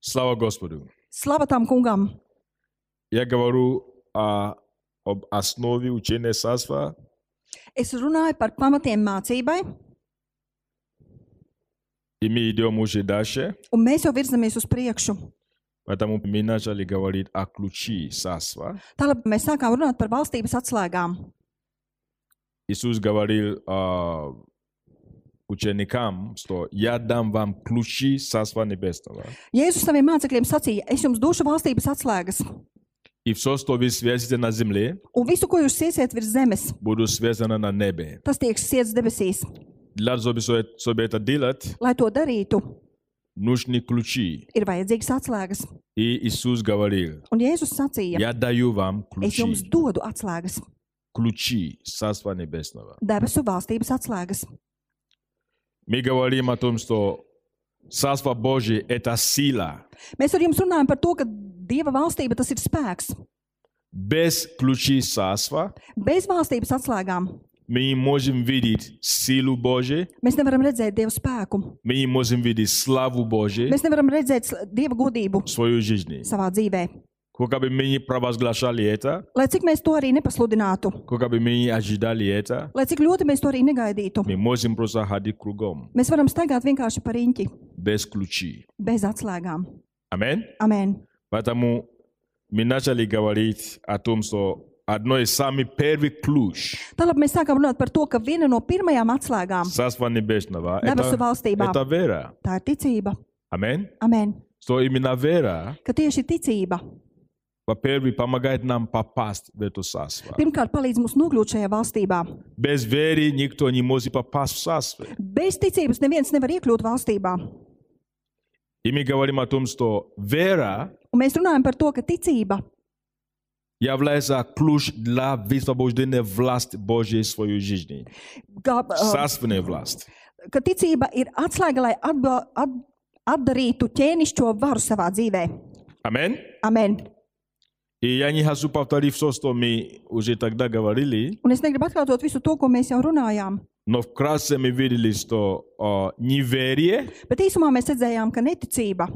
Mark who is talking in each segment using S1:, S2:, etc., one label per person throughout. S1: Слава Господу.
S2: Слава там Кунгам.
S1: Я говорю а, об основе учения Сасва,
S2: Es runāju par pamatiem mācībai,
S1: и мы идем уже дальше.
S2: un mēs jau virzamies uz priekšu.
S1: Поэтому мы начали говорить о ключи Сасва.
S2: Tālāk mēs sākām runāt par valstības atslēgām.
S1: Иисус говорил а, ученикам, что я дам вам ключи Сасва Небесного.
S2: Jēzus saviem mācekļiem sacīja: Es jums došu valstības atslēgas,
S1: И все, что вы связите на земле,
S2: un visu, ko jūs iesiet virs zemes,
S1: будет связано на небе.
S2: tas tiek sēdzis debesīs.
S1: Для того, чтобы это делать,
S2: Lai to darītu,
S1: нужны ключи.
S2: ir vajadzīgas atslēgas.
S1: И Иисус говорил,
S2: Un Jēzus sacīja:
S1: я даю вам
S2: Es
S1: ключи.
S2: jums dodu atslēgas,
S1: ключи Царства Небесного.
S2: debesu valstības atslēgas.
S1: Мы говорим о том, что Царство Божие – это сила.
S2: Mēs ar jums runājam par to, ka Dieva valstība tas ir spēks.
S1: Без ключи Царства
S2: Bez valstības atslēgām
S1: мы не можем видеть силу Божию,
S2: mēs nevaram redzēt Dieva spēku.
S1: мы не можем видеть славу Божию
S2: Mēs nevaram redzēt sl- Dieva godību
S1: в свою жизни.
S2: savā dzīvē.
S1: Как бы мы не провозглашали это,
S2: Lai cik mēs to arī nepasludinātu,
S1: как бы мы не ожидали это,
S2: lai cik ļoti mēs to arī negaidītu,
S1: мы можем просто ходить кругом,
S2: mēs varam staigāt vienkārši par īņķi,
S1: без ключи.
S2: bez atslēgām.
S1: Аминь.
S2: Amen.
S1: Поэтому мы начали говорить о том, что одно из самых первых ключ
S2: Tālāk mēs sākām runāt par to, ka viena no pirmajām atslēgām
S1: Царства Небесного –
S2: debesu
S1: это,
S2: valstībā
S1: это вера.
S2: tā ir ticība.
S1: Аминь.
S2: Amen.
S1: Что именно вера,
S2: Ka tieši ticība
S1: во-первых, помогает нам попасть в это царство.
S2: pirmkārt palīdz mums nokļūt šajā valstībā.
S1: Без веры никто не может попасть в царство.
S2: Bez ticības neviens nevar iekļūt valstībā.
S1: И мы говорим о том, что вера
S2: Un mēs runājam par to, ka ticība
S1: является ключ для высвобождения власти Божьей в свою жизнь.
S2: Kā, uh,
S1: Царственная власть.
S2: ka ticība ir atslēga, lai atba, at, atdarītu ķēnišķo varu savā dzīvē.
S1: Аминь.
S2: Amen.
S1: И я не хочу повторить все, что мы уже тогда говорили,
S2: Un es negribu atkārtot visu to, ko mēs jau runājām.
S1: но вкратце мы видели, что э, неверие
S2: Bet īsumā mēs redzējām, ka neticība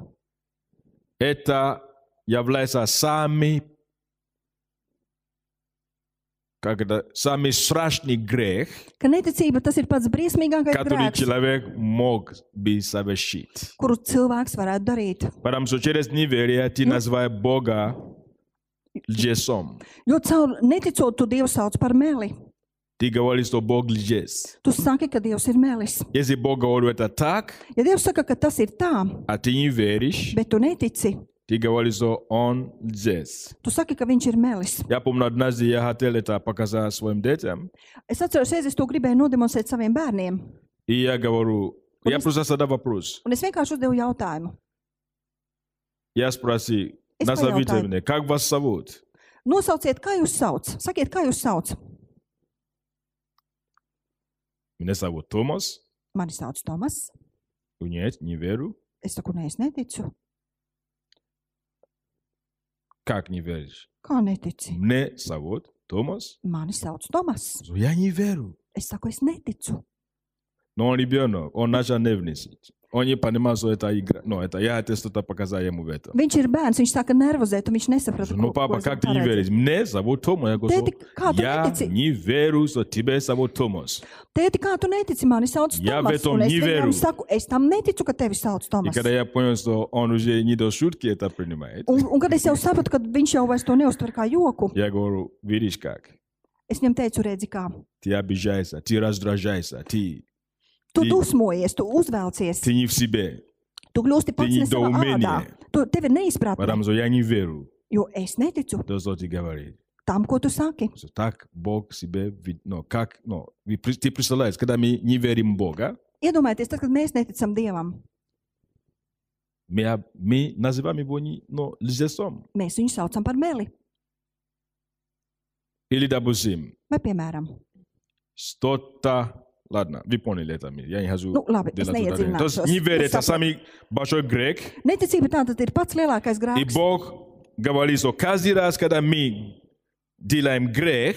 S1: это является самый, как это, самый страшный грех,
S2: ka neticība tas ir pats briesmīgākais
S1: который
S2: grēks,
S1: человек мог бы совершить.
S2: kuru cilvēks varētu darīt.
S1: Потому что через неверие ты называешь Бога лжецом.
S2: Jo caur neticot, tu Dievu sauc par meli.
S1: Ты говоришь, что Бог лжец.
S2: Tu saki, ka Dievs ir melis.
S1: Если Бог говорит это так,
S2: Ja Dievs saka, ka tas ir tā,
S1: а ты не веришь,
S2: bet tu netici,
S1: ты говоришь, что Он лжец.
S2: tu saki, ka viņš ir melis.
S1: Я помню, однажды я хотел это показать своим детям,
S2: Es atceros, reizes to gribēju nodemonstrēt saviem bērniem.
S1: и я говорю, я
S2: Он-
S1: просто задал вопрос.
S2: Un es vienkārši uzdevu jautājumu.
S1: Я спросил,
S2: Исполнял
S1: назовите
S2: тайну.
S1: мне, как вас зовут?
S2: Nosauciet, kā jūs sauc. Sakiet, kā jūs sauc.
S1: Меня зовут Томас.
S2: Mani sauc Tomas.
S1: Нет, не верю.
S2: Es saku, nē, es neticu.
S1: Как не веришь?
S2: Kā netici?
S1: Мне зовут Томас.
S2: Mani sauc Tomas.
S1: Я не верю.
S2: Es saku, es neticu.
S1: Но он ребенок, он начал нервничать. Он не понимал, что это игра. Но это я это что-то показал ему в этом.
S2: Viņš ir bērns, viņš sāka nervozēt, un viņš nesaprata,
S1: Ну, папа, как ты не веришь? Мне зовут Томас. Я говорю,
S2: Ты- ты- как ты
S1: я
S2: веришь?
S1: не верю, что тебе зовут Томас.
S2: Tēti, kā tu netici? Mani sauc
S1: Jā,
S2: Tomas.
S1: bet un
S2: un es
S1: neveru.
S2: viņam saku, es tam neticu, ka tevi sauc
S1: И
S2: Tomas.
S1: когда я понял, что он уже не до шутки это принимает,
S2: Un, un kad es jau sapratu, ka viņš jau vairs to neuztver kā joku,
S1: я говорю, видишь как,
S2: es viņam teicu, redzi, kā.
S1: ты обижаешься, ты раздражаешься, ты,
S2: Tu
S1: Tī-
S2: dusmojies, tu uzvelcies,
S1: ты не в себе.
S2: tu kļūsti pats
S1: tī-
S2: ne savā
S1: domenie.
S2: ādā. Tu, tev ir neizpratne,
S1: Потому что я не верю
S2: jo es neticu
S1: то, что ты говоришь.
S2: tam, ko tu saki.
S1: Что так Бог себе... вид- Ну, как... Ну, вы при- ты представляешь, когда мы не верим Бога,
S2: Iedomājieties, tad, kad mēs neticam Dievam,
S1: мы, об- мы называем его не, ну, лжецом.
S2: mēs viņu saucam par meli.
S1: Или, допустим,
S2: Vai, piemēram,
S1: что-то... Ладно, вы поняли это. мы- Я не хочу...
S2: Ну, ладно,
S1: делать
S2: знаю, я
S1: ударение.
S2: знаю,
S1: То есть
S2: что-
S1: не верить,
S2: что-
S1: это самый большой грех.
S2: neticība tā tad ir pats lielākais
S1: И
S2: grēks.
S1: Бог говорит, что каждый раз, когда мы делаем грех,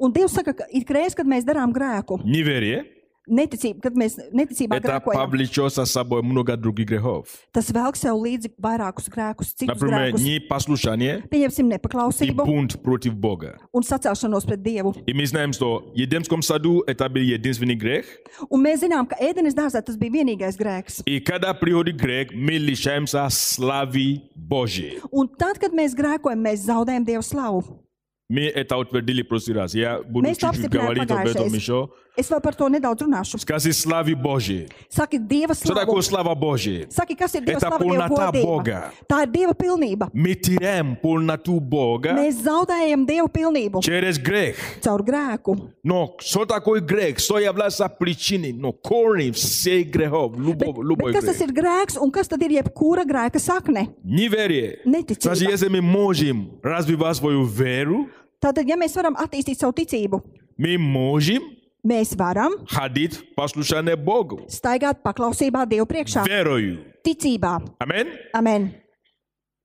S2: Un Dievs saka, ka ik reiz, kad mēs darām grēku,
S1: неверие,
S2: neticība, kad mēs neticībā
S1: Это
S2: grēkojam,
S1: повлечет за собой много других грехов.
S2: tas velk sev līdzi vairākus grēkus, citus
S1: Например,
S2: grēkus.
S1: непослушание
S2: Pieņemsim
S1: и
S2: nepaklausību
S1: бунт против Бога.
S2: un sacēlšanos pret Dievu.
S1: И мы знаем, что в Едемском саду это был единственный грех.
S2: Un mēs zinām, ka ēdenes dārzā tas bija vienīgais grēks.
S1: И когда приходит грех, мы лишаемся славы Божьей.
S2: Un tad, kad mēs grēkojam, mēs zaudējam Dieva slavu.
S1: Мы это утвердили в прошлый раз. Я буду
S2: Мы это
S1: чуть-чуть
S2: обсуждали
S1: говорить об
S2: подальше.
S1: этом еще.
S2: Es vēl par to nedaudz runāšu.
S1: Скажи славы Божьей.
S2: Saki, Dieva
S1: Что
S2: slavu.
S1: такое слава Божья?
S2: Saki, kas ir Dieva
S1: Это
S2: slava, Dieva
S1: полнота
S2: godība.
S1: Бога.
S2: Tā ir Dieva pilnība.
S1: Мы теряем полноту Бога
S2: Mēs zaudējam Dieva pilnību
S1: через грех.
S2: caur grēku.
S1: Но что такое грех? Что является причиной? Но корень всех грехов,
S2: Bet,
S1: любого, любой
S2: bet kas tas
S1: грех.
S2: ir grēks un kas tad ir jebkura grēka sakne?
S1: Неверие.
S2: Neticība.
S1: Значит, если мы можем развивать свою веру,
S2: Tātad, ja mēs varam attīstīt savu ticību,
S1: мы можем
S2: mēs varam
S1: ходить послушание Богу.
S2: staigāt paklausībā Dieva priekšā,
S1: Верою.
S2: ticībā.
S1: Аминь.
S2: Amen.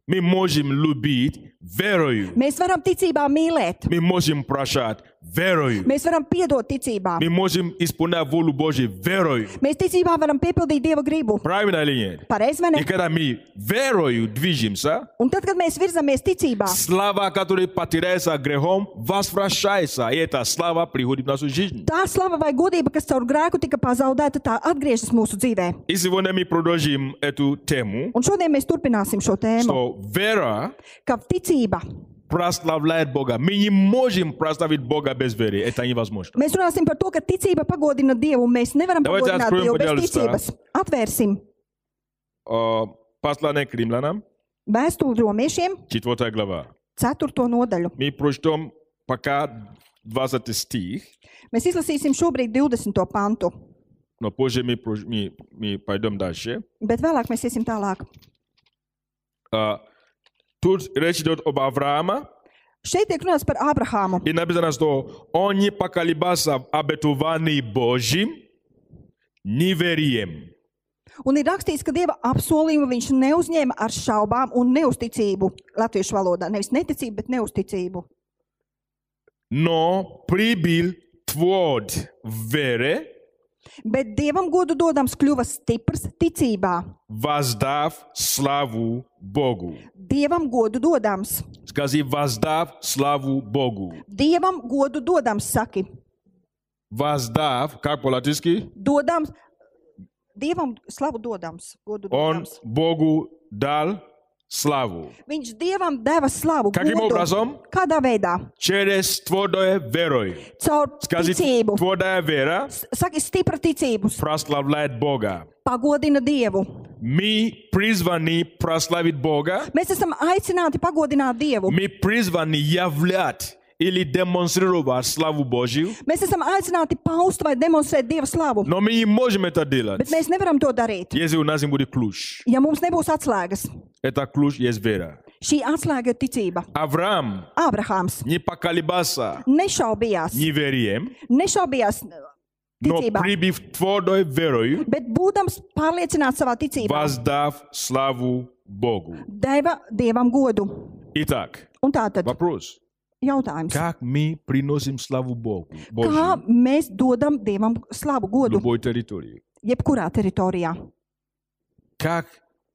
S1: Мы можем любить верою.
S2: Mēs varam ticībā mīlēt,
S1: Мы можем прощать верою.
S2: mēs varam piedot ticībā,
S1: Мы можем исполнять волю Божью верою.
S2: mēs ticībā varam piepildīt Dieva gribu.
S1: Правильно или нет?
S2: Pareizi, vai ne?
S1: И когда мы верою движемся,
S2: Un tad, kad mēs virzamies ticībā,
S1: Слава, которая потеряется грехом, возвращается. И эта слава приходит в нашу жизнь.
S2: tā slava vai godība, kas caur grēku tika pazaudēta, tā atgriežas mūsu dzīvē.
S1: И сегодня мы продолжим эту тему,
S2: Un šodien mēs turpināsim šo tēmu,
S1: что вера
S2: ka ticība.
S1: прославляет Бога. Мы не можем прославить Бога без веры. Это невозможно.
S2: Mēs runāsim par to, ka ticība pagodina Dievu, un mēs nevaram
S1: Davai tāds
S2: pagodināt Dievu bez
S1: krumpļaļus, tā.
S2: ticības. Atvērsim
S1: Э, Послание к римлянам,
S2: vēstuli romiešiem,
S1: 4 глава.
S2: 4. nodaļu.
S1: Мы прочтем пока 20 стих,
S2: Mēs izlasīsim šobrīd 20. pantu,
S1: но позже мы, прож- мы- мы пойдем дальше.
S2: bet vēlāk mēs iesim tālāk.
S1: Э, Тут речь идет об Авраама,
S2: Šeit tiek runāts par Ābrahāmu.
S1: И написано, что он не поколебался в обетовании Божьим неверием.
S2: Un ir rakstīts, ka dieva apsolījumu viņš neuzņēma ar šaubām un neusticību. Latviešu valodā nevis neticību, bet neusticību.
S1: Но прибыл творд вере,
S2: Bet dievam godu dodams kļuva stiprs ticībā.
S1: воздав славу Богу.
S2: Dievam godu dodams,
S1: Скажи, воздав славу Богу.
S2: dievam godu dodams, saki,
S1: Воздав, как по-латински?
S2: dodams, dievam slavu dodams, godu
S1: Он
S2: dodams.
S1: Богу дал славу.
S2: Viņš dievam deva slavu.
S1: Каким
S2: godu.
S1: образом?
S2: Kādā veidā?
S1: Через твердое верой.
S2: Caur
S1: Скажи,
S2: ticību.
S1: твердая вера
S2: S- Saki, stipra ticību,
S1: прославляет Бога.
S2: pagodina Dievu.
S1: Мы призваны прославить Бога.
S2: Mēs esam aicināti pagodināt Dievu.
S1: Мы призваны являть или демонстрировать славу Божью.
S2: Mēs esam aicināti paust vai demonstrēt Dieva slavu,
S1: Но мы не можем это делать,
S2: bet mēs nevaram to darīt,
S1: если у нас не будет ключ.
S2: ja mums nebūs atslēgas.
S1: Это ключ есть вера.
S2: Šī atslēga ir ticība.
S1: Авраам
S2: Ābrahāms
S1: не поколебался
S2: nešaubījās,
S1: неверием,
S2: nešaubījās uh,
S1: но
S2: ticībā,
S1: прибыв твердой верою,
S2: bet būdams pārliecināts savā ticībā,
S1: воздав славу Богу.
S2: deva Dievam godu.
S1: Итак,
S2: Un tā tad
S1: вопрос.
S2: jautājums.
S1: Как мы приносим славу Богу
S2: Kā
S1: Божью
S2: mēs dodam Dievam slavu
S1: в
S2: godu?
S1: любой территории?
S2: Jebkurā teritorijā.
S1: как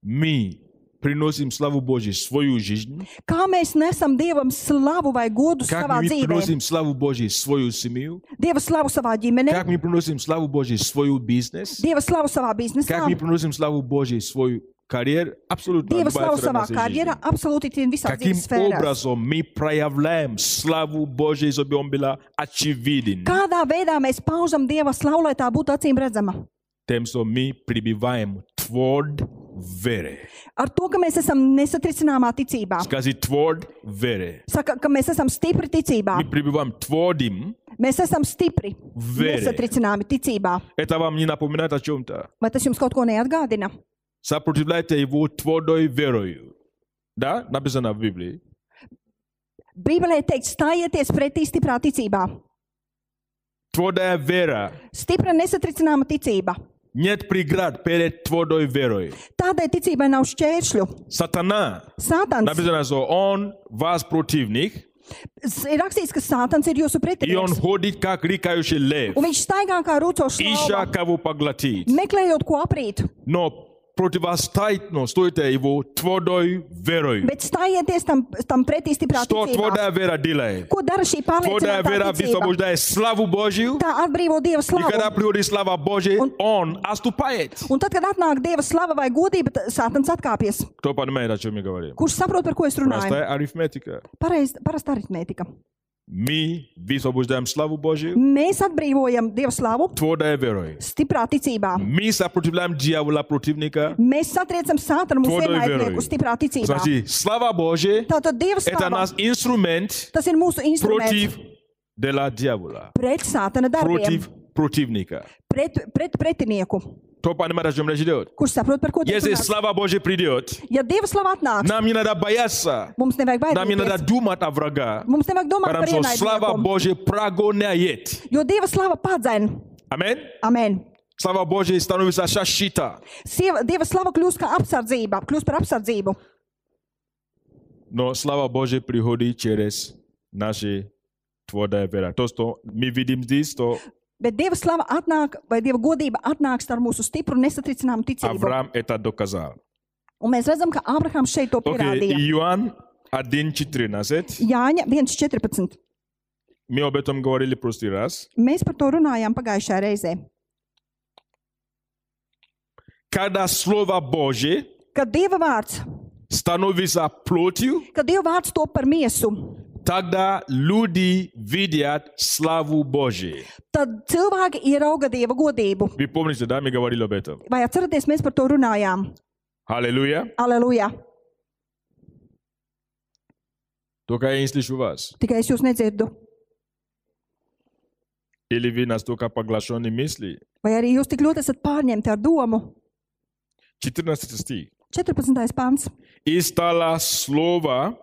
S1: мы приносим славу Божью в свою жизнь,
S2: Kā mēs nesam Dievam slavu vai godu
S1: как
S2: savā
S1: мы
S2: dzīvē,
S1: приносим славу Божью в свою семью,
S2: Dieva slavu savā ģimenē,
S1: как мы приносим славу Божью в свой бизнес,
S2: Dieva slavu savā biznesā,
S1: как мы приносим славу Божью в свою карьеру, абсолютно
S2: Dieva
S1: любая
S2: slavu
S1: сторона
S2: savā
S1: нашей
S2: karjerā,
S1: жизни.
S2: absolūti tiem visām
S1: Каким
S2: dzīves sfērām.
S1: образом мы проявляем славу Божью, чтобы он была очевиден
S2: Kādā veidā mēs paužam Dieva slavu, lai tā būtu acīm redzama?
S1: тем, что мы прибываем тверд вере.
S2: Ar to, ka mēs esam nesatricināmā ticībā.
S1: Скажи тверд вере.
S2: Saka, ka mēs esam stipri ticībā.
S1: Мы прибываем твердым.
S2: Mēs esam stipri,
S1: Very.
S2: nesatricināmi ticībā.
S1: Это вам не напоминает о чем-то?
S2: Vai tas jums kaut ko neatgādina?
S1: Сопротивляйте его твердой верою. Да? Написано в Библии.
S2: Bībelē teikts, stājieties pretī stiprā ticībā.
S1: Твердая вера.
S2: Stipra nesatricināma ticība.
S1: Нет преград перед твердой верой.
S2: Tādai ticībai nav šķēršļu.
S1: Сатана,
S2: Sātans
S1: написано, что он вас противник,
S2: S- Ir rakstīts, ka Sātans ir jūsu
S1: и он
S2: pretinieks.
S1: ходит как рикающий лев,
S2: Un viņš staigā kā rūcošs,
S1: ища
S2: lauva,
S1: кого поглотить.
S2: meklējot, ko aprīt.
S1: Но противостоит, но стойте его твердой верою.
S2: Bet stājieties tam, tam pretī stiprā
S1: Что
S2: ticībā.
S1: твердая вера делает?
S2: Ko dara šī
S1: Твердая вера
S2: pārliecinātā ticība?
S1: высвобождает славу Божью,
S2: Tā atbrīvo Dieva
S1: и когда
S2: slavu.
S1: приходит слава Божья, он отступает.
S2: Un tad, kad atnāk Dieva slava vai godība, tad Sātans atkāpjas.
S1: Кто понимает, о чем я говорю?
S2: Kurš saprot, par ko es runāju?
S1: Простая арифметика.
S2: Pareiz- Parasta aritmētika.
S1: Мы высвобождаем славу Божью
S2: Mēs atbrīvojam Dieva slavu
S1: твердой верой.
S2: stiprā ticībā.
S1: Мы сопротивляем дьявола противника.
S2: Mēs satriecam Sātanu
S1: To
S2: mūsu
S1: dara veroju.
S2: vienaidnieku stiprā ticībā.
S1: Значит, слава Божья
S2: Tātad Dieva
S1: это
S2: slava,
S1: наш инструмент
S2: tas ir mūsu instruments
S1: против дела дьявола,
S2: pret Sātana darbiem,
S1: против противника.
S2: pret, pret pretinieku.
S1: Кто понимает, о чем речь идет?
S2: Kurš saprot, par ko tiek
S1: Если
S2: runāts?
S1: слава Божья придет,
S2: Ja Dieva slava atnāk,
S1: нам не надо бояться,
S2: mums nevajag
S1: нам не надо
S2: baidīties.
S1: думать о врага,
S2: Mums nevajag domāt
S1: потому
S2: par
S1: что слава
S2: ienaidnieku,
S1: Божья прогоняет.
S2: jo Dieva slava padzen.
S1: Аминь.
S2: Amen.
S1: Слава Божья становится защита.
S2: Sieva, Dieva slava kļūst kā apsardzība, kļūst par apsardzību.
S1: Но слава Божья приходит через наши твердая вера. То, что мы видим здесь, то
S2: Bet Dieva slava atnāk, vai Dieva godība atnāks ar mūsu stipru nesatricināmu ticību.
S1: Авраам это доказал.
S2: Un mēs redzam, ka Ābrahams šeit to
S1: Окей,
S2: pierādīja.
S1: Иоанн 1.14.
S2: Jāņa 1.14.
S1: Мы об этом говорили в прошлый раз.
S2: Mēs par to runājām pagājušajā reizē.
S1: Когда Слово Божье
S2: Kad Dieva vārds,
S1: становится плотью,
S2: kad Dieva vārds top par miesu,
S1: тогда люди видят славу Божью.
S2: tad cilvēki ierauga Dieva godību.
S1: Вы помните, да, мы говорили об этом.
S2: Vai atceraties, mēs par to runājām?
S1: Аллилуйя.
S2: Aleluja!
S1: Только я не слышу вас.
S2: Tikai es jūs nedzirdu.
S1: Или вы настолько поглощены мысли.
S2: Vai arī jūs tik ļoti esat pārņemti ar domu?
S1: 14 стих.
S2: 14. pāns.
S1: И стало Слово,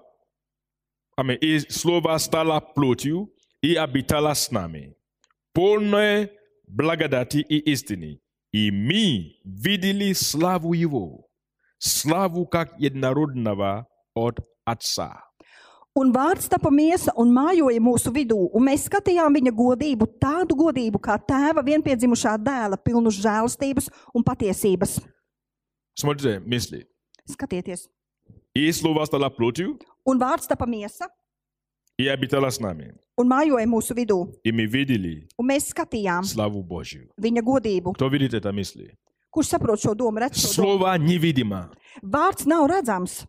S1: а, мы- и Слово стало плотью и обитало с нами. Полное благодати и истины. И мы видели славу Его, славу как единородного от Отца.
S2: Un vārds tapa miesa un mājoja mūsu vidū, un mēs skatījām viņa godību, tādu godību kā tēva vienpiedzimušā dēla, pilnu žēlastības un patiesības.
S1: Смотрите, мысли.
S2: Skatieties,
S1: И Слово стало плотью
S2: un vārds tapa miesa
S1: и обитало с нами.
S2: un mājoja mūsu vidū,
S1: И мы видели
S2: un mēs skatījām
S1: славу Божью.
S2: viņa godību.
S1: Кто видит это мысли?
S2: Kurš saprot šo domu? Redz šo domu?
S1: Слово невидимо.
S2: Vārds nav redzams.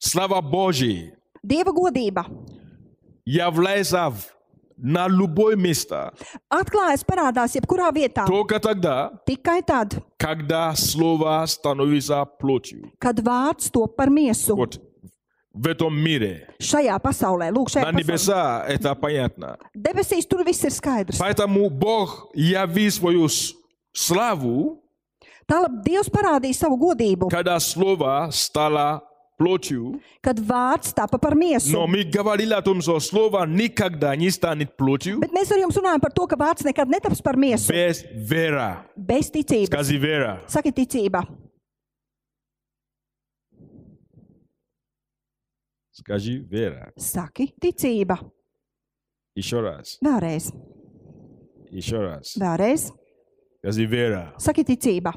S1: Слава Божья
S2: Dieva godība
S1: является в- на любое место.
S2: atklājas, parādās jebkurā vietā.
S1: Только тогда,
S2: Tikai tad,
S1: когда слово становится плотью.
S2: kad vārds top par miesu
S1: Вот в этом мире.
S2: šajā pasaulē, lūk, šajā
S1: На
S2: pasaulē.
S1: небеса это понятно.
S2: Debesīs tur viss ir skaidrs.
S1: Поэтому Бог явил свою с- славу,
S2: Tālāk Dievs parādīja savu godību.
S1: когда слово стало плотью.
S2: kad vārds tapa par miesu.
S1: Но
S2: No.
S1: мы говорили о том, что слово никогда не станет плотью
S2: Bet mēs ar jums runājam par to, ka vārds nekad netaps par miesu. Be...
S1: без вера.
S2: Bez ticības.
S1: Скажи вера.
S2: Saki, ticība.
S1: Скажи вера.
S2: Saki, ticība.
S1: Еще раз.
S2: Vēlreiz,
S1: Еще раз.
S2: vēlreiz.
S1: Скажи вера.
S2: Saki, ticība.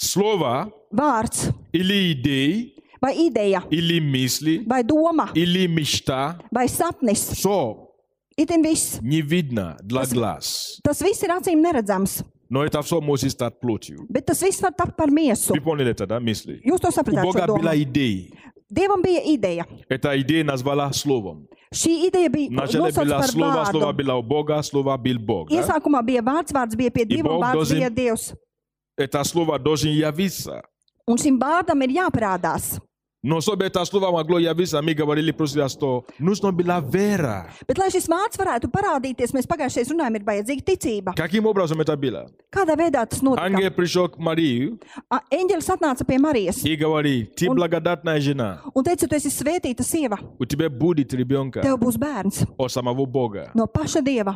S1: Слово
S2: Vārds
S1: или идеи,
S2: vai ideja,
S1: или мысли,
S2: vai doma,
S1: или мечта,
S2: vai sapnis.
S1: все
S2: Itin viss.
S1: не видно для глаз.
S2: Tas viss ir acīm neredzams,
S1: Но это все может стать плотью.
S2: bet tas viss var tapt par miesu.
S1: Вы поняли это, да, мысли?
S2: Jūs to
S1: У
S2: sapratāt? šo
S1: Бога
S2: domu?
S1: была идея.
S2: Dievam bija ideja.
S1: Эта идея назвала словом.
S2: Šī ideja bija
S1: Вначале
S2: nosaucta
S1: было
S2: par
S1: слово, слово
S2: vārdu.
S1: было у Бога, слово был Бог. да?
S2: Iesākumā bija vārds, vārds bija pie Dieva, un
S1: Bog
S2: vārds
S1: dosim-
S2: bija Dievs.
S1: Это слово должен явиться.
S2: Un šim vārdam ir jāparādās.
S1: Но чтобы это слово могло явиться, мы говорили в прошлый раз, что нужно была вера.
S2: Bet, lai šis vārds varētu parādīties, mēs pagājušajā reizē runājām, ir vajadzīga ticība.
S1: Каким образом это было?
S2: Kādā veidā tas notika?
S1: Ангел пришел к Марии
S2: A- Eņģelis atnāca pie Marijas
S1: и говорит, ты
S2: Он-
S1: благодатная жена,
S2: un teica, tu esi svētīta sieva,
S1: у тебя будет ребенка.
S2: tev būs bērns
S1: от самого Бога.
S2: no paša dieva.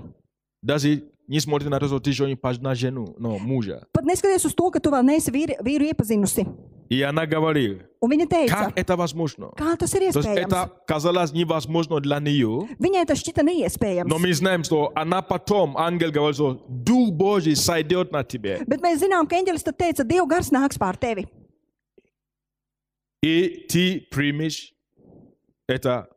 S1: Даже несмотря на то, что ты еще не пожна жену, но мужа.
S2: Pat neskatoties uz to, ka tu vēl neesi vīri, vīru iepazinusi.
S1: И она говорит,
S2: Un viņa teica,
S1: Как это возможно?
S2: kā tas ir
S1: То есть это
S2: iespējams?
S1: казалось невозможно для нее.
S2: Viņai tas šķita
S1: Но
S2: neiespējams.
S1: мы знаем, что она потом, ангел говорит, что Дух Божий сойдет на тебе,
S2: Bet mēs zinām, ka eņģelis tad teica, Dieva gars nāks pār tevi.
S1: и ты примешь это,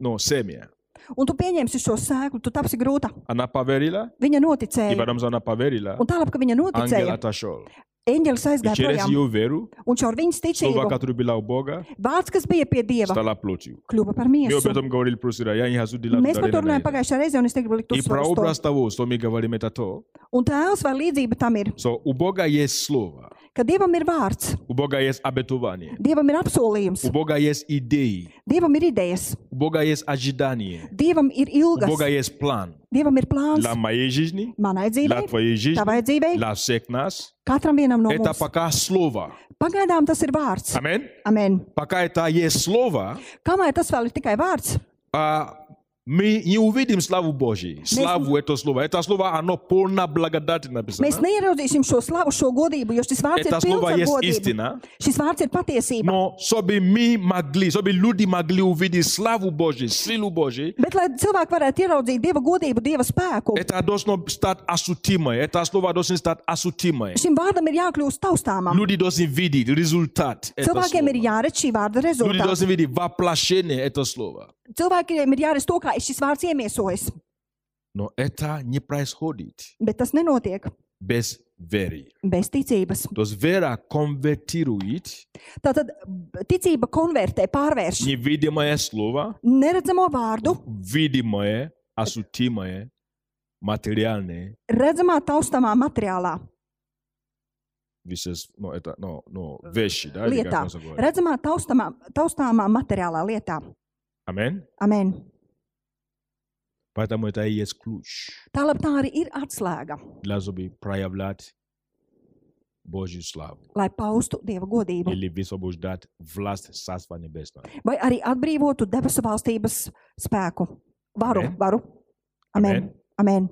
S1: ну, семя.
S2: Un tu pieņemsi šo sēklu, tu tapsi grūta.
S1: Она поверила,
S2: Viņa
S1: и
S2: noticēja.
S1: потом, что она поверила,
S2: Un tālāk, kad viņa
S1: ангел
S2: noticēja,
S1: отошел.
S2: eņģelis
S1: И
S2: aizgāja
S1: через
S2: projām.
S1: ее веру,
S2: Un caur viņas
S1: слово,
S2: ticību
S1: которое было у Бога,
S2: vārds, kas bija pie Dieva,
S1: стало плотью.
S2: kļuva par
S1: Мы об
S2: miesu.
S1: этом говорили в прошлый раз. Я не хочу делать
S2: Mēs par to
S1: ударение на
S2: runājām
S1: это.
S2: pagājušajā reizē, un es negribu likt
S1: И
S2: uzsvaru uz to.
S1: прообраз того, что мы говорим, это то,
S2: Un tēls vai līdzība tam ir,
S1: что у Бога есть слово,
S2: ka Dievam ir vārds,
S1: у Бога есть обетование,
S2: Dievam ir apsolījums,
S1: у Бога есть идеи,
S2: Dievam ir idejas,
S1: у Бога есть ожидание,
S2: Dievam ir
S1: у Бога
S2: ilgas,
S1: есть план
S2: Dievam ir plāns
S1: для моей жизни,
S2: manai
S1: для
S2: dzīvei,
S1: твоей жизни,
S2: tavai dzīvei,
S1: для всех нас.
S2: katram vienam no
S1: Это
S2: mums.
S1: пока слово.
S2: Pagaidām tas ir vārds.
S1: Амин.
S2: Amen.
S1: Пока это есть слово,
S2: Kamēr tas vēl ir tikai vārds,
S1: а, мы не увидим славу Божию. Славу это слово. Это слово, оно полно благодати
S2: mēs
S1: написано.
S2: neieraudzīsim šo slavu, šo godību, jo šis vārds ir
S1: Это слово
S2: pilns ar
S1: есть
S2: godību.
S1: истина.
S2: Šis vārds ir patiesība.
S1: Но чтобы мы могли, чтобы люди могли увидеть славу Божию, силу Божию,
S2: Bet, lai cilvēki varētu ieraudzīt Dieva godību, Dieva spēku,
S1: это должно стать ощутимо. Это слово должно стать ощутимо.
S2: šim vārdam ir jākļūst taustāmam.
S1: Люди должны видеть результат этого
S2: Cilvēkiem ir
S1: слова.
S2: jāredz šī vārda
S1: Люди
S2: rezultāts.
S1: должны видеть воплощение этого слова.
S2: Cilvēkiem ir jāredz to, kā ir šis vārds iemiesojas,
S1: Но это не происходит
S2: bet tas nenotiek
S1: без веры.
S2: bez ticības.
S1: То есть вера конвертирует
S2: Tātad b- ticība konvertē, pārvērš
S1: невидимое слово
S2: neredzamo vārdu,
S1: в видимое, ощутимое, материальное.
S2: redzamā taustāmā materiālā
S1: Веществ, ну, это, ну, ну, вещи, да? или как
S2: lietā,
S1: можно говорить?
S2: redzamā taustāmā, taustāmā materiālā lietā.
S1: Аминь.
S2: Amen.
S1: Поэтому это и есть ключ
S2: Tālāk tā arī ir atslēga,
S1: для чтобы проявлять Божью славу
S2: lai paustu Dieva godību,
S1: или высвобождать власть Царства Небесного.
S2: vai arī atbrīvotu debesu valstības spēku. Varu,
S1: Amen.
S2: varu. Amen. Amen.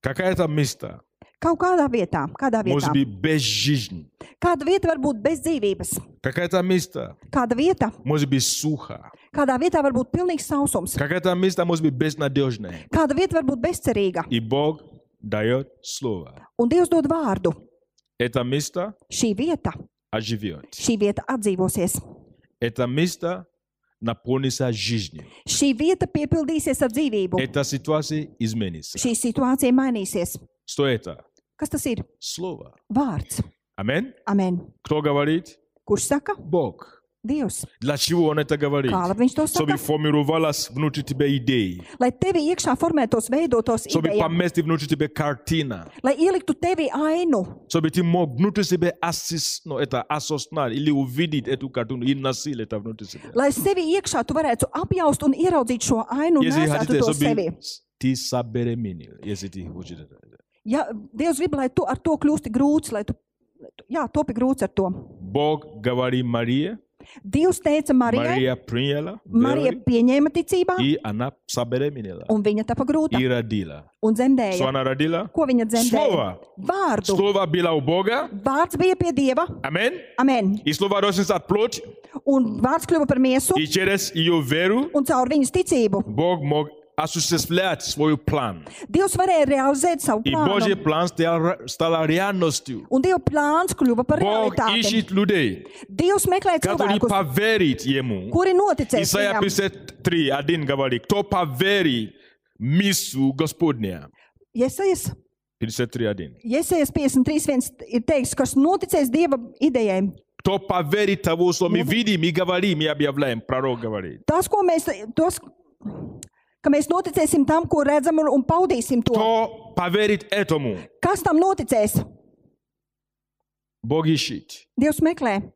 S1: Какое-то место
S2: Kaut kādā vietā, kādā
S1: может
S2: vietā.
S1: быть без жизни.
S2: Kāda vieta var būt bez dzīvības?
S1: Какое-то место
S2: Kāda vieta,
S1: может быть сухо.
S2: kādā vietā var būt pilnīgs sausums,
S1: Какое-то место может быть безнадежное.
S2: kāda vieta var būt bezcerīga,
S1: И Бог дает слово.
S2: un Dievs dod vārdu.
S1: Это место
S2: Šī vieta,
S1: оживет.
S2: šī vieta atdzīvosies,
S1: Это место наполнится жизнью.
S2: šī vieta piepildīsies ar dzīvību,
S1: Эта ситуация изменится.
S2: šī situācija mainīsies.
S1: Что это?
S2: Kas tas ir?
S1: Слово.
S2: Vārds.
S1: Аминь.
S2: Amen.
S1: Кто говорит?
S2: Kurš saka?
S1: Бог.
S2: Dievs.
S1: Для чего он это говорит?
S2: Kā lai viņš to
S1: Чтобы
S2: saka?
S1: формировалась внутри тебя идеи,
S2: Lai tevi iekšā formētos, veidotos
S1: чтобы
S2: ideja,
S1: поместить внутри тебя картина,
S2: lai ieliktu tevi ainu,
S1: чтобы ты мог внутри себя ассис, ну, это осознать или увидеть эту картину и носить это внутри себя.
S2: lai sevi iekšā tu varētu apjaust un ieraudzīt šo ainu un
S1: Если
S2: nesētu
S1: хотите,
S2: to sevi.
S1: чтобы ты собеременел, если ты хочешь это.
S2: Ja Dievs grib, lai tu ar to kļūsti grūts, lai tu, lai tu jā, topi grūts ar to.
S1: Бог говорит Мария,
S2: Dievs teica Marijai,
S1: Мария приняла
S2: Marija
S1: верой,
S2: pieņēma ticībā,
S1: и она собеременела
S2: un viņa tapa grūta
S1: и родила.
S2: un
S1: Что
S2: dzemdēja.
S1: она родила?
S2: Ko viņa dzemdēja?
S1: Слово.
S2: Vārdu.
S1: Слово было у Бога.
S2: Vārds bija pie Dieva.
S1: Аминь.
S2: Amen.
S1: И слово должно стать плотью.
S2: Un vārds kļuva par miesu,
S1: И через ее веру
S2: un caur viņas ticību
S1: Бог мог осуществлять свой план.
S2: Dievs varēja realizēt savu
S1: И Божий
S2: plānu.
S1: план стал, стал реальностью.
S2: Un Dieva plāns kļuva par
S1: Бог
S2: realitāti.
S1: ищет людей,
S2: Dievs meklē
S1: которые
S2: cilvēkus,
S1: поверят Ему.
S2: kuri noticēs
S1: Исайя
S2: viņam.
S1: 53, 1 говорит, кто поверит миссу Господня.
S2: Iesajas
S1: 53, 1.
S2: Iesajas 53.1 ir teiks, kas noticēs Dieva idejai.
S1: Кто поверит того, что мы видим и говорим и объявляем, пророк говорит.
S2: Tas, ko mēs, tos, ka mēs noticēsim tam, ko redzam un, un paudīsim to,
S1: Кто поверит этому,
S2: kas tam noticēs,
S1: Бог ищет,
S2: Dievs meklē,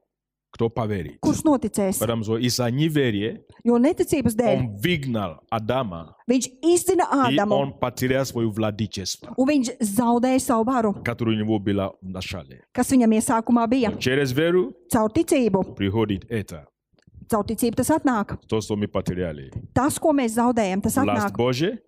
S1: кто поверит.
S2: kurš noticēs.
S1: Потому что из-за неверия
S2: Jo neticības dēļ
S1: он выгнал Адама,
S2: viņš izdzina
S1: и
S2: Ādamu
S1: он потерял свое владычество.
S2: un viņš zaudēja savu varu,
S1: которая у него была в начале.
S2: kas viņam iesākumā bija.
S1: Через веру
S2: Caur ticību,
S1: приходит это,
S2: caur ticību tas atnāk.
S1: то, что мы потеряли.
S2: Tas, ko mēs zaudējam, tas
S1: Власть
S2: atnāk.
S1: Божья,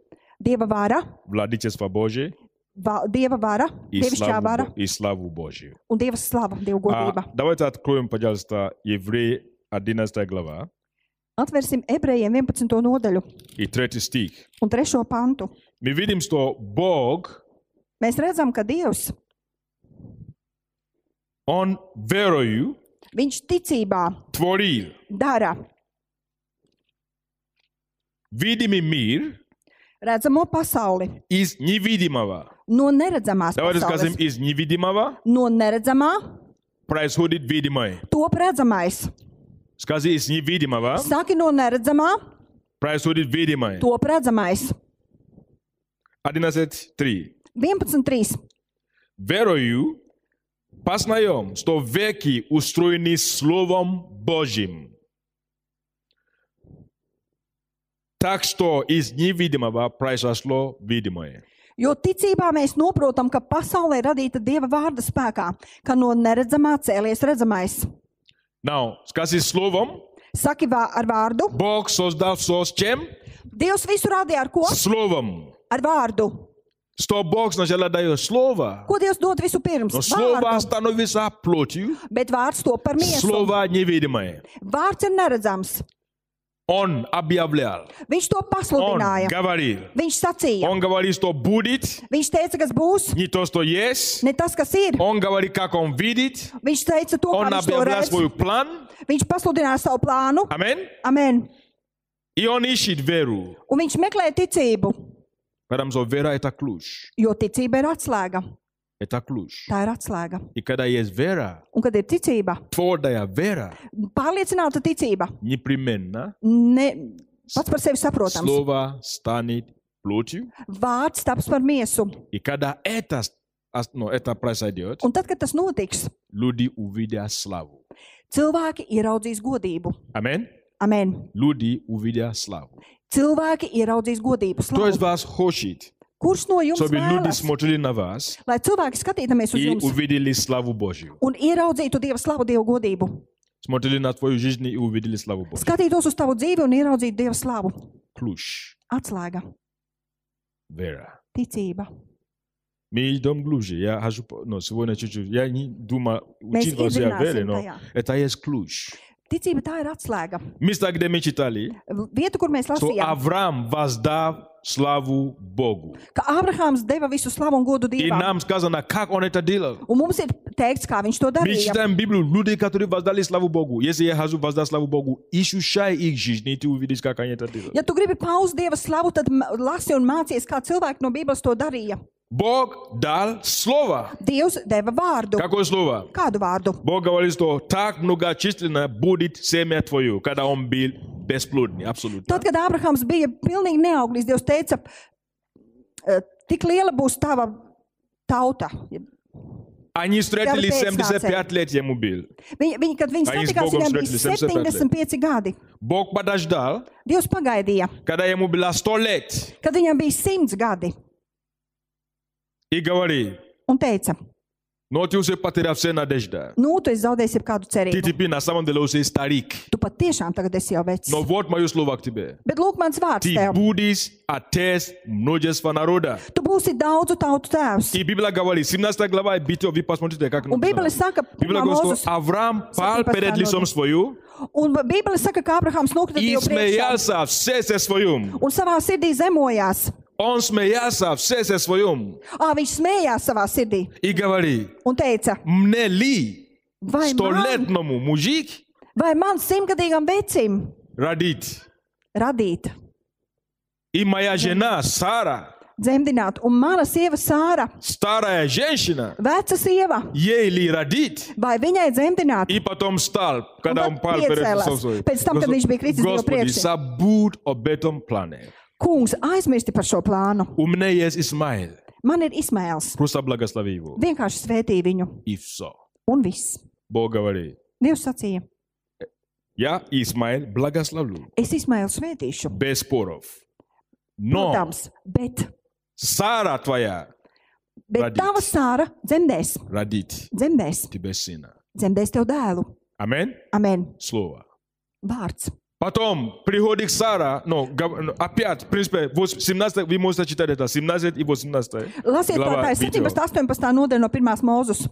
S2: Dieva vara,
S1: владычество Божье,
S2: va- Dieva vara,
S1: и
S2: dievišķā
S1: славу,
S2: vara
S1: Бо- и славу Божию.
S2: un Dieva slava, Dieva
S1: А,
S2: godība.
S1: давайте откроем, пожалуйста, Евреи 11 глава
S2: Atvērsim ebrejiem 11. nodaļu
S1: и 3 стих.
S2: un 3. pantu.
S1: Мы видим, что Бог,
S2: Mēs redzam, ka Dievs,
S1: Он верою
S2: viņš ticībā
S1: творил
S2: dara
S1: видимый мир
S2: redzamo pasauli
S1: из невидимого.
S2: no neredzamās
S1: Давайте скажем,
S2: pasaules.
S1: из невидимого
S2: No neredzamā
S1: происходит видимое.
S2: top redzamais.
S1: Скажи, из невидимого
S2: Saki no neredzamā
S1: происходит видимое.
S2: top redzamais.
S1: 11.3.
S2: 11.3.
S1: Верою познаем, что веки устроены Словом Божьим. Так что из невидимого произошло видимое.
S2: Jo ticībā mēs saprotam, ka pasaulē radīta dieva vārda spēkā, ka no neredzamā cēlies redzamais.
S1: Now, скажи словом,
S2: Saki vā, ar vārdu.
S1: Бог создал все с чем?
S2: Dievs visu radīja ar ko?
S1: Словом.
S2: Ar vārdu.
S1: Что Бог сначала дает слово,
S2: Ko Dievs dod vispirms?
S1: но слово становится плотью,
S2: Bet vārds to par miesu.
S1: слово невидимое.
S2: Vārds ir neredzams.
S1: Он объявлял,
S2: Viņš to
S1: он
S2: pasludināja.
S1: говорил.
S2: Viņš sacīja.
S1: Он говорит, что будет,
S2: Viņš teica, kas būs,
S1: не то, что есть.
S2: ne tas, kas ir.
S1: Он говорит, как он видит.
S2: Viņš teica to,
S1: Он
S2: kā viņš to
S1: объявляет
S2: redz.
S1: свой план.
S2: Viņš pasludināja savu plānu.
S1: Амин.
S2: Amen.
S1: И он ищет веру.
S2: Un viņš meklēja ticību,
S1: Потому что вера – это ключ.
S2: jo ticība ir atslēga.
S1: Это ключ.
S2: Tā ir atslēga.
S1: И когда есть вера,
S2: Un kad ir ticība,
S1: твердая вера,
S2: pārliecināta ticība,
S1: непременно
S2: ne, pats par sevi saprotams,
S1: слово станет плотью.
S2: vārds taps par miesu.
S1: И когда это, с- ос- ну, это произойдет,
S2: Un tad, kad tas notiks,
S1: люди увидят славу.
S2: cilvēki ieraudzīs godību.
S1: Амин.
S2: Amen.
S1: Люди увидят славу.
S2: Cilvēki ieraudzīs godību.
S1: Кто
S2: Slavu.
S1: из вас хочет,
S2: Kurš no jums
S1: чтобы люди
S2: vēlas,
S1: смотрели на вас
S2: lai cilvēki skatītos uz
S1: и
S2: jums
S1: увидели славу Божью?
S2: un ieraudzītu Dieva slavu, Dieva godību?
S1: Смотрели на твою жизнь и увидели славу Божью.
S2: Skatītos uz tavu dzīvi un ieraudzītu Dieva slavu.
S1: Ключ.
S2: Atslēga,
S1: Вера.
S2: ticība.
S1: Мы идем глубже. Я хожу, по- ну, сегодня чуть-чуть. Я не думаю,
S2: Mēs
S1: учить вас о вере,
S2: iedzināsim
S1: но
S2: tajā.
S1: это есть ключ.
S2: Ticība tā ir atslēga.
S1: Место, где мы читали,
S2: Vieta, kur mēs
S1: что
S2: lasījām,
S1: Авраам воздав славу Богу.
S2: ka Ābrahāms deva visu slavu un godu
S1: И
S2: Dievam.
S1: нам сказано, как он это делал.
S2: Un mums ir teikts, kā viņš to
S1: Мы
S2: darīja.
S1: читаем Библию, люди, которые воздали славу Богу. Если я хожу воздать славу Богу, ищущая их жизнь, и ты увидишь, как они это делают.
S2: Ja tu gribi paust Dieva slavu, tad m- lasi un mācies, kā cilvēki no Bībeles to darīja.
S1: Бог дал слово.
S2: Dievs deva vārdu.
S1: Какое слово?
S2: Kādu vārdu?
S1: Бог говорит, что так многочисленно будет семя твое, когда он был бесплодный, абсолютно.
S2: Tad, kad Ābrahāms bija pilnīgi neauglis, Dievs teica, "Eh, tik liela būs tava tauta.
S1: Они встретились
S2: Тя бе
S1: 75 лет ему был.
S2: Viņi, viņi, kad viņi
S1: Vai jūs
S2: satikās,
S1: Bogam
S2: viņam bija
S1: svētīsim
S2: 75 gadi.
S1: Бог подождал,
S2: Dievs pagaidīja,
S1: когда ему было 100 лет,
S2: kad viņam bija 100 gadi
S1: и говорит,
S2: un teica,
S1: но ты уже потерял все надежды.
S2: nu, tu esi zaudējis jebkādu
S1: Ты
S2: cerību.
S1: теперь на самом деле уже старик.
S2: Tu patiešām tagad esi jau vecs.
S1: Но вот мое слово к тебе.
S2: Bet lūk, mans vārds
S1: Ты
S2: tev.
S1: будешь отец множества народа.
S2: Tu būsi daudzu tautu tēvs.
S1: И Библия говорит, 17 глава, битва, вы посмотрите, как
S2: Un Bībele
S1: написано.
S2: saka,
S1: Библия
S2: pirmā
S1: говорит,
S2: Mozus,
S1: что Авраам пал
S2: Сатипас
S1: перед
S2: народа.
S1: лицом свою
S2: un Bībele saka, ka Ābrahāms nokrita
S1: и
S2: jau priekšā
S1: смеялся в сердце своем.
S2: un savā sirdī zemojās.
S1: Он смеялся в сердце своем
S2: Ā, viņš smējās savā sirdī
S1: и говорит,
S2: un тeica,
S1: мне ли
S2: vai man,
S1: столетному мужик
S2: vai man simtgadīgam vecim
S1: родить?
S2: radīt,
S1: И моя жена Сара,
S2: dzemdināt, un mana sieva Sāra,
S1: старая женщина,
S2: veca sieva,
S1: ей ли родить?
S2: vai viņai dzemdināt?
S1: И потом стал, когда он
S2: Он
S1: пал перед
S2: приецелась.
S1: лицом своим.
S2: Перед тем, как он
S1: Господи,
S2: был критизирован
S1: Господи,
S2: прежде.
S1: забудь об этом плане.
S2: Kungs, aizmirsti par šo plānu.
S1: У меня есть Исмаил.
S2: Man ir Ismēls.
S1: Просто благослови его.
S2: Vienkārši svētī viņu,
S1: И все.
S2: un viss.
S1: Бог говорит,
S2: Dievs sacīja,
S1: я Исмаил благословлю.
S2: es Ismēlu svētīšu.
S1: Без споров. Но
S2: Protams, bet,
S1: Сара твоя
S2: bet
S1: Radīt.
S2: tava Sāra dzemdēs,
S1: родит
S2: dzemdēs,
S1: тебе сына.
S2: dzemdēs tev dēlu.
S1: Амин.
S2: Amen.
S1: Слово.
S2: Vārds.
S1: Потом приходит Сара, ну, гав- ну, опять, в принципе, вос- 17, вы можете читать это, 17 и 18.
S2: Lasiet to
S1: Glabā
S2: tā, ir
S1: video.
S2: 17, 18 nodaļa no 1. mūzes.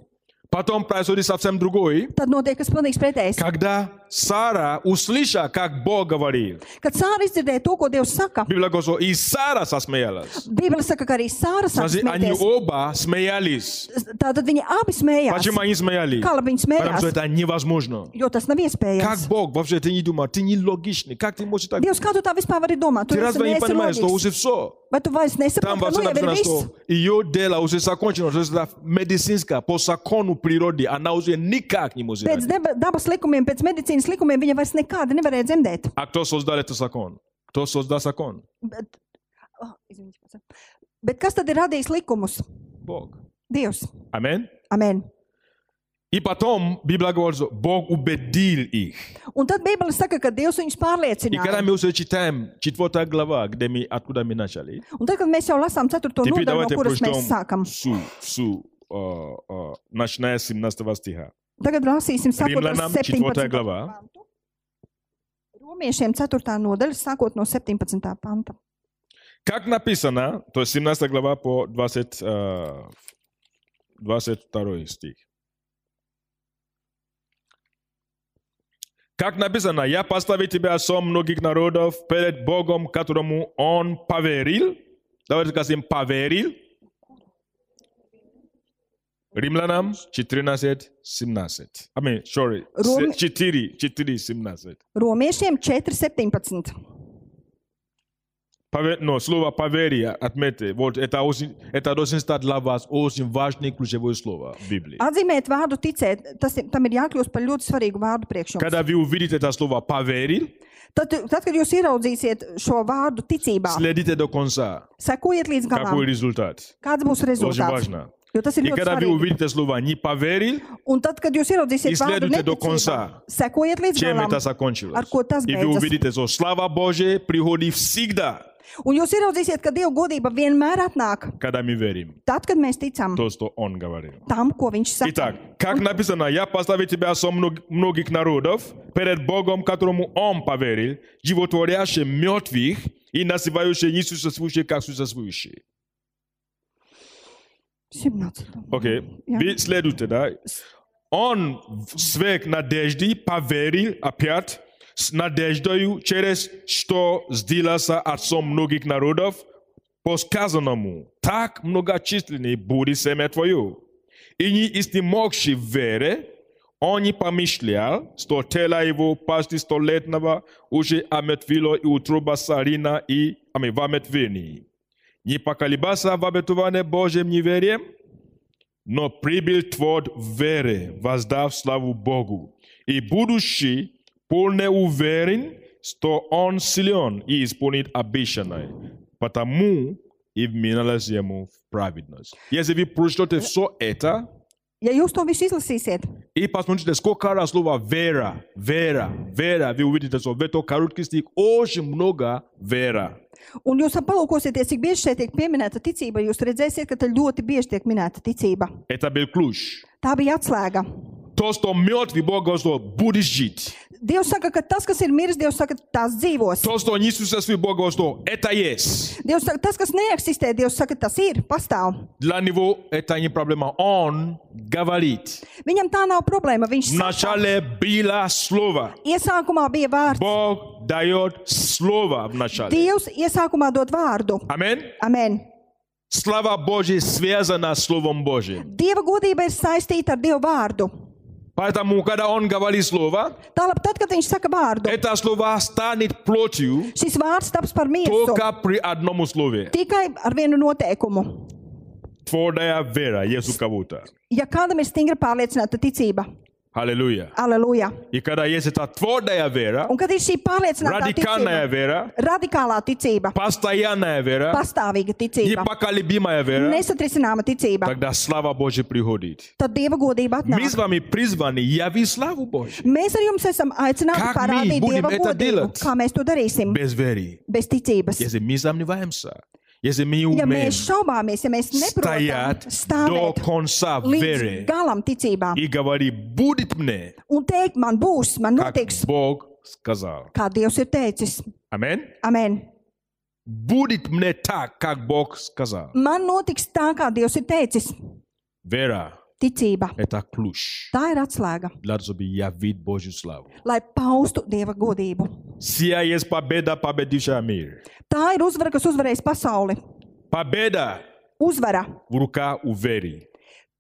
S1: Потом происходит совсем другой.
S2: Tad notiek kas pilnīgs pretējs.
S1: Когда Сара услышала, как Бог говорил,
S2: Kad Sāra izdzirdēja to, ko Dievs saka,
S1: Библия говорит, что и Сара сосмеялась.
S2: Bībele saka, ka arī Sāra sāk
S1: Значит, они
S2: smieties.
S1: оба смеялись.
S2: Tātad viņi abi smējās.
S1: Почему они смеялись?
S2: Kā labi viņi
S1: Потому что
S2: smējās?
S1: это невозможно.
S2: Jo tas nav
S1: Как
S2: iespējams.
S1: Бог вообще, ты не думал, ты нелогичный. Как ты можешь так?
S2: Dievs, kā tu tā vispār vari domāt? Tu
S1: Ты
S2: esi
S1: разве не понимаешь, что
S2: neesi
S1: уже все?
S2: Vai tu vairs
S1: Там
S2: nesaproti, ka
S1: вообще
S2: nu jau ir
S1: написано,
S2: viss?
S1: что ее дело уже закончено, что это медицинское, по закону природы, она уже никак не может
S2: Pēc
S1: родить.
S2: deba, dabas likumiem, pēc medicīnas likumiem viņa vairs nekādi nevarēja dzemdēt.
S1: А кто создал этот закон? Кто создал закон?
S2: Bet, oh, izviņš, pats. Bet kas tad ir radījis likumus?
S1: Бог.
S2: Dievs.
S1: Аминь.
S2: Amen.
S1: И потом Библия говорит, что Бог убедил их.
S2: Un tad Bībele saka, ka Dievs
S1: И
S2: viņus
S1: когда
S2: pārliecināja.
S1: мы уже читаем 4 глава, где мы, откуда мы начали,
S2: Un tad, kad mēs jau lasām 4.
S1: теперь
S2: nodaļu, Oh, no
S1: давайте
S2: kuras mēs
S1: прочтем
S2: sākam,
S1: всю, всю, э, э, начиная с 17 стиха.
S2: tagad lasīsim sākot no
S1: Римлянам 4.
S2: 17.
S1: глава.
S2: pantu. Romiešiem 4. nodaļa, sākot no 17. panta.
S1: Как написано, то есть 17 глава по 20, э, 22 стих. Как написано, я поставил тебя отцом многих народов перед Богом, которому он поверил. Давайте скажем, поверил. Римлянам 14, 17. I mean, sorry,
S2: Ром-
S1: 4, 4, 17.
S2: Romiešiem 4. 17.
S1: Паве- Но слово поверие, отметьте, вот это, очень, это должен стать для вас очень важное ключевое слово в Библии.
S2: Atzīmēt vārdu ticēt, tas, ir- tam ir jākļūst par ļoti svarīgu vārdu priekš jums.
S1: Когда вы увидите это слово поверил,
S2: Tad, tad, kad jūs ieraudzīsiet šo vārdu ticībā,
S1: следите до конца,
S2: sekojiet līdz galam,
S1: какой результат.
S2: kāds būs
S1: Очень
S2: rezultāts.
S1: важно.
S2: Jo tas ir
S1: И
S2: ļoti
S1: когда вы
S2: svarīgi.
S1: увидите слово не поверил,
S2: Un tad, kad jūs ieraudzīsiet vārdu
S1: Izslēdziet to
S2: neticībā,
S1: konsā.
S2: sekojiet līdz
S1: чем это
S2: galam,
S1: закончилось?
S2: Ar ko tas
S1: И вы
S2: beidzas?
S1: увидите, что слава Божья приходит всегда,
S2: un jūs ieraudzīsiet, ka Dieva godība vienmēr atnāk,
S1: когда мы верим
S2: tad, kad mēs ticam
S1: то, что Он говорил.
S2: tam, ko Viņš saka.
S1: Итак, как написано, я поставил тебя со мног- многих народов перед Богом, которому Он поверил, животворящий мертвых и называющий несуществующие как существующие.
S2: 17.
S1: Окей,
S2: Я.
S1: вы следуете, да? Он в свек надежды поверил опять с надеждою, через что сделался отцом многих народов, по сказанному, так многочисленны будет семя твое. И не истимогши вере, он не помышлял, что тело его пасти столетнего уже омертвило и утроба сарина и ами, в омертвении. Не поколебался в обетовании Божьим неверием, но прибыл творд веры, воздав славу Богу. И будущий полный уверен, что он силен и исполнит обещанное, потому и вменялось ему в праведность. Если вы прочтете все это,
S2: Ja jūs to visu izlasīsiet,
S1: и посмотрите, сколько раз слово «вера», «вера», «вера», вы увидите, что в этом короткий стих очень много «вера».
S2: un jūs aplūkosieties, cik bieži šeit tiek pieminēta ticība, jūs redzēsiet, ka te ļoti bieži tiek minēta ticība.
S1: Это был ключ.
S2: Tā bija atslēga.
S1: То, что мертвый Бог говорит, что будет жить.
S2: Dievs saka, ka tas, kas ir miris, Dievs saka, tas dzīvos.
S1: То, что не существует, Бог говорит, что это есть.
S2: Dievs saka, tas, kas neeksistē, Dievs saka, tas ir, pastāv.
S1: Для него это не проблема. Он говорит.
S2: Viņam tā nav problēma. Viņš saka,
S1: Вначале было слово.
S2: iesākumā bija vārds.
S1: Бог дает слово вначале.
S2: Dievs iesākumā dod vārdu.
S1: Аминь.
S2: Amen.
S1: Слава Божья связана с Словом Божьим.
S2: Dieva godība ir saistīta ar Dieva vārdu.
S1: Поэтому, когда Он говорит слово,
S2: Tālāk, tad, kad viņš saka vārdu,
S1: это слово станет плотью
S2: šis vārds taps par miesu
S1: только при одном условии.
S2: tikai ar vienu noteikumu.
S1: Твердая вера есть у кого-то.
S2: Ja kādam ir stingra pārliecināta ticība,
S1: Аллилуйя.
S2: aleluja.
S1: И когда есть эта твердая вера,
S2: Un kad ir šī pārliecināta
S1: радикальная
S2: ticība,
S1: вера,
S2: radikālā ticība,
S1: постоянная вера,
S2: pastāvīga ticība,
S1: непоколебимая вера,
S2: nesatrisināma ticība,
S1: Тогда слава Божья приходит.
S2: tad Dieva godība
S1: Мы
S2: atnāk.
S1: с вами призваны явить славу Божью
S2: Mēs ar jums esam aicināti
S1: Kā
S2: parādīt
S1: mēs
S2: Dieva
S1: būsim tā
S2: godību.
S1: dēlēt?
S2: Kā mēs to darīsim?
S1: без веры.
S2: Bez ticības.
S1: Если мы сомневаемся, если мы
S2: Ja
S1: умеем
S2: mēs šaubāmies, ja mēs neprotam
S1: стоять до
S2: stāvēt
S1: конца
S2: līdz
S1: веры
S2: galam ticībā
S1: и говорить, будет мне,
S2: un teikt, man būs, man
S1: как
S2: notiks,
S1: Бог сказал.
S2: kā Dievs ir teicis.
S1: Амин.
S2: Amen.
S1: Будет мне так, как Бог сказал.
S2: Man notiks tā, kā Dievs ir teicis.
S1: Вера
S2: Ticība.
S1: – это ключ
S2: Tā ir atslēga,
S1: для того, чтобы явить Божью славу.
S2: lai paustu Dieva godību.
S1: Сия есть победа, победившая мир.
S2: Tā ir uzvara, kas uzvarēs pasauli.
S1: Победа
S2: Uzvara.
S1: в руках у веры.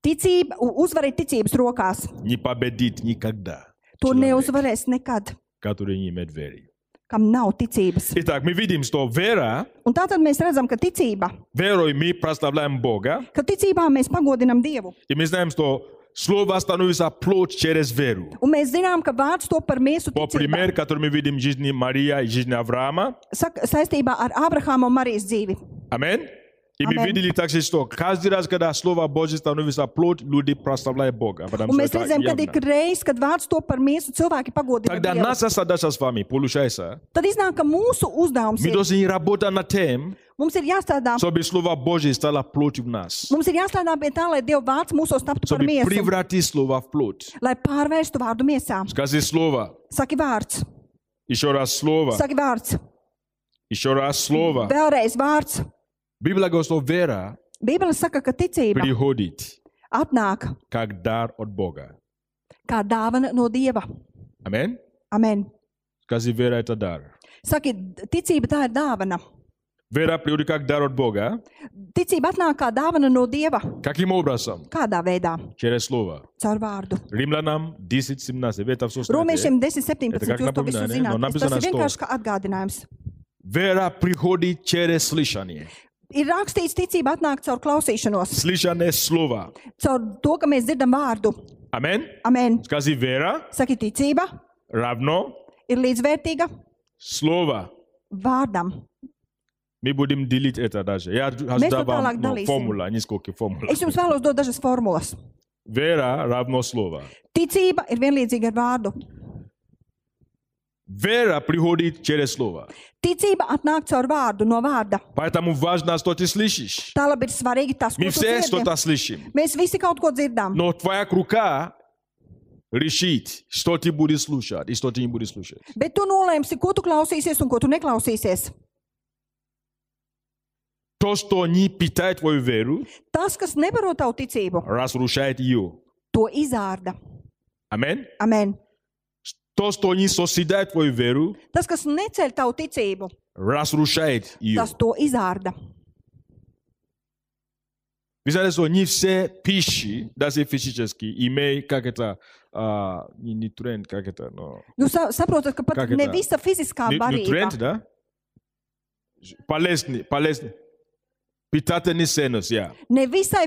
S2: Ticība, u- uzvara ir ticības rokās.
S1: Не победит никогда,
S2: To
S1: Cilvēks.
S2: neuzvarēs nekad,
S1: который не имеет веры.
S2: kam nav ticības.
S1: Итак, мы видим, что вера,
S2: Un tā tad mēs redzam, ka ticība,
S1: верой мы прославляем Бога,
S2: ka ticībā mēs pagodinām Dievu.
S1: и мы знаем, что слово становится плоть через веру.
S2: Un mēs zinām, ka vārds to par mūsu
S1: По
S2: ticību
S1: пример, который мы видим в жизни Мария и жизни Авраама.
S2: saka- saistībā ar Abrahāmu un Marijas dzīvi.
S1: Амин. И мы
S2: Amen.
S1: видели также, что каждый раз, когда Слово Божье становится плоть, люди прославляют Бога. потому
S2: Un
S1: что
S2: mēs
S1: это
S2: redzam, ka
S1: явно.
S2: ik reiz, kad vārds to par mūsu cilvēku pagodina,
S1: Тогда
S2: Dievu,
S1: наша задача с вами, получается,
S2: tad iznāk, ka mūsu uzdevums
S1: мы
S2: ir,
S1: должны работать над тем,
S2: mums ir jāstrādā,
S1: чтобы Слово Божье стало плотью в нас.
S2: mums ir jāstrādā pie tā, lai Dieva vārds mūsos taptu par
S1: Чтобы
S2: miesu,
S1: превратить Слово в плоть.
S2: lai pārvērstu vārdu miesā.
S1: Скажи Слово.
S2: Saki vārds,
S1: Еще раз Слово.
S2: saki vārds,
S1: Еще раз Слово.
S2: vēlreiz vārds.
S1: Библия говорит, что вера
S2: Bībele saka, ka ticība
S1: приходит
S2: atnāk
S1: как дар от Бога.
S2: kā dāvana no Dieva.
S1: Амин.
S2: Amen.
S1: Скажи, вера – это дар.
S2: Saki, ticība tā ir dāvana.
S1: Вера приходит как дар от Бога.
S2: Ticība atnāk kā dāvana no Dieva.
S1: Каким образом?
S2: Kādā veidā?
S1: Через Слово.
S2: Caur vārdu.
S1: Римлянам 10, 17. Вы это все знаете.
S2: Romiešiem 10,
S1: Bet kā
S2: 17. Jūs to visu
S1: napomināja, ne? No
S2: zināt. Es- Tas
S1: napisanas
S2: ir
S1: to.
S2: vienkārši kā atgādinājums.
S1: Вера приходит через слышание.
S2: Ir rakstīts, ticība atnāk caur klausīšanos,
S1: Слышание Слова.
S2: caur to, ka mēs dzirdam vārdu.
S1: Амин.
S2: Amen.
S1: Скажи, вера
S2: Saki, ticība
S1: равно
S2: ir līdzvērtīga
S1: Слово.
S2: vārdam.
S1: Мы будем делить это даже. Я
S2: Вместо
S1: дам
S2: талак
S1: вам ну,
S2: дали
S1: формула, несколько формул.
S2: Es jums vēlos dot dažas formulas.
S1: Вера равно Слово.
S2: Ticība ir vienlīdzīga ar vārdu.
S1: Вера приходит через Слово.
S2: Ticība atnāk caur vārdu, no vārda.
S1: Поэтому важно, что ты слышишь.
S2: Tā labi ir svarīgi tas, ko
S1: Мы
S2: mēs
S1: все
S2: dzirdam.
S1: что-то слышим.
S2: Mēs visi kaut ko dzirdam.
S1: Но твоя рука решит, что ты будешь слушать и что ты не будешь слушать.
S2: Bet tu nolēmsi, ko tu klausīsies un ko tu neklausīsies.
S1: То, что не питает твою веру,
S2: Tas, kas nebaro tavu ticību,
S1: разрушает ее.
S2: to izārda.
S1: Амин.
S2: Amen.
S1: То, что не созидает твою веру,
S2: Tas, kas neceļ tavu ticību,
S1: разрушает ее.
S2: tas to izārda.
S1: Вы знаете, что не все пищи, даже физически, имеют как это, а, не нутриент, как это, но...
S2: Jūs Nu, sa- saprotat, ka pat
S1: Kā ir
S2: ne
S1: tā? nu,
S2: visa fiziskā
S1: Ню- Нутриент,
S2: varība.
S1: да? Полезный, полезный. Питательный ценность, я.
S2: Ne visai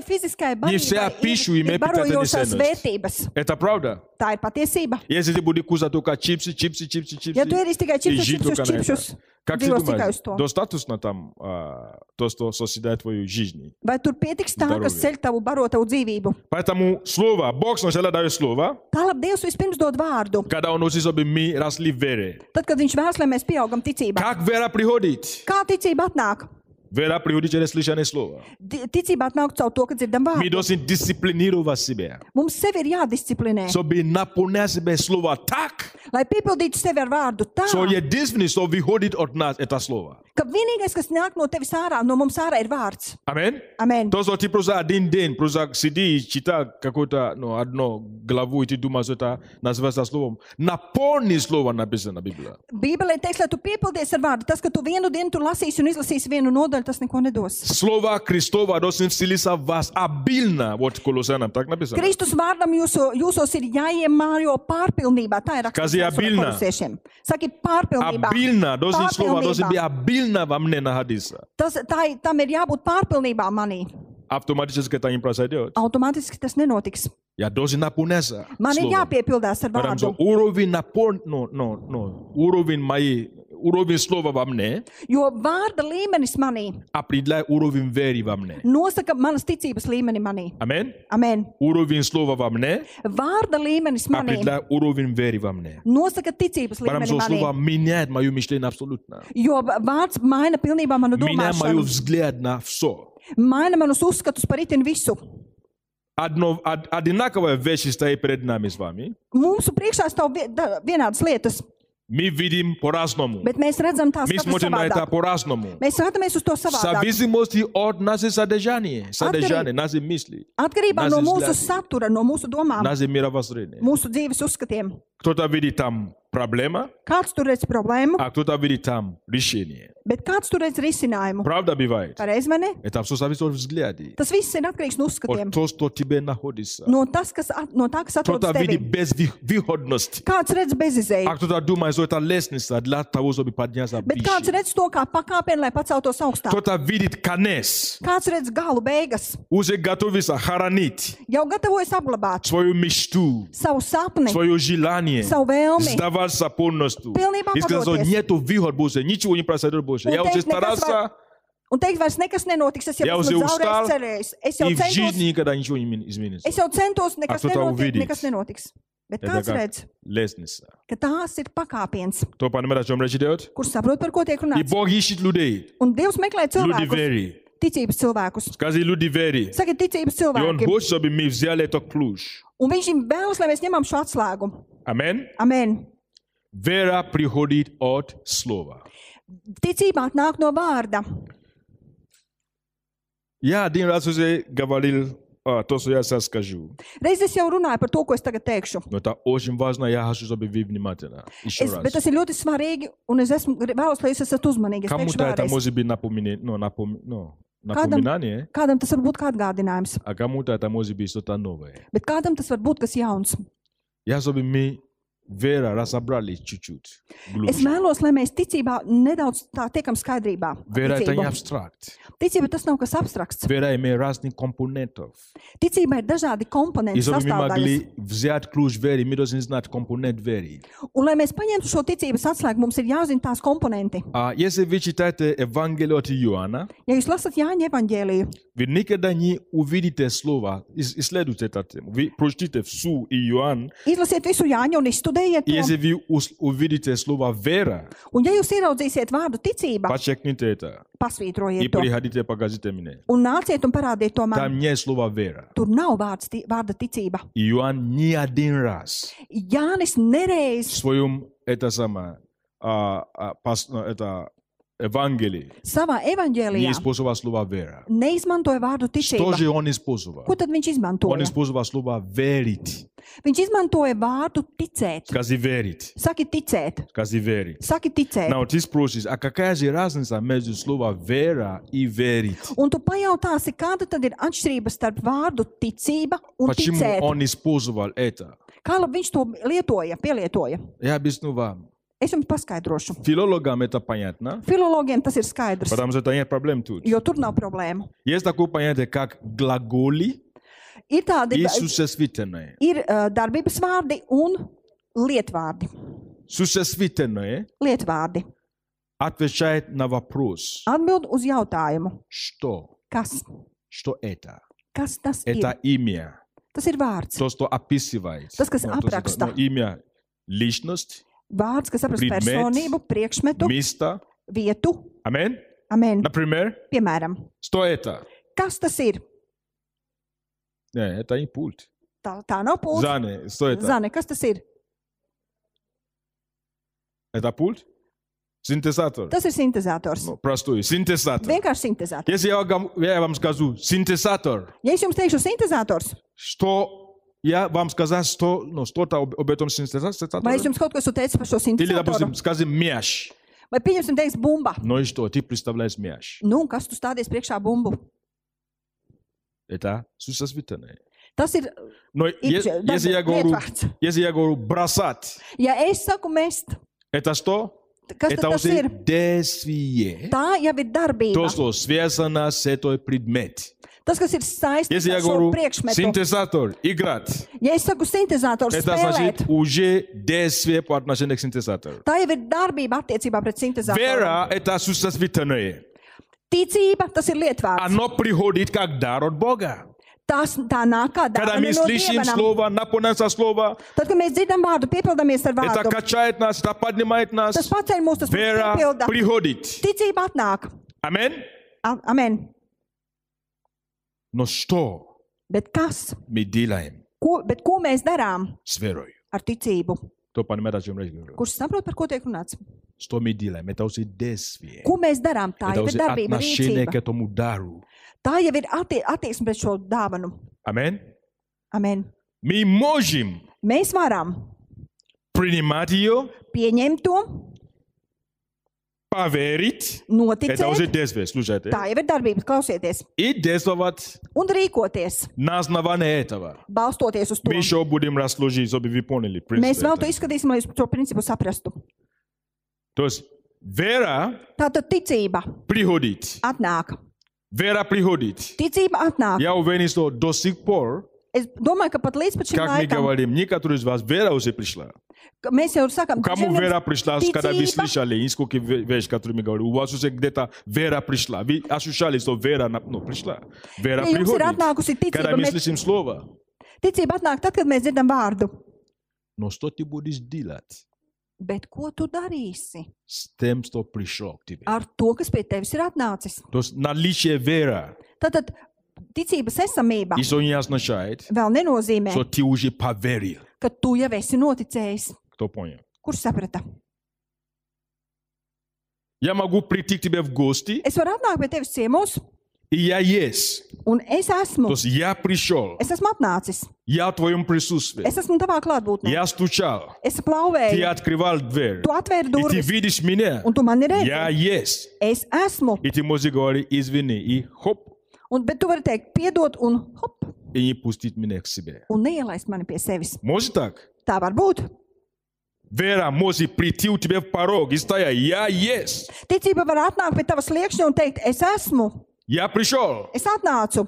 S1: visai
S2: fiziskai barībai
S1: pišu
S2: ir- ir
S1: imē
S2: barojošās
S1: pitatenisēnos.
S2: vērtības.
S1: Это правда.
S2: Tā ir patiesība.
S1: Если ты будешь кушать только а чипсы, чипсы, чипсы, чипсы,
S2: Ja tu ēdīsi tikai
S1: и
S2: čipsus,
S1: жить
S2: čipsus,
S1: только на это.
S2: čipsus,
S1: Как ты
S2: dzīvos tikai
S1: думаешь,
S2: uz to.
S1: достаточно там а, то, что соседает твою жизнь?
S2: Vai tur pietiks tā,
S1: Здоровье.
S2: kas ceļ tavu baro tavu dzīvību?
S1: Поэтому слово, Бог сначала дает слово,
S2: Tālāk Dievs vispirms dod vārdu.
S1: когда Он учит, чтобы мы росли в вере.
S2: Tad, kad viņš vēlas, lai mēs pieaugam ticībā,
S1: Как вера приходит?
S2: kā ticība atnāk?
S1: Вера приходит через слышание слова.
S2: Di- Ticība atnāk caur to, ka dzirdam
S1: Мы
S2: vārdu.
S1: должны дисциплинировать себя,
S2: Mums sevi ir jādisciplinē,
S1: чтобы наполнять себя слово так,
S2: lai piepildītu sevi ar vārdu tā,
S1: что единственное, что выходит от нас, это слово.
S2: ka vienīgais, kas nāk no tevis ārā, no mums ārā, ir vārds.
S1: Аминь.
S2: Amen.
S1: То, что ты просто один день просто сиди и читай какую-то ну, одну главу, и ты думаешь, что это называется словом. Наполни слово написано в Библии.
S2: Bībelē teiks, lai tu piepildies ar vārdu. Tas, ka tu vienu dienu tur lasīsi un izlasīsi vienu nodaļu, tas neko nedos.
S1: Слово Христова должны вселиться в вас обильно. Вот Колоссянам так написано.
S2: Kristus vārdam jūsu, jūsos ir jāiemājo pārpilnībā. Tā ir
S1: Kas ir abilnā?
S2: kolosiešiem. Saki, pārpilnībā.
S1: Обильно. Должны слово должны быть
S2: Pārpilnībā.
S1: обильно во мне находиться.
S2: Tas, tā, ir- tam ir jābūt pārpilnībā manī.
S1: Автоматически это не произойдет.
S2: Automātiski tas nenotiks.
S1: Я должен наполняться
S2: Man ir
S1: словом.
S2: jāpiepildās ar
S1: Потому что
S2: vārdu.
S1: уровень напон... ну, ну, ну, уровень моей, уровень слова во мне
S2: Jo vārda līmenis manī
S1: определяет уровень веры во мне.
S2: nosaka manas ticības līmeni manī.
S1: Аминь.
S2: Amen.
S1: Уровень слова во мне
S2: Vārda līmenis manī
S1: определяет уровень веры во мне.
S2: nosaka ticības
S1: Потому
S2: līmeni
S1: что слово
S2: manī.
S1: меняет мое мышление абсолютно.
S2: Jo vārds maina pilnībā manu
S1: Меняет мое
S2: domāšanu,
S1: взгляд на все.
S2: maina manus uzskatus par itin visu.
S1: Одно, од- e одинаковая вещь стоит перед нами с вами.
S2: Mūsu priekšā stāv vi- da- vienādas lietas.
S1: Mi vidim по-разному.
S2: Bet mēs redzam tās
S1: Mi e
S2: katru
S1: смотрим на это
S2: savādāk.
S1: по-разному.
S2: Mēs skatāmies uz to
S1: В
S2: savādāk.
S1: зависимости от нашей содержания, содержания, нашей мысли,
S2: Atkarībā no
S1: Nazis
S2: mūsu
S1: gladi.
S2: satura, no mūsu domām,
S1: нашей мировоззрения.
S2: mūsu dzīves uzskatiem.
S1: Кто-то видит там проблема,
S2: Kāds tur redz problēmu,
S1: а кто-то видит там решение.
S2: bet kāds tur redz risinājumu?
S1: Правда бывает.
S2: Pareizi vai ne?
S1: Это все зависит от взгляда,
S2: Tas viss ir atkarīgs no uzskatiem.
S1: от того, что тебе находится.
S2: No, tas, kas at, no tā, kas atrodas
S1: Кто-то видит
S2: tevī.
S1: безвыходность,
S2: Kāds redz bezizēju,
S1: а кто-то думает, что это лестница для того, чтобы подняться
S2: bet kāds
S1: выше.
S2: redz to kā pakāpienu, lai paceltos augstāk.
S1: Кто-то видит конец,
S2: Kāds redz galu beigas,
S1: уже готовится хоронить
S2: jau gatavojas apglabāt
S1: свою мечту,
S2: savu sapni,
S1: свое желание,
S2: savu vēlmi.
S1: сдаваться полностью.
S2: Pilnībā
S1: И сказать, что
S2: padoties.
S1: нету выход больше, ничего не произойдет больше.
S2: Un
S1: Я уже
S2: teikt, nekas
S1: старался,
S2: Un teikt, vairs nekas nenotiks. Es jau
S1: Jau
S2: esmu
S1: uz
S2: zaudējis,
S1: uzstāvu.
S2: cerējis. Es jau
S1: и в жизни
S2: centos,
S1: никогда ничего не изменится.
S2: es jau centos nekas,
S1: Ak, tu tā
S2: nenotiek,
S1: uvidīts.
S2: nekas nenotiks. Bet
S1: Ja tā
S2: kāds
S1: kā-
S2: redz,
S1: Лестница.
S2: ka tās ir pakāpiens,
S1: Кто понимает, о чем речь идет?
S2: kur saprot, par ko tiek
S1: И
S2: runāts.
S1: Бог ищет людей.
S2: Un Dievs meklē
S1: Люди
S2: cilvēkus,
S1: веры.
S2: ticības cilvēkus.
S1: Скажи, люди веры.
S2: Sakiet, ticības
S1: И Он
S2: cilvēki.
S1: хочет, чтобы мы взяли этот ключ.
S2: Un viņš viņam vēlas, lai mēs ņemam šo atslēgu.
S1: Amen.
S2: Amen.
S1: Вера приходит от слова.
S2: Ticība nāk no vārda.
S1: Я один раз уже говорил а, то, что я сейчас скажу.
S2: Reiz es jau runāju par to, ko es tagad teikšu.
S1: Но это очень важно, я хочу, чтобы вы внимательно. Еще
S2: Es, bet
S1: раз.
S2: tas ir ļoti svarīgi, un es esmu, gri- vēlos, lai jūs esat uzmanīgi. Es teikšu
S1: Кому-то это
S2: vēlreiz.
S1: может быть напоминание, но, напоми, но,
S2: Кадам-
S1: напоминание,
S2: Kādam tas var būt kā atgādinājums,
S1: а кому-то это может быть что-то новое.
S2: bet kādam tas var būt kas jauns.
S1: Я, чтобы мы вера разобрались чуть-чуть.
S2: Es
S1: Глубже.
S2: vēlos, lai mēs ticībā nedaudz tā tiekam skaidrībā. ar
S1: Вера это не
S2: ticību.
S1: абстракт.
S2: Ticība tas nav kas abstrakts.
S1: Вера имеет разных компонентов.
S2: Ticība ir dažādi komponenti,
S1: И чтобы мы
S2: sastāvdaļas.
S1: могли взять ключ веры, мы должны знать компонент веры.
S2: Un, lai mēs paņemtu šo ticības atslēgu, mums ir jāzina tās komponenti.
S1: А если вы читаете Евангелие от Иоанна,
S2: Ja jūs lasat Jāņa evaņģēliju,
S1: Вы никогда не увидите слово, ис- исследуйте эту тему. Вы прочтите всю Иоанн,
S2: izlasiet visu Jāņa un izstudējiet
S1: и
S2: to.
S1: если вы ус- увидите слово «вера»,
S2: Un, ja jūs ieraudzīsiet vārdu ticība,
S1: подчеркните это и
S2: pasvītrojiet to
S1: приходите, покажите мне.
S2: un nāciet un parādiet to man.
S1: Там нет слова «вера».
S2: Tur nav vārds, ti- vārda ticība.
S1: Иоанн не один раз
S2: Jānis
S1: в
S2: nereiz
S1: своем это самое, а, а, пос- ну, это Евангелии
S2: savā
S1: не
S2: evaņģēlijā
S1: использовал слово «вера».
S2: neizmantoja vārdu
S1: Что
S2: ticība.
S1: же он использовал?
S2: Ko tad viņš
S1: Он
S2: izmantoja?
S1: использовал слово «верить».
S2: Viņš izmantoja vārdu ticēt.
S1: Скажи «верить».
S2: Saki, ticēt,
S1: Скажи «верить».
S2: saki, ticēt.
S1: Now this process, а какая же разница между словом вера и верить?
S2: Un tu pajautāsi, kāda tad ir atšķirība starp vārdu ticība un
S1: Почему
S2: ticēt?
S1: он использовал это?
S2: Kā labi viņš to lietoja, pielietoja?
S1: Я объясню вам.
S2: Es jums paskaidrošu.
S1: Филологам это понятно,
S2: Filologiem tas ir skaidrs,
S1: потому что это нет проблем тут.
S2: jo tur nav problēmu.
S1: Есть такое понятие, как глаголи
S2: Ir tādi
S1: и существительные.
S2: ir, uh, darbības vārdi un lietvārdi.
S1: Существительное
S2: lietvārdi.
S1: отвечает на вопрос,
S2: Atbild uz jautājumu,
S1: что?
S2: kas,
S1: Что это?
S2: kas tas ir?
S1: Это имя,
S2: Tas ir vārds.
S1: то, что описывает.
S2: Tas, kas
S1: Ну, то, что-
S2: apraksta.
S1: ну, Имя, личность,
S2: Vārds, kas apraksta
S1: Predmets.
S2: personību, priekšmetu,
S1: место.
S2: vietu.
S1: Аминь.
S2: Amen.
S1: Например,
S2: Piemēram,
S1: что это?
S2: kas tas ir?
S1: Нет, это не пульт.
S2: Tā, tā nav pūles.
S1: Зане, что это?
S2: Zane, kas tas ir?
S1: Это пульт? Синтезатор.
S2: Tas ir sintēzators.
S1: Ну, простой. Синтезатор.
S2: Vienkārši sintēzators.
S1: Если я вам, я вам скажу синтезатор,
S2: Ja es jums teikšu sintēzators,
S1: что я вам сказал, что, ну, что-то об, об этом
S2: vai es
S1: синтезаторе?
S2: jums kaut ko esmu teicis par šo
S1: Или,
S2: sintēzatoru,
S1: допустим, скажем мяч.
S2: vai pieņemsim, teiks bumba.
S1: Ну и что? Ты представляешь мяч.
S2: Nu, un kas tu stādies priekšā bumbu?
S1: Это существительное.
S2: Tas ir
S1: Но е-
S2: Иначе, да,
S1: если, я
S2: да,
S1: говорю,
S2: нет,
S1: если я говорю бросать,
S2: Ja es saku, mest,
S1: это что?
S2: kas
S1: Это
S2: tad tas
S1: уже
S2: ir?
S1: действие.
S2: Tā jau ir darbība.
S1: То, что связано с этой предмет.
S2: Tas, kas ir saistīts
S1: Если я
S2: ar šo
S1: говорю
S2: priekšmetu,
S1: синтезатор, играть,
S2: ja es saku sintēzators,
S1: Это
S2: spēlēt,
S1: значит да значи, уже действие по отношению к синтезатору.
S2: tā jau ir darbība attiecībā pret sintēzatoru.
S1: Вера – это существительное.
S2: Ticība, tas ir lietvārds.
S1: Оно приходит как дар от Бога.
S2: Tas, tā nāk kā
S1: Когда
S2: darbība.
S1: мы
S2: No
S1: слышим
S2: Dievanam.
S1: слово, наполняется слово,
S2: Tad, kad mēs dzirdam vārdu, piepildamies ar
S1: это
S2: vārdu.
S1: качает така нас, это поднимает
S2: Tas
S1: нас.
S2: paceļ mūs, tas mūs
S1: Вера
S2: piepilda.
S1: приходит.
S2: Ticība atnāk.
S1: Аминь.
S2: A- Amen.
S1: Но что
S2: Bet kas?
S1: мы делаем
S2: Ko, bet ko mēs darām
S1: с па верой?
S2: ar ticību?
S1: Кто понимает, о чем речь говорю?
S2: kurš saprot, par ko tiek runāts.
S1: Что мы делаем? Это уже действие.
S2: Ko mēs darām? Tā
S1: Это
S2: jau ir
S1: уже
S2: darbība,
S1: отношение к
S2: rīcība.
S1: этому дару.
S2: Tā jau ir atti attieksme pret šo dāvanu.
S1: Аминь.
S2: Amen.
S1: Мы можем
S2: Mēs varam
S1: принимать ее,
S2: pieņemt to,
S1: поверить. Это уже
S2: noticēt.
S1: действие, слушайте.
S2: Tā jau ir darbība, klausieties,
S1: И действовать
S2: un rīkoties,
S1: на основании этого.
S2: balstoties uz to.
S1: Мы еще будем расслужить, чтобы вы поняли
S2: Mēs
S1: принцип.
S2: vēl to
S1: этого.
S2: izskatīsim, lai jūs to principu saprastu.
S1: То есть вера
S2: Tātad ticība
S1: приходит.
S2: atnāk.
S1: Вера приходит.
S2: Ticība atnāk.
S1: Я уверен, что до сих пор,
S2: Es domāju, ka pat līdz pat šim
S1: как мы
S2: laikam
S1: говорим, некоторые из вас вера уже пришла.
S2: ka mēs jau sakām, ka
S1: Кому вера пришла, когда вы
S2: ticība,
S1: слышали и сколько ве- вещь, которые мы говорим, у вас уже где-то вера пришла. Вы ощущали, что вера на- ну, пришла. Вера
S2: Ja jums ir atnākusi
S1: приходит. Когда
S2: ticība,
S1: мы
S2: mēs-
S1: слышим слово,
S2: ticība atnāk tad, kad mēs dzirdam vārdu.
S1: но что ты будешь делать
S2: Bet ko tu darīsi
S1: с тем, что пришел к тебе?
S2: ar to, kas pie tevis ir atnācis?
S1: То есть наличие веры
S2: Tātad ticības esamība
S1: еще не означает,
S2: vēl nenozīmē,
S1: что ты уже поверил.
S2: ka tu jau esi noticējis.
S1: Кто понял?
S2: Kurš saprata?
S1: Я могу прийти к тебе в гости,
S2: Es varu atnākt pie tevis ciemos,
S1: и я есть.
S2: un es
S1: То
S2: esmu.
S1: есть я пришел,
S2: Es esmu atnācis.
S1: я в твоем присутствии,
S2: Es esmu tavā klātbūtnē.
S1: я стучал,
S2: Es
S1: ты
S2: plauvēju,
S1: открывал дверь,
S2: tu atvēri
S1: и ты
S2: durvis,
S1: видишь меня,
S2: un tu mani
S1: я
S2: redzi.
S1: есть.
S2: Es esmu.
S1: И ты можешь говорить, извини, и хоп,
S2: Un, bet tu vari teikt, piedod, un hop,
S1: и не пустить меня к себе.
S2: un neielaist mani pie sevis.
S1: Может так?
S2: Tā var būt.
S1: Вера может прийти у тебя в порог и стоять, я есть,
S2: Ticība var atnākt pie tava sliekšņa un teikt, es esmu,
S1: я пришел.
S2: es atnācu.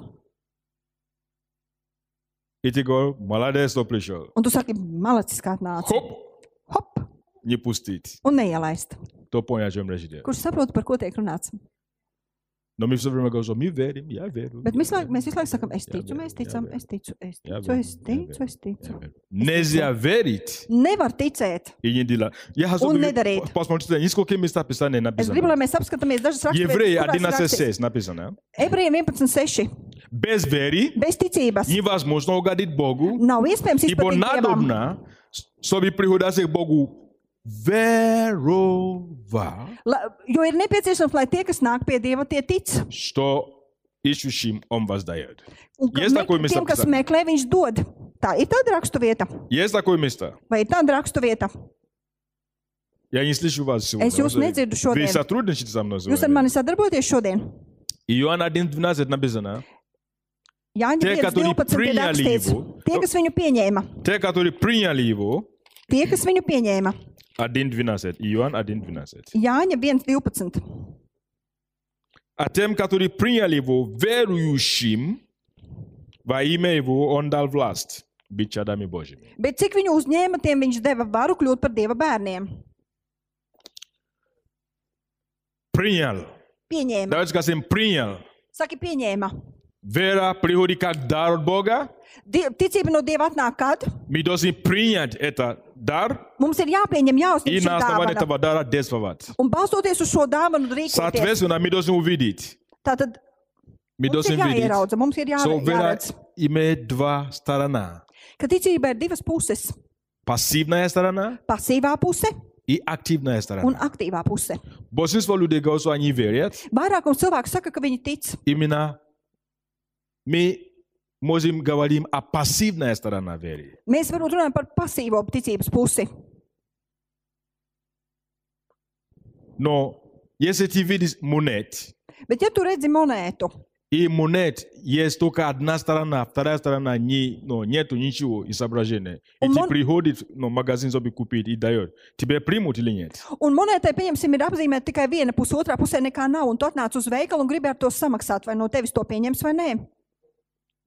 S1: И ты говоришь, молодец, что пришел.
S2: Un tu saki, malacis, kā atnācis.
S1: Хоп,
S2: Hop,
S1: не пустить.
S2: un neielaist.
S1: Кто понял, о чем речь идет?
S2: Kurš saprot, par ko tiek runāts?
S1: Но мы все время говорим, что мы верим, я верю.
S2: Bet
S1: я
S2: mēs, laik,
S1: верю,
S2: mēs visu laiku sakām, es
S1: я
S2: ticu,
S1: верю,
S2: mēs
S1: я
S2: ticam,
S1: верю».
S2: es ticu, es
S1: Jā,
S2: ticu, es
S1: jā,
S2: ticu,
S1: jā,
S2: es ticu.
S1: Нельзя верить
S2: Nevar ticēt.
S1: и не делать. Я хочу,
S2: Он
S1: чтобы
S2: не
S1: вы
S2: дарит.
S1: по- посмотрите, несколько мест Писания
S2: Es gribu,
S1: написано.
S2: lai mēs apskatāmies dažas
S1: Евреи
S2: rakstus.
S1: 11.6 написано.
S2: Ebrejiem 11.6.
S1: Без веры
S2: Bez ticības
S1: невозможно угодить Богу,
S2: nav iespējams
S1: ибо
S2: izpildīt dievam.
S1: надобно, чтобы приходя к Богу, веровать,
S2: La- Jo ir nepieciešams, lai tie, kas nāk pie dieva, tie tic.
S1: что ищущим Он воздает.
S2: Un ka
S1: Yes,
S2: mek-
S1: ko mēs
S2: tiem, kas
S1: apsakām.
S2: meklē, viņš dod. Tā ir tāda raksturvieta.
S1: Есть такое место?
S2: Vai ir tāda raksturvieta?
S1: Я не слышу вас сегодня.
S2: Es jūs nedzirdu
S1: Вы
S2: šodien.
S1: сотрудничаете со мной
S2: Jūs ar
S1: сегодня?
S2: mani sadarbojaties šodien?
S1: Иоанн 1.12 написано.
S2: Jāņa
S1: Tie,
S2: 1,
S1: katuri
S2: 12 ir
S1: priņā
S2: rakstīts.
S1: līgu.
S2: Tie, kas viņu pieņēma,
S1: Те, которые приняли Его,
S2: tie, kas viņu pieņēma.
S1: 1.12. Иоанн 1.12.
S2: Jāņa 1, 12.
S1: А тем, которые приняли его, верующим, во имя его он дал власть быть чадами Божьими.
S2: Bet cik viņu uzņēma, tiem viņš deva varu kļūt par dieva bērniem.
S1: Принял.
S2: Pieņēma.
S1: Давайте скажем, принял.
S2: Saki, pieņēma.
S1: Вера приходит как дар от Бога.
S2: Die- Ticība no dieva atnāk kad?
S1: Мы должны принять этот дар
S2: Mums ir jāpieņem,
S1: и
S2: jāuzņem šī
S1: на основании
S2: dāvana.
S1: этого дара действовать.
S2: Un balstoties uz šo dāvanu, rīkoties.
S1: Соответственно, мы должны увидеть.
S2: Tātad
S1: Мы
S2: mums
S1: должны
S2: ir
S1: видеть.
S2: jāieraudza, mums ir jā,
S1: So, вера
S2: jāredz,
S1: имеет два сторона.
S2: ka ticība ir divas puses.
S1: Пассивная сторона
S2: pasīvā puse
S1: и активная
S2: un
S1: сторона.
S2: aktīvā puse.
S1: Большинство людей говорят, что они верят,
S2: Vairākums cilvēku saka, ka viņi tic.
S1: именно мы можем говорим о пассивной стороне веры.
S2: Mēs varbūt runājam par pasīvo ticības pusi.
S1: Но если ты видишь монет,
S2: Bet, ja tu redzi monētu,
S1: и монет есть только одна сторона, вторая сторона не, но нету ничего изображения. И
S2: Он
S1: ты
S2: мон-
S1: приходишь в магазин, чтобы купить, и дает. Тебя примут или нет?
S2: un monētai, pieņemsim, ir apzīmēta tikai viena puse, otrā pusē nekā nav, un tu atnāc uz veikalu un gribi ar to samaksāt, vai no tevis to pieņems vai nē.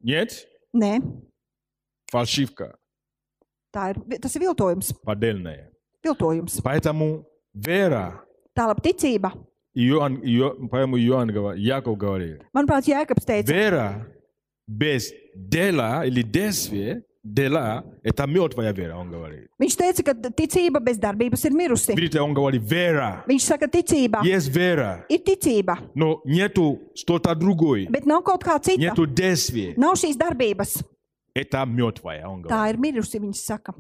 S1: Нет?
S2: Nē,
S1: Фальшивка
S2: tā ir, tas ir viltojums.
S1: поддельная.
S2: viltojums.
S1: Поэтому вера,
S2: Tālāk, ticība.
S1: Иоанн, Ио- поэтому Иоанн, говор- Яков говорит,
S2: Manuprāt, Jēkabs teica,
S1: Вера без дела или действия, дела, это мертвая вера, он говорит.
S2: viņš teica, ka ticība bez darbības ir mirusi.
S1: Видите, он говорит, вера,
S2: Viņš saka, ticība
S1: есть вера,
S2: ir ticība,
S1: но нету что-то другое,
S2: bet nav kaut kā cita.
S1: нету действия,
S2: Nav šīs darbības.
S1: это мертвая, он говорит.
S2: Tā ir mirusi, viņa saka.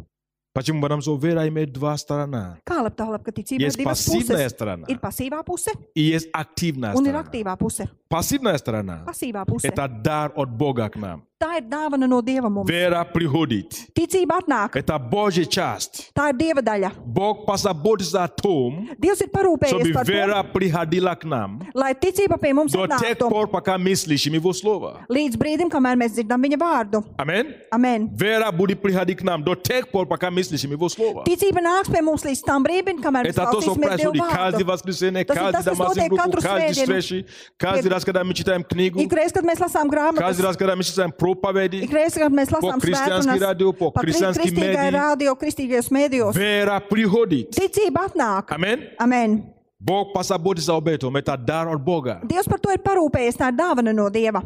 S1: Почему? Потому что вера имеет два сторона.
S2: Kā lai tā labāk ticība
S1: Есть
S2: ir divas puses?
S1: пассивная сторона
S2: Ir pasīvā puse
S1: и есть активная
S2: un ir
S1: сторона.
S2: aktīvā puse.
S1: Пассивная сторона –
S2: Pasīvā puse.
S1: это дар от Бога к нам.
S2: Tā ir dāvana no Dieva mums.
S1: Вера приходит.
S2: Ticība atnāk.
S1: Это Божья часть.
S2: Tā ir Dieva daļa.
S1: Бог позаботится о том,
S2: Dievs ir parūpējies
S1: чтобы
S2: par to,
S1: вера приходила к нам
S2: lai ticība pie mums
S1: до тех
S2: atnāktu
S1: пор, пока мы слышим Его Слово.
S2: līdz brīdim, kamēr mēs dzirdam viņa vārdu.
S1: Аминь.
S2: Amen.
S1: Вера будет приходить к нам до тех пор, пока мы слышим Его Слово.
S2: Ticība nāks pie mums līdz tam brīdim, kamēr mēs
S1: Это то, что
S2: klausīsimies
S1: происходит
S2: Dieva
S1: каждое
S2: vārdu.
S1: воскресенье,
S2: То есть
S1: каждый
S2: это
S1: домашний
S2: сотое
S1: группу,
S2: кадру
S1: каждый
S2: сведену.
S1: встречи, каждый раз, когда мы читаем книгу,
S2: Ikreiz, kad mēs lasām
S1: каждый
S2: grāmatas,
S1: раз, когда мы читаем проповеди,
S2: ikreiz, kad mēs lasām
S1: kristianski
S2: svētdienas,
S1: radio, po
S2: pat
S1: kristianski
S2: kristīgai
S1: mediji.
S2: radio, kristīgajos mēdījos,
S1: вера приходит.
S2: ticība atnāk.
S1: Аминь.
S2: Amen.
S1: Бог позаботится об этом. Это дар от Бога.
S2: Dievs par to ir parūpējies, tā ir dāvana no Dieva.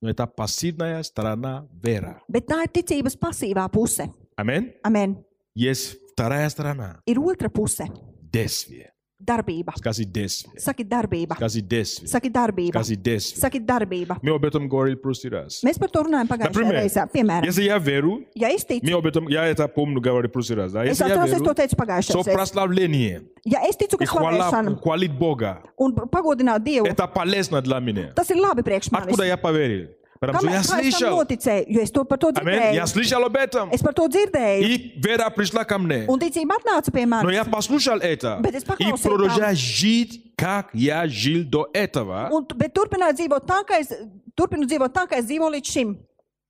S1: Но это пассивная сторона вера.
S2: Bet tā ir ticības pasīvā puse.
S1: Аминь.
S2: Amen.
S1: Есть вторая сторона.
S2: Ir otra puse
S1: Действие.
S2: - darbība.
S1: Скажи действие.
S2: Saki darbība.
S1: Скажи действие.
S2: Saki darbība.
S1: Скажи действие.
S2: Saki darbība.
S1: Мы об этом говорили в прошлый раз.
S2: Mēs par to runājam pagājušajā
S1: Например,
S2: reizē. Piemēram,
S1: Если я верю,
S2: ja es ticu,
S1: мы об этом, я это помню, говорили в прошлый раз. Да?
S2: es
S1: Если я
S2: atceros, es to
S1: верю,
S2: teicu
S1: что
S2: pagājušajā reizē.
S1: прославление
S2: Ja es ticu,
S1: и
S2: ka
S1: хвала
S2: slavēšana
S1: хвалит Бога,
S2: un pagodināt Dievu,
S1: это полезно для меня.
S2: tas ir labi priekš
S1: Откуда
S2: manis.
S1: я поверил? Потому что
S2: Kamēr
S1: я
S2: kā es tam
S1: слышал.
S2: noticēju, jo es to par to
S1: Аминь. Я
S2: dzirdēju.
S1: слышал об этом.
S2: Es par to dzirdēju,
S1: И вера пришла ко мне.
S2: un ticība atnāca pie
S1: Но
S2: manis.
S1: я послушал это.
S2: Bet es
S1: И
S2: paklausīju
S1: продолжаю жить, как я жил до этого.
S2: Un, tu- bet turpināju dzīvot tā, kā es, turpinu dzīvot tā, kā es dzīvoju līdz šim.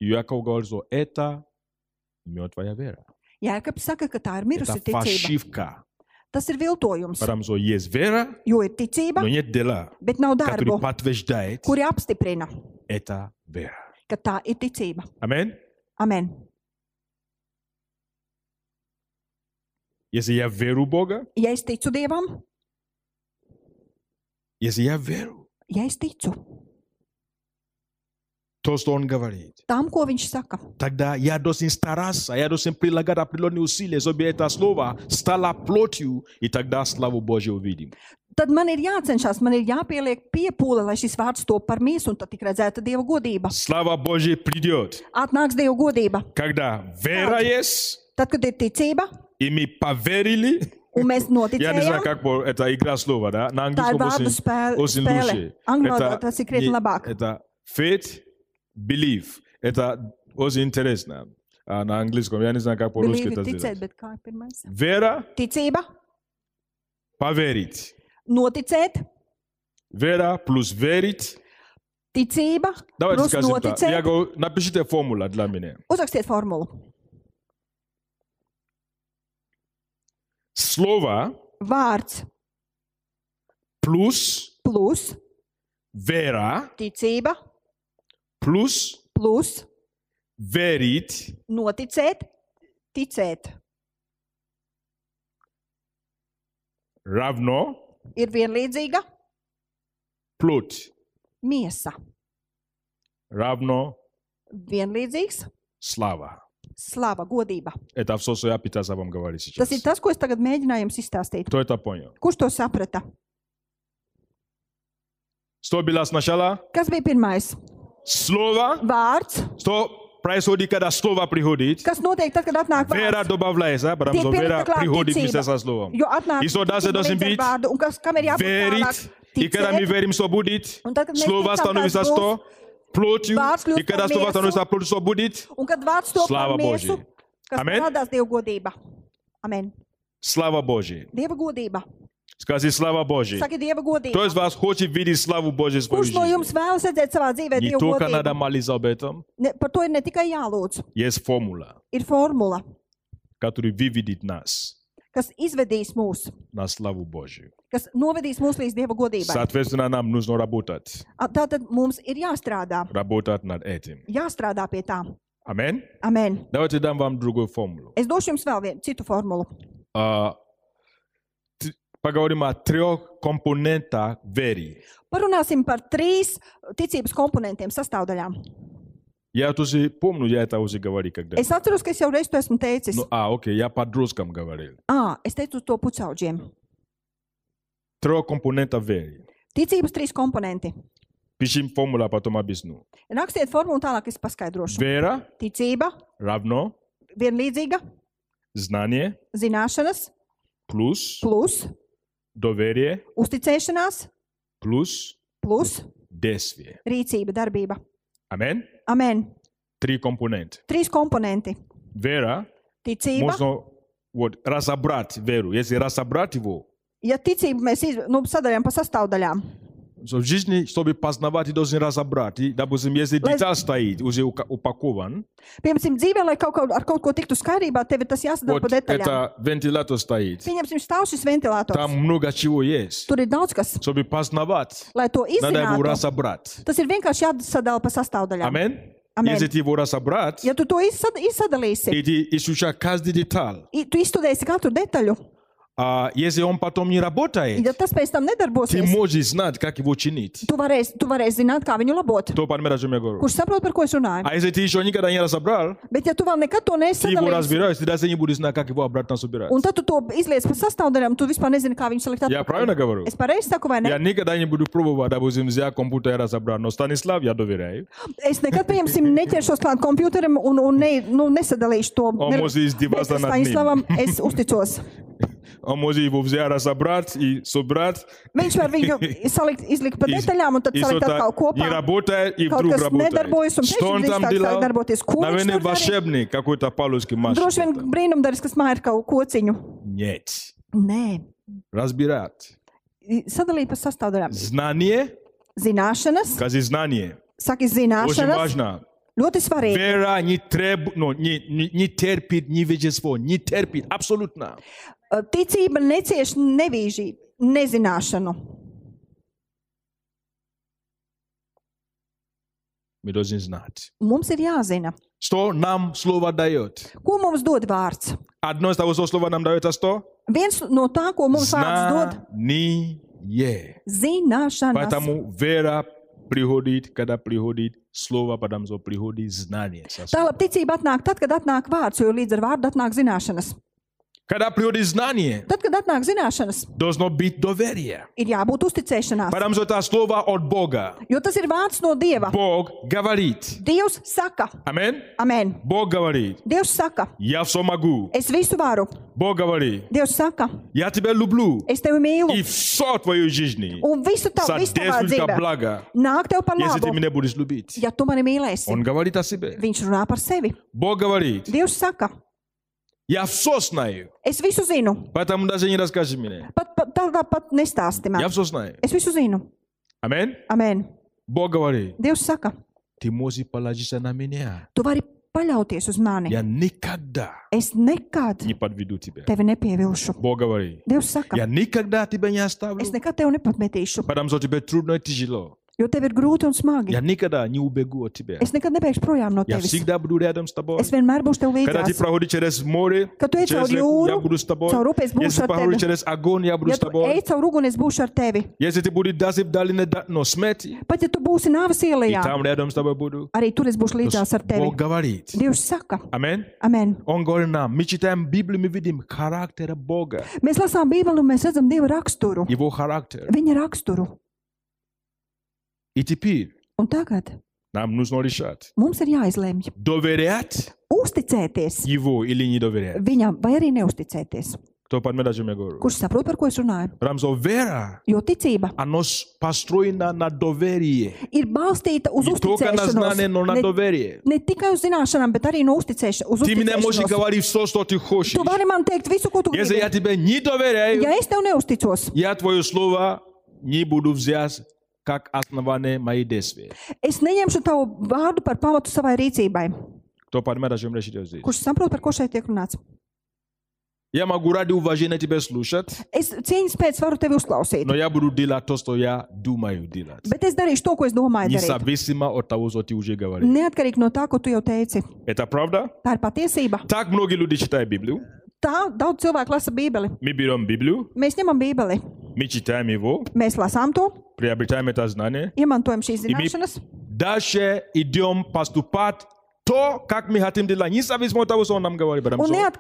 S1: И Яков говорит, что это мертвая вера.
S2: Jēkabs saka, ka tā ir
S1: Это
S2: mirusi ticība.
S1: фальшивка.
S2: Tas ir viltojums,
S1: Потому что есть вера,
S2: jo ir
S1: но
S2: ticība,
S1: нет дела,
S2: bet nav
S1: которые
S2: darbu,
S1: подтверждает
S2: kuri apstiprina,
S1: это вера.
S2: ka tā ir ticība.
S1: Аминь.
S2: Amen.
S1: Если я верю в Бога,
S2: Ja es ticu Dievam,
S1: если я верю
S2: ja es ticu
S1: то, что Он говорит,
S2: tam, ko Viņš saka,
S1: Тогда я должен стараться, я должен прилагать определенные усилия, чтобы это слово стало плотью, и тогда славу Божью увидим.
S2: tad man ir jācenšas, man ir jāpieliek piepūle, lai šis vārds top par mīsu, un tad tik redzēta Dieva godība.
S1: Слава Божья придет,
S2: Atnāks Dieva godība.
S1: когда вера есть,
S2: Tad, kad ir ticība,
S1: и мы поверили.
S2: un mēs
S1: Я не знаю,
S2: noticējam,
S1: как по- это игра слова, да? На английском
S2: Да, ладно,
S1: очень,
S2: спе-
S1: очень
S2: спели.
S1: лучше.
S2: Англо-
S1: Это,
S2: это секрет
S1: не-
S2: лабак.
S1: это faith, belief. Это очень интересно а, на английском. Я не знаю, как по-русски
S2: believe
S1: это
S2: ir ticēt,
S1: сделать.
S2: bet kā ir pirmais?
S1: Вера
S2: Ticība,
S1: поверить.
S2: noticēt,
S1: Вера плюс верить
S2: ticība,
S1: Давайте
S2: plus
S1: скажем так. Я
S2: noticēt.
S1: говорю, напишите формула для меня.
S2: Uzrakstiet formulu.
S1: Слово
S2: Vārds
S1: плюс
S2: plus
S1: вера
S2: ticība
S1: плюс
S2: plus
S1: верить
S2: noticēt, ticēt
S1: равно
S2: ir vienlīdzīga
S1: плод
S2: miesa,
S1: равно
S2: vienlīdzīgs
S1: слава.
S2: slava, godība.
S1: Это все, что я пытался вам говорить сейчас.
S2: Tas ir tas, ko es tagad mēģināju jums izstāstīt.
S1: Кто это понял?
S2: Kurš to saprata?
S1: Что было сначала?
S2: Kas bija pirmais?
S1: Слово.
S2: Vārds.
S1: Что происходит, когда слово приходит?
S2: Kas notiek tad, kad atnāk
S1: Вера
S2: vārds?
S1: добавляется, потому
S2: Ты
S1: что вера
S2: перед
S1: приходит
S2: Атлантицей,
S1: вместе со словом.
S2: Jo atnāk
S1: Isto tas ir
S2: ticība
S1: dosim
S2: līdz
S1: būt.
S2: ar vārdu, un kas, kam ir jābūt
S1: верить,
S2: tālāk?
S1: и когда мы
S2: Ticēt.
S1: верим, что будет,
S2: Он так, как
S1: слово
S2: знаете, там
S1: становится
S2: как
S1: что? Плотью,
S2: Ваш
S1: и когда
S2: плюс
S1: слово
S2: весу.
S1: становится плотью, что будет?
S2: Un kad vārds to
S1: Slava
S2: pārmiesu,
S1: Božijai.
S2: kas
S1: Amen.
S2: radās Dieva godība. Amen.
S1: Слава Божья.
S2: Dieva godība.
S1: Скажи, слава Божья.
S2: Saki, Dieva godība.
S1: Кто из вас хочет видеть славу Божью в своей
S2: Kurš no jums
S1: жизни?
S2: vēlas redzēt savā dzīvē
S1: Не
S2: Dieva
S1: только надо
S2: godību?
S1: молиться об этом,
S2: Ne, par to ir ne tikai jālūdz.
S1: есть формула,
S2: Ir formula,
S1: которая выведет нас
S2: kas izvedīs mūs,
S1: на славу Божью.
S2: kas novedīs mūs līdz Dieva godībai.
S1: Соответственно, нам нужно работать,
S2: A, Tātad mums ir jāstrādā.
S1: работать над этим.
S2: Jāstrādā pie tā.
S1: Аминь.
S2: Amen.
S1: Давайте дам вам другую формулу.
S2: Es došu jums vēl vienu citu formulu.
S1: А, т- Поговорим о трех компонентах веры.
S2: Parunāsim par trīs ticības komponentiem, sastāvdaļām.
S1: Я тоже помню, я это уже говорил когда.
S2: Es atceros, ka es jau reiz to esmu teicis.
S1: Ну, а, окей, я по-друзкам говорил.
S2: À, es teicu to pucaudžiem.
S1: Трех компонентов веры.
S2: Ticības trīs komponenti.
S1: Пишем формулу, а потом объясню.
S2: Rakstiet formulu, un tālāk es paskaidrošu.
S1: Вера
S2: Ticība,
S1: равно
S2: vienlīdzīga
S1: знание
S2: zināšanas,
S1: плюс
S2: plus
S1: доверие
S2: uzticēšanās,
S1: плюс
S2: plus
S1: действие.
S2: rīcība, darbība.
S1: Amen.
S2: Amen.
S1: Три компоненти.
S2: Trīs komponenti.
S1: Вера,
S2: Ticība.
S1: можно вот, разобрать веру. Если разобрать его,
S2: Ja ticību mēs iz- nu, sadalām pa sastāvdaļām,
S1: то в жизни, чтобы познавать, ты должен разобрать. И, допустим, если
S2: Лаз-
S1: деталь стоит, уже ука- упакован,
S2: piemēram, dzīvē, lai kaut, kaut, ar kaut ko tiktu skaidrībā, tev ir tas jāsadala
S1: вот
S2: pa detaļām.
S1: это вентилятор стоит.
S2: Pieņemsim, stāv šis ventilators.
S1: Там много чего есть.
S2: Tur ir daudz kas,
S1: Чтобы познавать,
S2: lai to
S1: надо его
S2: izzinātu.
S1: разобрать.
S2: Tas ir vienkārši jāsadala pa sastāvdaļām.
S1: Амин.
S2: Amen.
S1: Если ты его разобрать,
S2: Ja tu to izsad- izsadalīsi,
S1: и ты изучаешь каждый деталь,
S2: i- tu izstudēsi katru detaļu,
S1: а если он потом не
S2: ja
S1: работает,
S2: tas pēc tam
S1: ты
S2: nedarbosies,
S1: можешь знать, как его чинить.
S2: tu varēsi, tu varēsi zināt, kā viņu labot.
S1: То, понимаешь, о чем я говорю.
S2: Kurš saprot, par ko es runāju?
S1: А если ты еще никогда не разобрал,
S2: Bet, ja tu vēl nekad to
S1: ты его
S2: nesadalīsi,
S1: разбираешь, ты даже не будешь знать, как его обратно собирать.
S2: un tad tu to izliec pa sastāvdaļām, tu vispār nezini, kā viņu salikt
S1: Я правильно
S2: atpakaļ.
S1: говорю?
S2: Es pareizi saku, vai ne?
S1: Я никогда не буду пробовать, допустим, взять компьютер и разобрать. Но Станислав, я доверяю.
S2: Es nekad, piemēram, neķeršos klāt komputeram un, un ne, nu, nesadalīšu to
S1: O,
S2: Ver-
S1: Mozijs
S2: bet
S1: divās
S2: es
S1: anatnīm.
S2: Staņislavam es uzticos.
S1: Он а может его взять, разобрать и собрать.
S2: Viņš var viņu salikt, izlikt pa
S1: И,
S2: detaļām un tad
S1: и
S2: salikt
S1: что-то
S2: atkal
S1: не
S2: kopā.
S1: работает, и
S2: Kaut
S1: вдруг
S2: kas nedarbojas, un
S1: работает. Что он
S2: pēkšņi
S1: там
S2: drīz sāk
S1: делал?
S2: darboties. Ko viņš
S1: Наверное,
S2: tur darīja?
S1: волшебник какой-то павловский мальчик.
S2: Droši vien brīnumdarbs, kas māja ir kaut ko ciņu.
S1: Нет.
S2: Nē,
S1: Разбирать.
S2: I- sadalīt pa sastāvdaļām.
S1: Знание,
S2: Zināšanas,
S1: скажи знание.
S2: saki
S1: Очень
S2: zināšanas,
S1: важно.
S2: ļoti svarīgi.
S1: Вера не, треб... ну, не, не, не терпит ни вещество, не терпит, абсолютно.
S2: Ticība necieš nevīžību, nezināšanu.
S1: Мы должны знать.
S2: Mums ir jāzina,
S1: Что нам слово дает?
S2: ko mums dod vārds.
S1: Одно из того, что слово нам дает, это что?
S2: Viens no tā, ko mums vārds dod,
S1: Знание.
S2: zināšanas.
S1: Поэтому вера приходит, когда приходит слово, потому что приходит знание. со слова.
S2: Tālāk ticība atnāk tad, kad atnāk vārds, jo līdz ar vārdu atnāk zināšanas.
S1: Когда приходит знание,
S2: Tad, kad atnāk zināšanas,
S1: должно быть доверие.
S2: ir jābūt uzticēšanās,
S1: Потому что это слово от Бога.
S2: jo tas ir vārds no Dieva.
S1: Бог говорит.
S2: Dievs saka,
S1: Амин.
S2: amen.
S1: Бог говорит.
S2: Dievs saka,
S1: Я все могу.
S2: es visu varu.
S1: Бог говорит.
S2: Dievs saka,
S1: Я тебя люблю.
S2: es tevi mīlu.
S1: И все твою жизнь
S2: Un visu tavu, visu tavā
S1: содействует ко
S2: dzīvē
S1: благо,
S2: nāk tev par
S1: если ты
S2: labu,
S1: меня будешь любить.
S2: ja tu mani mīlēsi.
S1: Он говорит о себе.
S2: Viņš runā par sevi.
S1: Бог говорит.
S2: Dievs saka,
S1: Я все знаю.
S2: es visu zinu.
S1: Поэтому даже не расскажи мне.
S2: Pat, pat, tā, tā pat nestāsti
S1: Я
S2: man.
S1: все знаю.
S2: Es visu zinu.
S1: Амин.
S2: Amen.
S1: Бог говорит.
S2: Dievs saka,
S1: Ты можешь положиться на меня.
S2: tu vari paļauties uz mani.
S1: Я никогда
S2: Es nekad
S1: не подведу тебя.
S2: tevi nepievilšu.
S1: Бог говорит.
S2: Dievs saka,
S1: Я никогда тебя не оставлю.
S2: es nekad tevi nepatmetīšu,
S1: Потому что тебе трудно и тяжело.
S2: jo tev ir grūti un smagi.
S1: Я никогда не убегу от тебя.
S2: Es nekad nebeigšu projām no
S1: Я
S2: tevis.
S1: всегда буду рядом с тобой.
S2: Es vienmēr būšu tev
S1: Когда ты
S2: līdzās.
S1: проходишь через море,
S2: Като е
S1: через
S2: цял
S1: реку, я
S2: юр,
S1: буду с тобой.
S2: цял рупес будеш
S1: Если
S2: от
S1: проходишь
S2: тебе.
S1: через огонь, я буду
S2: Ja
S1: с
S2: Ya tu eh?
S1: тобой.
S2: ej cauri uguni, es būšu ar tevi.
S1: Если ты будешь даже в долине да- но смерти,
S2: Pat ja tu būsi nāves
S1: и
S2: ielā,
S1: там рядом с тобой буду.
S2: arī tur es būšu līdzās ar tevi.
S1: Ну, Бог говорит.
S2: Dievs saka,
S1: Аминь.
S2: amen.
S1: Он говорит нам, мы читаем Библию, мы видим характер Бога,
S2: Mēs lasām Bībeli un mēs redzam Dieva raksturu,
S1: Его характер.
S2: Viņa raksturu.
S1: И теперь
S2: Un tagad
S1: нам нужно решать,
S2: mums ir jāizlemj,
S1: доверять
S2: uzticēties
S1: Его или не доверять.
S2: viņam vai arī neusticēties.
S1: Кто понимает, о чем я говорю?
S2: Kurš saprot, par ko es runāju?
S1: Потому что вера,
S2: Jo ticība
S1: она с- построена на доверии.
S2: ir balstīta uz
S1: Не только на
S2: uzticēšanos.
S1: знание, но на
S2: Ne-
S1: doverие.
S2: Ne tikai uz zināšanām, bet arī no uzticēša- uz
S1: Ты мне можешь
S2: uzticēšanos.
S1: говорить все, что ты хочешь.
S2: Tu vari man teikt visu, ko tu
S1: Если
S2: gribi.
S1: я тебе не доверяю,
S2: Ja es tev neusticos,
S1: я твое слово не буду взять как основание моей действия.
S2: es neņemšu tavu vārdu par pamatu savai rīcībai.
S1: Кто понимает, о чем речь идет здесь?
S2: Kurš saprot, par ko šeit tiek runāts?
S1: Я могу ради уважения тебя слушать,
S2: Es cieņas pēc varu tevi uzklausīt,
S1: но я буду делать то, что я думаю делать.
S2: bet es darīšu to, ko es domāju darīt.
S1: Независимо от того, что ты уже говорил.
S2: Neatkarīgi no tā, ko tu jau teici.
S1: Это правда?
S2: Tā ir patiesība.
S1: Так многие люди читают Библию.
S2: Tā daudz cilvēku lasa Bībeli.
S1: Мы берем Библию,
S2: Mēs ņemam Bībeli,
S1: мы читаем его,
S2: mēs lasām to,
S1: приобретаем это знание.
S2: iemantojam šīs
S1: И мы
S2: zināšanas,
S1: дальше идем поступать то, как мы хотим делать, независимо от того, что он нам говорит. потому
S2: un
S1: что
S2: neat,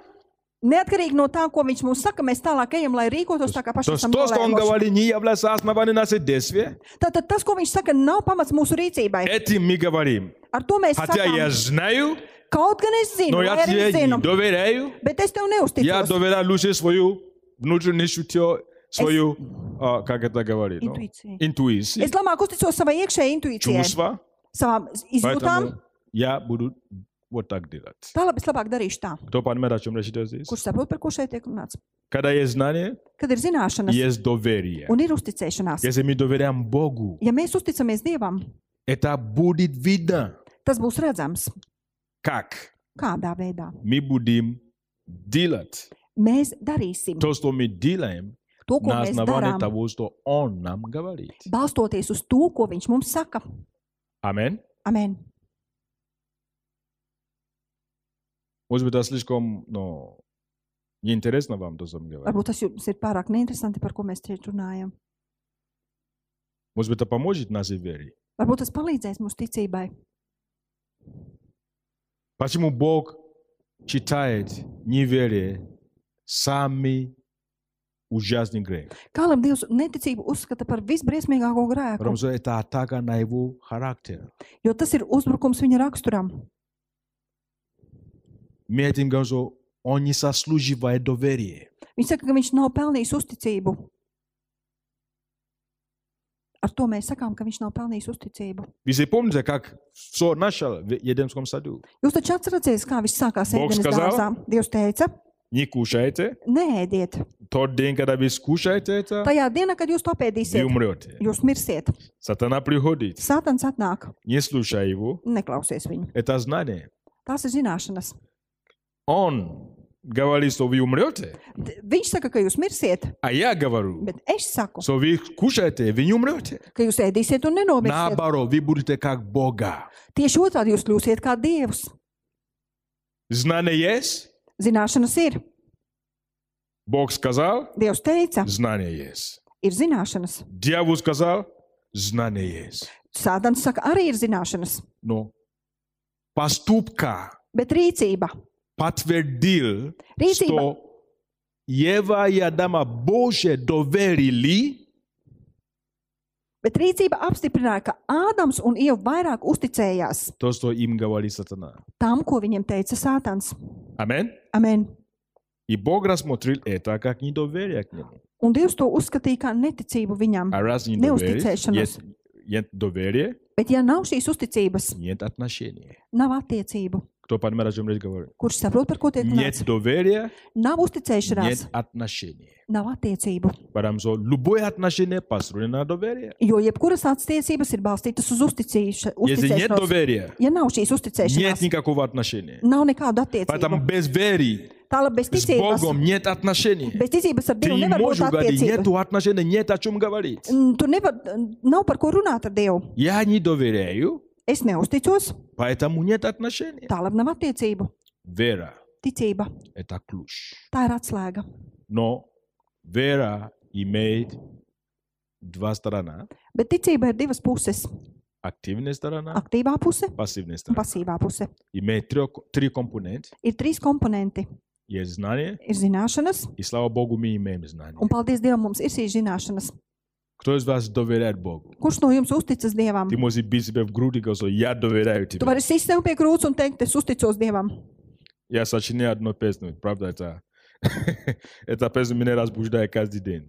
S2: neatkarīgi no tā, ko viņš mums saka, mēs tālāk ejam, lai rīkotos tā, kā
S1: То
S2: paši
S1: есть
S2: esam
S1: то, что он
S2: nolēmuši.
S1: говорит, не является основанием нашей действия.
S2: Tātad tas, ko viņš saka, nav pamats mūsu rīcībai.
S1: Этим мы говорим.
S2: Ar to mēs
S1: Хотя я
S2: sakām,
S1: знаю,
S2: Kaut gan es zinu,
S1: Но
S2: lai
S1: ја ти
S2: arī
S1: ја
S2: zinu,
S1: ги довереју,
S2: bet es tev
S1: ја
S2: neusticos.
S1: доведа луѓе своју внутренни шутјо, своју, а, как это говори, но?
S2: Intuīcija.
S1: Интуиции,
S2: Es labāk uzticos savai iekšējai intuīcijai,
S1: чувства,
S2: savām izjūtām.
S1: поэтому я буду вот так делать.
S2: Tā labi, es labāk darīšu tā.
S1: Кто понимает, о чем речь идет здесь?
S2: Kurš saprot, par ko šeit tiek runāts?
S1: Когда есть знание,
S2: Kad ir zināšanas
S1: есть доверие.
S2: un ir uzticēšanās.
S1: Если мы доверяем Богу,
S2: Ja mēs uzticamies Dievam,
S1: это будет видно,
S2: tas būs redzams.
S1: как
S2: Kādā veidā
S1: мы будем делать
S2: mēs darīsim
S1: то, что мы делаем,
S2: to, ko
S1: на
S2: mēs
S1: основании
S2: darām,
S1: того, что Он нам говорит.
S2: balstoties uz to, ko Viņš mums saka.
S1: Амин.
S2: Amen.
S1: Может быть, это слишком, но неинтересно вам то, что мы говорим.
S2: Varbūt tas jums ir pārāk neinteresanti, par ko mēs šeit runājam.
S1: Может быть, это поможет нашей вере.
S2: Varbūt tas palīdzēs mūsu ticībai.
S1: Почему Бог читает неверие самый ужасный грех?
S2: Kā lai Dievs neticību uzskata par visbriesmīgāko grēku,
S1: Потому что это атака на его характер.
S2: jo tas ir uzbrukums viņa raksturam.
S1: Мы этим говорим, что он не сослуживает доверие.
S2: Viņš saka, ka viņš nav pelnījis uzticību. Ar to mēs sakām, ka viņš nav pelnījis uzticību.
S1: Вы же помните, как все начало в Едемском саду?
S2: Jūs taču atceraties, kā viss sākās
S1: Bogs
S2: Ēdenes
S1: kazala?
S2: dārzā. Dievs teica,
S1: Не кушайте.
S2: nēdiet.
S1: Тот день, когда вы скушаете это,
S2: Tajā dienā, kad jūs to
S1: вы
S2: pēdīsiet,
S1: умрете.
S2: jūs mirsiet.
S1: Сатана приходит.
S2: Sātans atnāk,
S1: Не слушай его.
S2: neklausies viņu.
S1: Это знание.
S2: Tās ir zināšanas.
S1: Он говорит, что вы умрете.
S2: D- Viņš saka, ka jūs mirsiet,
S1: А я говорю,
S2: bet es saku,
S1: что вы кушаете, вы не умрете.
S2: ka jūs ēdīsiet un nenomirsiet.
S1: Наоборот, вы будете как Бога.
S2: Tieši otrādi jūs kļūsiet kā dievs.
S1: Знание есть.
S2: Zināšanas ir.
S1: Бог сказал,
S2: Dievs teica,
S1: знание есть.
S2: ir zināšanas.
S1: Дьявол сказал, знание есть.
S2: Sādans saka, arī ir zināšanas.
S1: Но поступка
S2: Bet rīcība,
S1: подтвердил,
S2: rīcība
S1: что Ева и Адама Боже доверили,
S2: Bet rīcība apstiprināja, ka Ādams un Ieva vairāk uzticējās
S1: то, что им говорит сатана.
S2: tam, ko viņiem teica Sātans.
S1: Аминь.
S2: Amen.
S1: И Бог рассмотрел это как недоверие к нему.
S2: Un Dievs to uzskatīja par neticību viņam.
S1: А раз не
S2: Не
S1: доверишь,
S2: устицаешься,
S1: нет, нет доверия,
S2: Bet, ja nav šīs uzticības,
S1: нет отношения.
S2: nav attiecību.
S1: Кто понимает, о чем речь говорю?
S2: Kurš saprot, par ko tiek runāts?
S1: Нет doverия,
S2: Nav uzticēšanās,
S1: нет отношения.
S2: nav attiecību.
S1: Потому что любое отношение построено на доверие.
S2: Jo jebkuras attiecības ir balstītas uz uzticīša-
S1: Если нет
S2: uzticēšanos.
S1: доверия,
S2: Ja nav šīs
S1: нет
S2: uzticēšanās,
S1: никакого отношения.
S2: nav nekāda
S1: Поэтому
S2: attiecība.
S1: без веры
S2: Tālāk bez
S1: с
S2: ticības,
S1: Богом нет отношений.
S2: bez ticības ar
S1: Ты
S2: Dievu
S1: не
S2: nevar būt
S1: можешь говорить,
S2: attiecība.
S1: нет отношений, нет о чем говорить.
S2: Mm, Tu nevar, nav par ko runāt ar Dievu.
S1: Я не доверяю,
S2: Es neusticos,
S1: поэтому нет отношений.
S2: tālāk nav attiecību.
S1: Вера
S2: Ticība,
S1: – это ключ.
S2: tā ir atslēga.
S1: Но вера имеет два сторона.
S2: Bet ticība ir divas puses
S1: Активная
S2: -
S1: сторона,
S2: aktīvā puse
S1: пассивная
S2: un
S1: сторона.
S2: pasīvā puse.
S1: Имеет трё- три компонента.
S2: Ir trīs komponenti
S1: Есть знание,
S2: - ir zināšanas,
S1: и слава Богу, мы имеем знание.
S2: un paldies Dievam, mums ir šīs zināšanas.
S1: Кто из вас доверяет Богу?
S2: Kurš no jums uzticas Dievam?
S1: Ты можешь бить себя в грудь и говорить, что я доверяю
S2: Tu
S1: тебе.
S2: vari sist sev pie krūts un teikt, es uzticos Dievam.
S1: Я сочиняю одну песню, правда, это... Эта песня меня разбуждает каждый день.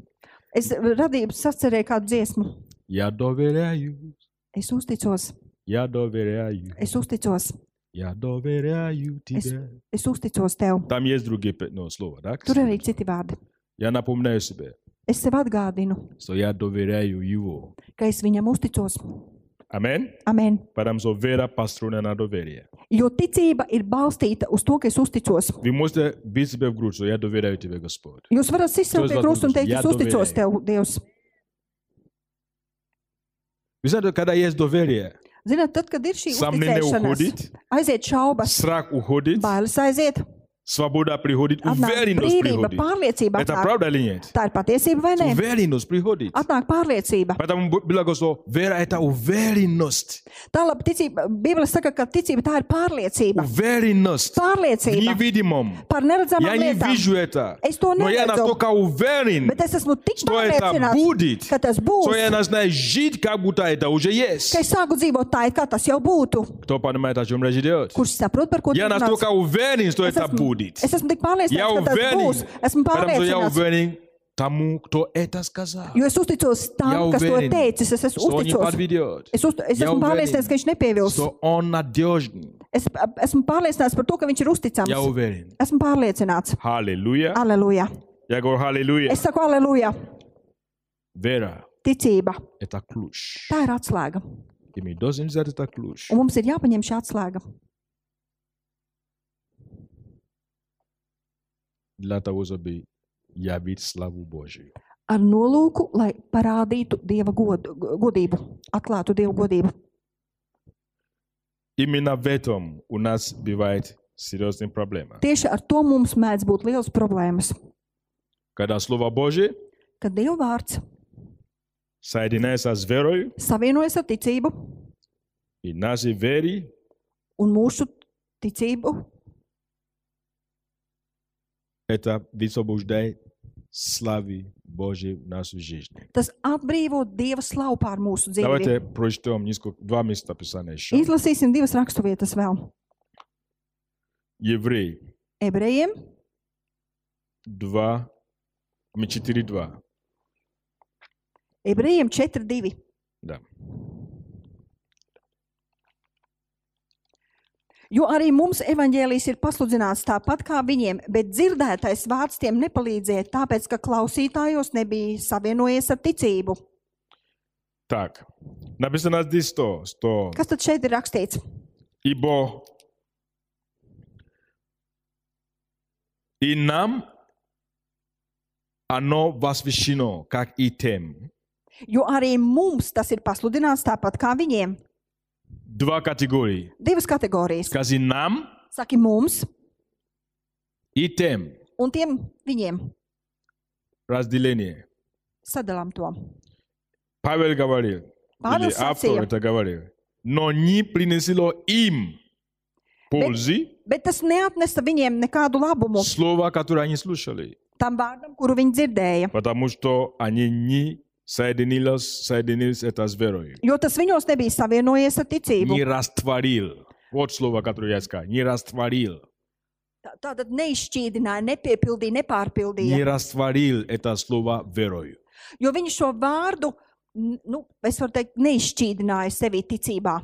S2: Es radīju, sacerēju kādu dziesmu.
S1: Я доверяю,
S2: Es uzticos,
S1: я доверяю,
S2: es uzticos,
S1: я доверяю тебе.
S2: es uzticos tev.
S1: Там есть другие пе- ну, слова, да?
S2: Tur arī citi vārdi.
S1: Я напоминаю себе,
S2: Es sev atgādinu,
S1: что я доверяю его.
S2: ka es viņam uzticos.
S1: Амин.
S2: Amen.
S1: Потому что вера построена на доверие.
S2: Jo ticība ir balstīta uz to, ka es uzticos.
S1: Вы можете бить себя в грудь, что я доверяю тебе, Господь.
S2: Jūs varat sist sev
S1: To es
S2: pie
S1: varu
S2: krusta un
S1: uzticēt.
S2: teikt,
S1: Jā,
S2: es uzticos
S1: doverēju.
S2: tev, Dievs.
S1: Вы знаете, когда есть доверие,
S2: Ziniet, tad, kad ir šī
S1: сомнение
S2: uzticēšanās,
S1: уходит,
S2: aiziet šaubas,
S1: страх уходит,
S2: bailes aiziet,
S1: Свобода приходит,
S2: Atnāk
S1: уверенность
S2: brīvība,
S1: приходит.
S2: pārliecība.
S1: Это
S2: Atnāk,
S1: правда или нет?
S2: tā ir patiesība vai nē?
S1: Уверенность приходит.
S2: Atnāk pārliecība.
S1: Поэтому Б- Библия говорит, что вера – это уверенность.
S2: Tālāk ticība, Bībele saka, ka ticība tā ir pārliecība.
S1: Уверенность в
S2: Pārliecība
S1: невидимом.
S2: par neredzamām
S1: Я не
S2: lietām.
S1: вижу это.
S2: Из того
S1: Но я
S2: нет, Зо.
S1: настолько уверен,
S2: Bet es esmu tik
S1: что это будет,
S2: pārliecināts, ka tas
S1: что
S2: būs,
S1: я начинаю жить, как будто это уже есть.
S2: ka es sāku dzīvot tā, it kā tas jau būtu.
S1: Кто понимает, о чем речь идет?
S2: Kurš saprot, par ko tu
S1: Я
S2: runā?
S1: настолько уверен, что
S2: Es
S1: это
S2: esmu,
S1: будет.
S2: es esmu tik
S1: Я
S2: pārliecināts, ka tas
S1: уверен,
S2: būs. Esmu
S1: потому что я
S2: pārliecināts,
S1: уверен тому, кто это сказал.
S2: jo es uzticos
S1: Я
S2: tam, kas to ir
S1: уверен,
S2: teicis. Es
S1: Что
S2: esmu
S1: он не
S2: uzticos.
S1: подведет.
S2: Es, uzt, es
S1: Я
S2: esmu
S1: уверен,
S2: pārliecināts, ka viņš nepievilks.
S1: Что он надежный.
S2: Es esmu pārliecināts par to, ka viņš ir
S1: Я
S2: uzticams.
S1: уверен.
S2: Esmu pārliecināts.
S1: Аллилуйя.
S2: Aleluja!
S1: Я говорю аллилуйя.
S2: Es saku, aleluja!
S1: Вера
S2: Ticība.
S1: – это ключ.
S2: Tā ir atslēga.
S1: И мы должны взять этот ключ.
S2: Un mums ir jāpaņem šī atslēga.
S1: Для того, чтобы явить славу Божию.
S2: Ar nolūku, lai parādītu dieva godu, godību, atklātu dieva godību.
S1: Именно в этом у нас бывает серьезная проблема.
S2: Tieši ar to mums mēdz būt liels problēmas.
S1: Когда Слово Божие
S2: Kad dieva vārds
S1: соединяется с верою,
S2: savienojas ar ticību
S1: и нашей вере
S2: un mūsu ticību,
S1: это высвобождает славы Божьей в нашу жизнь.
S2: tas atbrīvo dieva slavu pār mūsu dzīvi.
S1: Давайте прочтем несколько, два места Писания еще.
S2: Izlasīsim divas raksturvietas vēl.
S1: Евреи
S2: Ebrejiem
S1: 2, а 4.2.
S2: Ebrejiem 4.2.
S1: Да.
S2: Jo arī mums evanģēlijas ir pasludināts tāpat kā viņiem, bet dzirdētais vārds tiem nepalīdzēja, tāpēc ka klausītājos nebija savienojies ar ticību.
S1: Так, написано здесь то, что
S2: Kas tad šeit ir rakstīts?
S1: Ибо и нам оно возвещено, как и тем.
S2: Jo arī mums tas ir pasludināts tāpat kā viņiem.
S1: Два категории.
S2: Divas kategorijas.
S1: Скажи нам
S2: Saki mums
S1: и тем.
S2: un tiem viņiem.
S1: Разделение.
S2: Sadalām to.
S1: Павел говорил,
S2: Павел
S1: или автор
S2: социо.
S1: это говорил, но не принесло им пользы
S2: Bet tas neatnesa viņiem nekādu labumu
S1: слова, которое они слушали,
S2: tam vārdam, kuru viņi dzirdēja.
S1: потому что они не соединились, соединились это с верой.
S2: Jo tas viņos nebija savienojies ar ticību.
S1: не растворил. Вот слово, которое я сказал. Не растворил.
S2: Tā tad neizšķīdināja, nepiepildīja, nepārpildīja.
S1: Не растворил это слово верою.
S2: Jo viņi šo vārdu, n- nu, es varu teikt, neizšķīdināja sevi ticībā.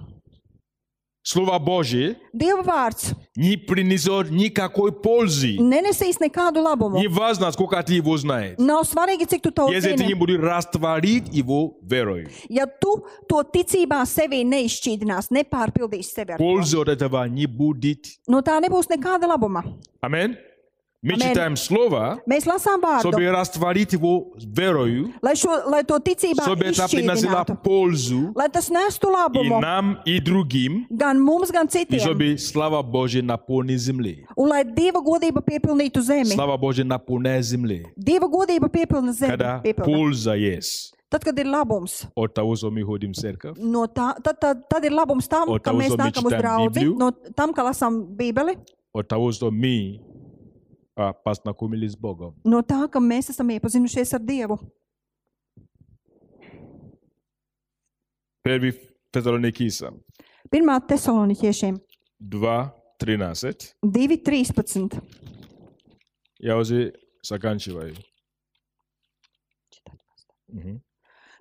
S1: Слово Божье
S2: Dieva vārds
S1: не принесет никакой пользы.
S2: nenesīs nekādu labumu.
S1: Не важно, сколько ты его знаешь.
S2: Nav svarīgi, cik tu to
S1: Если ты не
S2: zini.
S1: будешь растворить его верою,
S2: Ja tu to ticībā sevi neizšķīdinās, nepārpildīs sevi ar to,
S1: пользы от этого не будет.
S2: no tā nebūs nekāda labuma.
S1: Аминь. Мы
S2: Аминь.
S1: читаем слово,
S2: Mēs lasām vārdu,
S1: чтобы rastворить его верою,
S2: lai, šo, lai to ticībā
S1: чтобы это приносило
S2: izšķīdinātu,
S1: пользу
S2: lai tas nestu
S1: и
S2: labumu
S1: нам, и другим,
S2: gan mums, gan
S1: и
S2: citiem.
S1: чтобы слава Божья наполнит землей.
S2: Un lai Dieva godība piepildītu zemi,
S1: Слава Божья наполняет земли,
S2: Dieva godība piepilda zemi,
S1: когда
S2: piepilda.
S1: польза есть
S2: tad, kad ir labums,
S1: от того, что мы ходим в церковь,
S2: no tā, tad, tad, tad ir labums tam,
S1: O
S2: ka
S1: tauzo
S2: mēs nākam uz
S1: mičitām
S2: draugu,
S1: Bibliju.
S2: no tam, ka lasām Bībeli,
S1: от того, что мы а, познакомились с Богом.
S2: no tā, ka mēs esam iepazinušies ar Dievu.
S1: 1 Фессалоникийцам
S2: 1. tesaloniķiešiem
S1: 2.13.
S2: 2.13.
S1: Я уже заканчиваю. Мгм.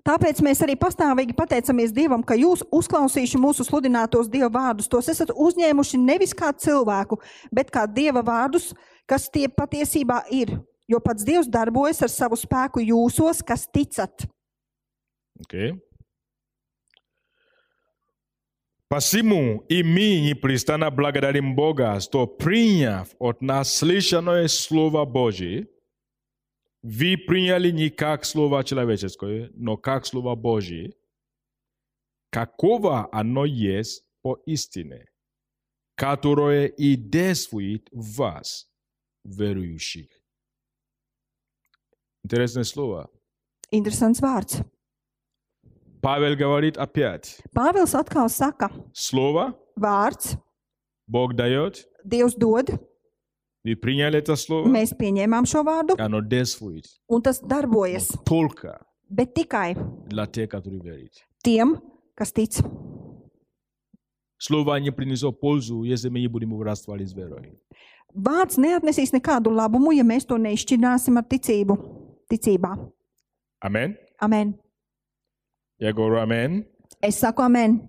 S2: Tāpēc mēs arī pastāvīgi pateicamies Dievam, ka jūs uzklausījuši mūsu sludinātos Dieva vārdus. Tos esat uzņēmuši nevis kā cilvēku, bet kā Dieva vārdus, kas tie patiesībā ir. Jo pats Dievs darbojas ar savu spēku jūsos, kas ticat.
S1: Окей. Посему Па и мы непрестанно благодарим Бога, что приняв от нас слышанное Слово Божие, вы приняли не как Слово человеческое, но как Слово Божие, какого оно есть по истине, которое и действует в вас, верующих. Интересное слово.
S2: Interesants vārds.
S1: Павел говорит опять.
S2: Pāvils atkal saka,
S1: Слово
S2: vārds
S1: Бог дает.
S2: Dievs dod,
S1: Вы приняли это слово.
S2: mēs pieņēmām šo vārdu,
S1: И оно действует.
S2: un tas darbojas.
S1: Только
S2: Bet tikai
S1: для тех, которые верят.
S2: tiem, kas tic.
S1: Слово не принесет пользу, если мы не будем его растворить с верой.
S2: Vārds neatnesīs nekādu labumu, ja mēs to neizšķirināsim ar ticību. Ticībā.
S1: Амин.
S2: Amen.
S1: Я говорю амин.
S2: Es saku amen.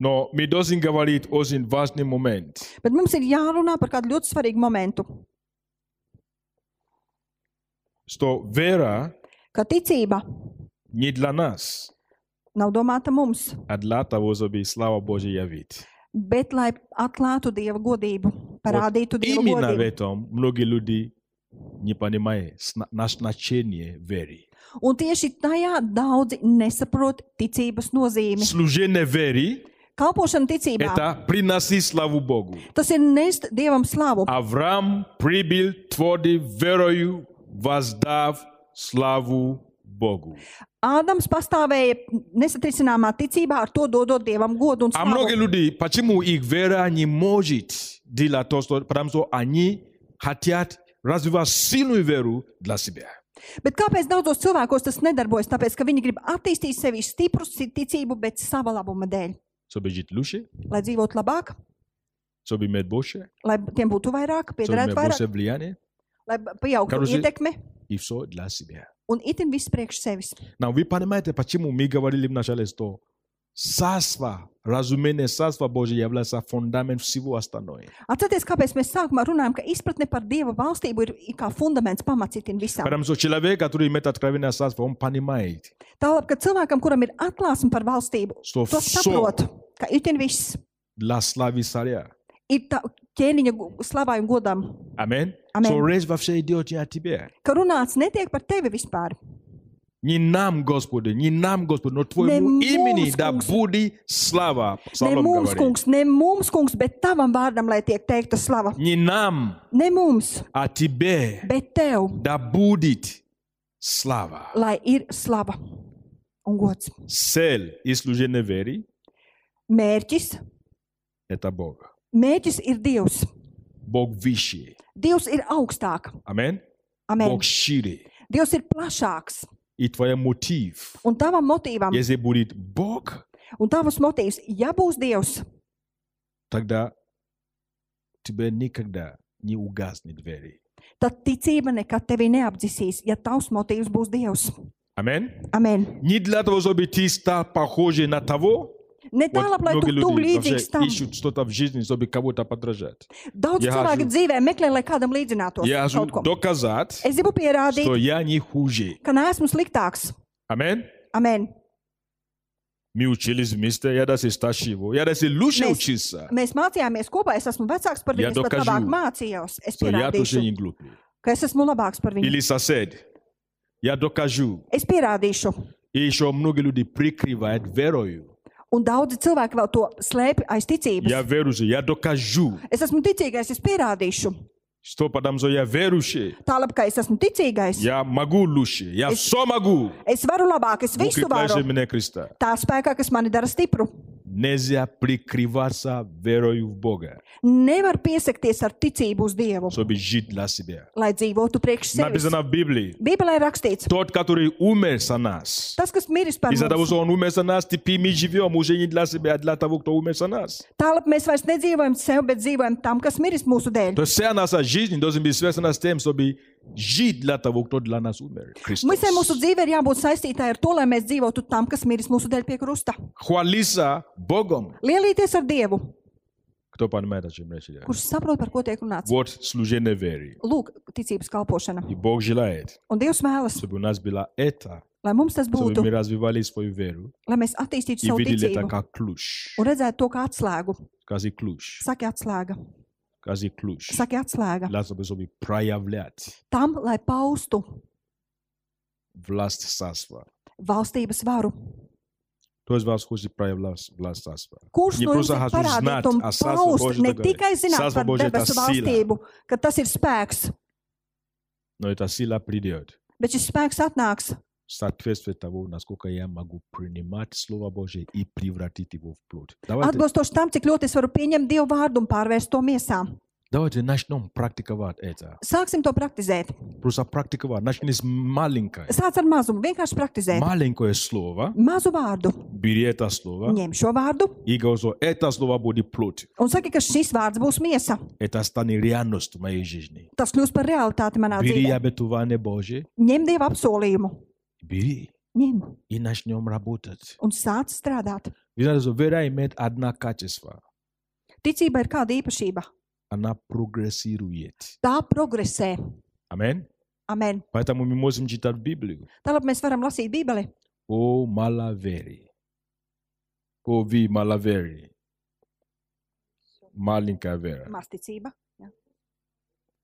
S1: Но мы должны говорить очень важный момент.
S2: Bet mums ir jārunā par kādu ļoti svarīgu momentu.
S1: Что вера
S2: Ka ticība
S1: не для нас,
S2: nav domāta mums,
S1: а для того, чтобы слава Божья явить.
S2: bet lai atklātu dieva godību, parādītu dieva
S1: Именно в
S2: godību.
S1: этом многие люди не понимают сна- назначение веры.
S2: Un tieši tajā daudzi nesaprot ticības nozīmi.
S1: Служение веры –
S2: Kalpošana ticībā
S1: это приносить славу Богу.
S2: tas ir nest dievam slavu.
S1: Авраам прибыл твердой верою, воздав славу Богу.
S2: Ādams pastāvēja nesatrisināmā ticībā, ar to dodot dievam godu un
S1: А многие
S2: slavu.
S1: люди, почему их вера не может делать то, что, потому что они хотят развивать сильную веру для себя.
S2: Bet kāpēc daudzos cilvēkos tas nedarbojas? Tāpēc, ka viņi grib attīstīt sevi stipru si- ticību, bet sava labuma dēļ.
S1: Чтобы жить лучше,
S2: Lai dzīvotu labāk,
S1: чтобы иметь больше,
S2: lai tiem būtu vairāk,
S1: чтобы
S2: piederētu
S1: иметь
S2: vairāk,
S1: больше влияния,
S2: lai b- pieaugtu
S1: Karuzi-
S2: ietekme
S1: и все для себя.
S2: un itin viss priekš sevis.
S1: Now, вы понимаете, почему мы говорили вначале, что царство, разумение царства Божьего является фундамент всего остального.
S2: Atcerieties, kāpēc mēs sākumā runājam, ka izpratne par Dieva valstību ir i- kā fundaments pamats itin visam.
S1: Потому что человек, который имеет откровение царства, он понимает,
S2: Tālāk, ka cilvēkam, kuram ir atklāsme par valstību,
S1: что
S2: to
S1: все
S2: saprot, ka itin viss
S1: для славы царя.
S2: ir tā ķēniņa gu- slavai un godam.
S1: Аминь.
S2: Amen.
S1: So, речь вообще идет не о тебе.
S2: Ka runāts netiek par tevi vispār.
S1: Не нам, Господи, не нам, Господи, но Твоему
S2: Не
S1: имени
S2: mums,
S1: да
S2: kungs.
S1: будет слава.
S2: Ne
S1: Псалом
S2: mums,
S1: говорит.
S2: kungs, ne mums, kungs, bet tavam vārdam, lai tiek teikta slava.
S1: Не нам,
S2: Ne mums,
S1: а Тебе
S2: bet tev,
S1: да будет слава.
S2: lai ir slava un gods.
S1: Цель и служение веры
S2: Mērķis,
S1: – это Бог.
S2: mērķis ir Dievs.
S1: Бог выше.
S2: Dievs ir augstāk,
S1: Аминь.
S2: amen.
S1: Бог шире.
S2: Dievs ir plašāks.
S1: И твой мотив,
S2: Un tavam motīvam,
S1: если будет Бог,
S2: un tavs motīvs, ja būs Dievs,
S1: тогда тебе никогда не угаснет вера.
S2: tad ticība nekad tevi neapdzisīs, ja tavs motīvs būs Dievs.
S1: Аминь.
S2: Amen.
S1: Не для того, чтобы ты стал похожим на того,
S2: Ne
S1: Вот
S2: tālāk, lai tu
S1: многие люди
S2: būtu līdzīgs
S1: вообще
S2: tam.
S1: ищут что-то в жизни, чтобы кого-то подражать.
S2: Daudz
S1: Jā,
S2: cilvēku
S1: žu-
S2: dzīvē meklē, lai kādam līdzinātos.
S1: Я хочу
S2: kaut ko.
S1: доказать,
S2: Es gribu pierādīt,
S1: что я не хуже.
S2: ka neesmu sliktāks.
S1: Амин.
S2: Amen.
S1: Мы учились вместе, я даже старше его, я даже лучше
S2: Mēs-
S1: учился.
S2: Mēs mācījāmies kopā, es esmu vecāks par
S1: Jā,
S2: viņu, es pat
S1: dokažu.
S2: labāk mācījos. Es
S1: So я тоже
S2: pierādīšu,
S1: не глупый.
S2: ka es esmu labāks par viņu.
S1: Или сосед. Я докажу.
S2: Es pierādīšu.
S1: И еще многие люди прикрывают верою.
S2: Un daudzi cilvēki vēl to slēpj aiz ticības.
S1: Я верующий, я докажу.
S2: Es esmu ticīgais, es pierādīšu.
S1: Что потому что я верующий,
S2: Tālāk, ka es esmu ticīgais,
S1: я могу лучше, я все могу.
S2: es varu labāk, es
S1: Бог
S2: visu
S1: укрепляет
S2: varu.
S1: меня Христа.
S2: Tā spēkā, kas mani dara stipru.
S1: Нельзя прикрываться верою в Бога,
S2: Nevar piesakties ar ticību uz Dievu,
S1: чтобы жить для себя.
S2: lai dzīvotu priekš sevis.
S1: Написано в Библии.
S2: Bībelē ir rakstīts,
S1: Тот, который умер за нас.
S2: tas, kas miris par
S1: Из-за того,
S2: mums,
S1: что он умер за нас, теперь мы живем уже не для себя, а для того, кто умер за нас.
S2: tālāk mēs vairs nedzīvojam sev, bet dzīvojam tam, kas miris mūsu dēļ.
S1: То есть вся наша жизнь должна быть связана с тем, чтобы жить для того, кто для нас умер. Христос.
S2: Visai mūsu dzīve ir jābūt saistītai ar to, lai mēs dzīvotu tam, kas miris mūsu dēļ pie krusta.
S1: Хвалиться Богом.
S2: Lielīties ar Dievu,
S1: Кто понимает, о чем речь идет?
S2: kurš saprot, par ko tiek runāts.
S1: Вот служение веры.
S2: Lūk, ticības kalpošana.
S1: И Бог желает,
S2: Un Dievs vēlas,
S1: чтобы у нас было это,
S2: lai mums tas
S1: чтобы
S2: būtu,
S1: мы развивали свою веру
S2: lai mēs attīstītu
S1: и
S2: savu
S1: видели это
S2: ticību.
S1: как ключ.
S2: un redzēt to kā atslēgu.
S1: Скажи ключ.
S2: Saki, atslēga,
S1: Скажи ключ.
S2: saki atslēga.
S1: Для того, чтобы проявлять
S2: Tam, lai paustu
S1: власть царства.
S2: valstības varu.
S1: Той из вас хочет проявлять власт, власт царства.
S2: Kurš
S1: Viņi
S2: no jums
S1: prasa,
S2: ir
S1: kas uz
S2: parādīt
S1: nāc,
S2: un
S1: asās var
S2: paust
S1: Božu
S2: ne
S1: tagad.
S2: tikai zināt
S1: Sās var
S2: par
S1: Božu tā
S2: debesu
S1: sīlā.
S2: valstību, ka tas ir spēks,
S1: Но эта сила придет.
S2: bet šis spēks atnāks
S1: в Соответствие того, насколько я могу принимать Слово Божие и превратить его в плод. Давайте,
S2: atbilstoši tam, cik ļoti es varu pieņemt Dieva vārdu un pārvērst to miesā.
S1: давайте начнем практиковать это.
S2: Sāksim to praktizēt.
S1: Просто практиковать. Начни с маленькой.
S2: Sāc ar mazumu, vienkārši praktizēt.
S1: Маленькое слово.
S2: Mazu vārdu.
S1: Бери это слово
S2: Ņem šo vārdu
S1: и говори, что это слово будет плод.
S2: un saki, ka šis vārds būs miesa.
S1: Это станет реальностью моей жизни.
S2: Tas kļūs par realitāti manā
S1: Бери
S2: dzīvē.
S1: обетование Божие.
S2: Ņem Dieva apsolījumu.
S1: Бери.
S2: Ņem
S1: И начнем работать.
S2: un sāc strādāt.
S1: Вы знаете, что вера имеет одно качество.
S2: Ticība ir kāda īpašība.
S1: Она прогрессирует.
S2: Tā progresē.
S1: Аминь.
S2: Amen.
S1: Поэтому мы можем читать Библию.
S2: Tālāk mēs varam lasīt Bībeli.
S1: О, маловери. О, вы маловери. Маленькая вера.
S2: Māsticība. Ja.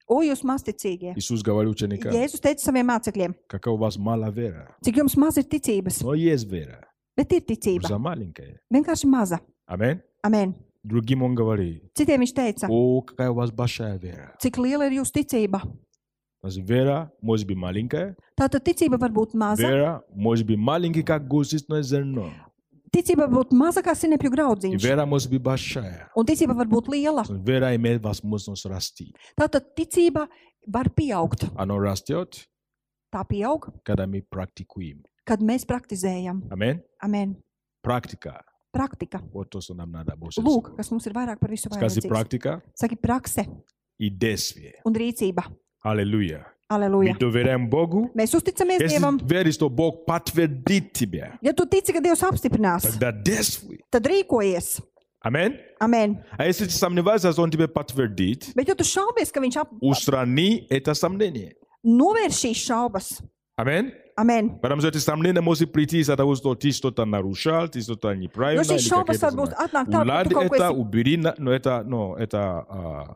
S2: O, jūs māsticīgie!
S1: Иисус говорил ученикам,
S2: Jēzus teica saviem mācekļiem,
S1: какая у вас мало вера.
S2: cik jums maz ir ticības,
S1: Но есть вера.
S2: bet ir ticība.
S1: Просто маленькая.
S2: Vienkārši maza.
S1: Аминь.
S2: e. Amen.
S1: Другим он говорит,
S2: Citiem viņš teica,
S1: о, какая у вас большая вера.
S2: cik liela ir jūsu ticība.
S1: Потому что вера может быть
S2: e.
S1: маленькая.
S2: Tātad ticība var būt maza.
S1: Вера может быть маленькой, как гусиное зерно.
S2: Ticība var būt maza kā sinepju
S1: И
S2: graudziņš.
S1: вера может быть большая.
S2: Un ticība var būt liela.
S1: So, Вера имеет возможность расти.
S2: Tātad ticība var pieaugt.
S1: Она растет,
S2: Tā pieaug,
S1: когда мы практикуем.
S2: kad mēs praktizējam.
S1: Аминь.
S2: Amen.
S1: Практика.
S2: Praktika.
S1: Вот то, что нам надо больше
S2: Lūk,
S1: всего.
S2: kas mums ir vairāk par visu
S1: Скажи
S2: vajadzīgs.
S1: практика
S2: Saki prakse
S1: и действие.
S2: un rīcība.
S1: Аллилуйя. Мы
S2: Aleluja.
S1: доверяем Богу.
S2: Mēs uzticamies
S1: Если
S2: Dievam.
S1: веришь, что Бог подтвердит тебя,
S2: Ja tu tici, ka Dievs apstiprinās,
S1: тогда действуй.
S2: tad rīkojies.
S1: Аминь.
S2: Amen.
S1: А если ты сомневаешься, что Он тебя подтвердит,
S2: Bet, ja tu šaubies, ka viņš ap...
S1: устрани это сомнение.
S2: novērš šīs šaubas,
S1: Аминь.
S2: amen.
S1: Потому что эти сомнения может прийти из-за того, что ты что-то нарушал, ты что-то неправильно.
S2: Jo šīs
S1: или
S2: šaubas
S1: какие-то
S2: var būt
S1: знания.
S2: atnāk tā, ka
S1: Уладь
S2: tu kaut ko
S1: это,
S2: esi.
S1: убери, на- но это, но это а,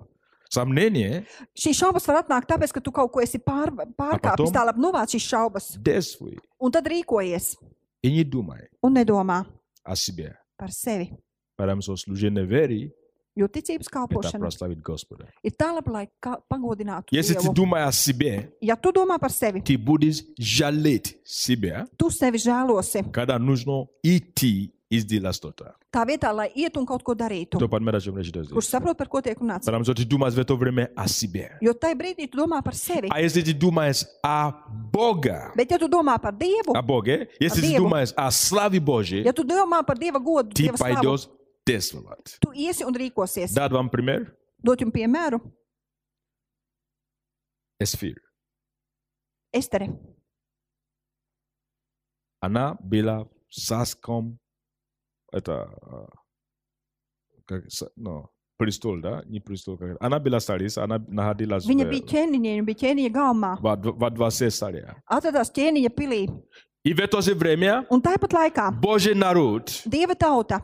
S1: сомнение,
S2: Šīs šaubas var atnākt tāpēc, ka tu kaut ko esi pār, pārkāpis,
S1: Apatom?
S2: tālāk novāc šīs šaubas.
S1: действуй
S2: Un tad rīkojies
S1: и не думай
S2: un nedomā
S1: о себе.
S2: par sevi.
S1: Потому что служение вере
S2: Jo ticības
S1: – это
S2: kalpošana
S1: прославить Господа.
S2: ir tālāk, lai kā- pagodinātu
S1: Если ты
S2: Dievu.
S1: думаешь о себе,
S2: Ja tu domā par sevi,
S1: ты будешь жалеть себя,
S2: tu sevi žēlosi
S1: когда нужно идти и сделать что-то.
S2: tā vietā, lai iet un kaut ko darītu,
S1: Кто понимает, о чем речь идет здесь?
S2: kurš saprot, par ko tiek runāts.
S1: Потому что ты думаешь в это время о себе.
S2: Jo tajā brīdī tu domā par sevi.
S1: А если ты думаешь о Бога,
S2: Bet, ja tu domā par Dievu,
S1: о Боге, если ты
S2: Диего.
S1: думаешь о славе
S2: ja
S1: Божьей,
S2: tu domā par Dieva godu,
S1: ты
S2: Dieva slavu,
S1: пойдешь действовать.
S2: tu iesi un rīkosies.
S1: Дать вам пример?
S2: Dot jums piemēru,
S1: Эсфир.
S2: Estere.
S1: Она была саском, это, а, как, са- ну, престол, да? Не престол. Как, это. она была царица, она находилась в,
S2: Viņa bija ķēniņa, viņa bija ķēniņa galmā,
S1: во, дв- во дворце царя.
S2: atradās ķēniņa pilī.
S1: И в это же время
S2: Un tāpat laikā
S1: Божий народ
S2: dieva tauta,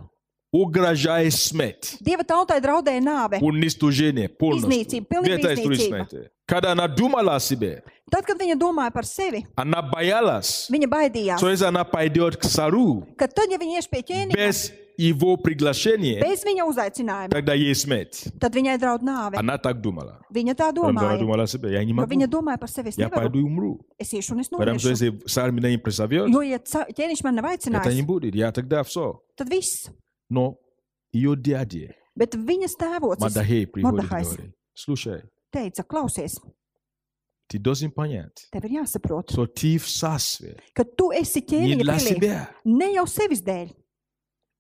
S1: угрожает смерть.
S2: dieva tautai draudēja nāve.
S1: уничтожение полностью.
S2: Изници, пълна
S1: Где-то
S2: изници.
S1: източните. Когда она думала о себе,
S2: Tad, kad viņa domāja par sevi,
S1: она боялась.
S2: viņa baidījās,
S1: So если она пойдет к царю
S2: ka tad, ja viņa ies pie ķēniņa
S1: без его приглашения,
S2: bez viņa uzaicinājuma,
S1: тогда ей смерть.
S2: tad viņai draud nāve.
S1: Она так думала.
S2: Viņa tā
S1: Потому что она
S2: domāja.
S1: думала о себе. Я не
S2: Jo
S1: могу.
S2: viņa domāja par sevi, es
S1: Я
S2: nevaru,
S1: пойду и умру.
S2: es iešu un es
S1: Потому что
S2: nomiršu.
S1: если царь меня не призовет,
S2: Jo, ja ca- ķēniņš man nav
S1: это не
S2: aicinājis,
S1: будет. Я тогда все.
S2: tad viss.
S1: Но ее дядя
S2: Bet viņas tēvocis
S1: Мадахей приходит и
S2: Мадахай.
S1: говорит, слушай,
S2: teica, klausies,
S1: ты должен понять,
S2: tev ir jāsaprot,
S1: что ты в царстве
S2: ka tu esi
S1: не
S2: ķēniņa
S1: для
S2: pilī
S1: себя.
S2: ne jau sevis dēļ.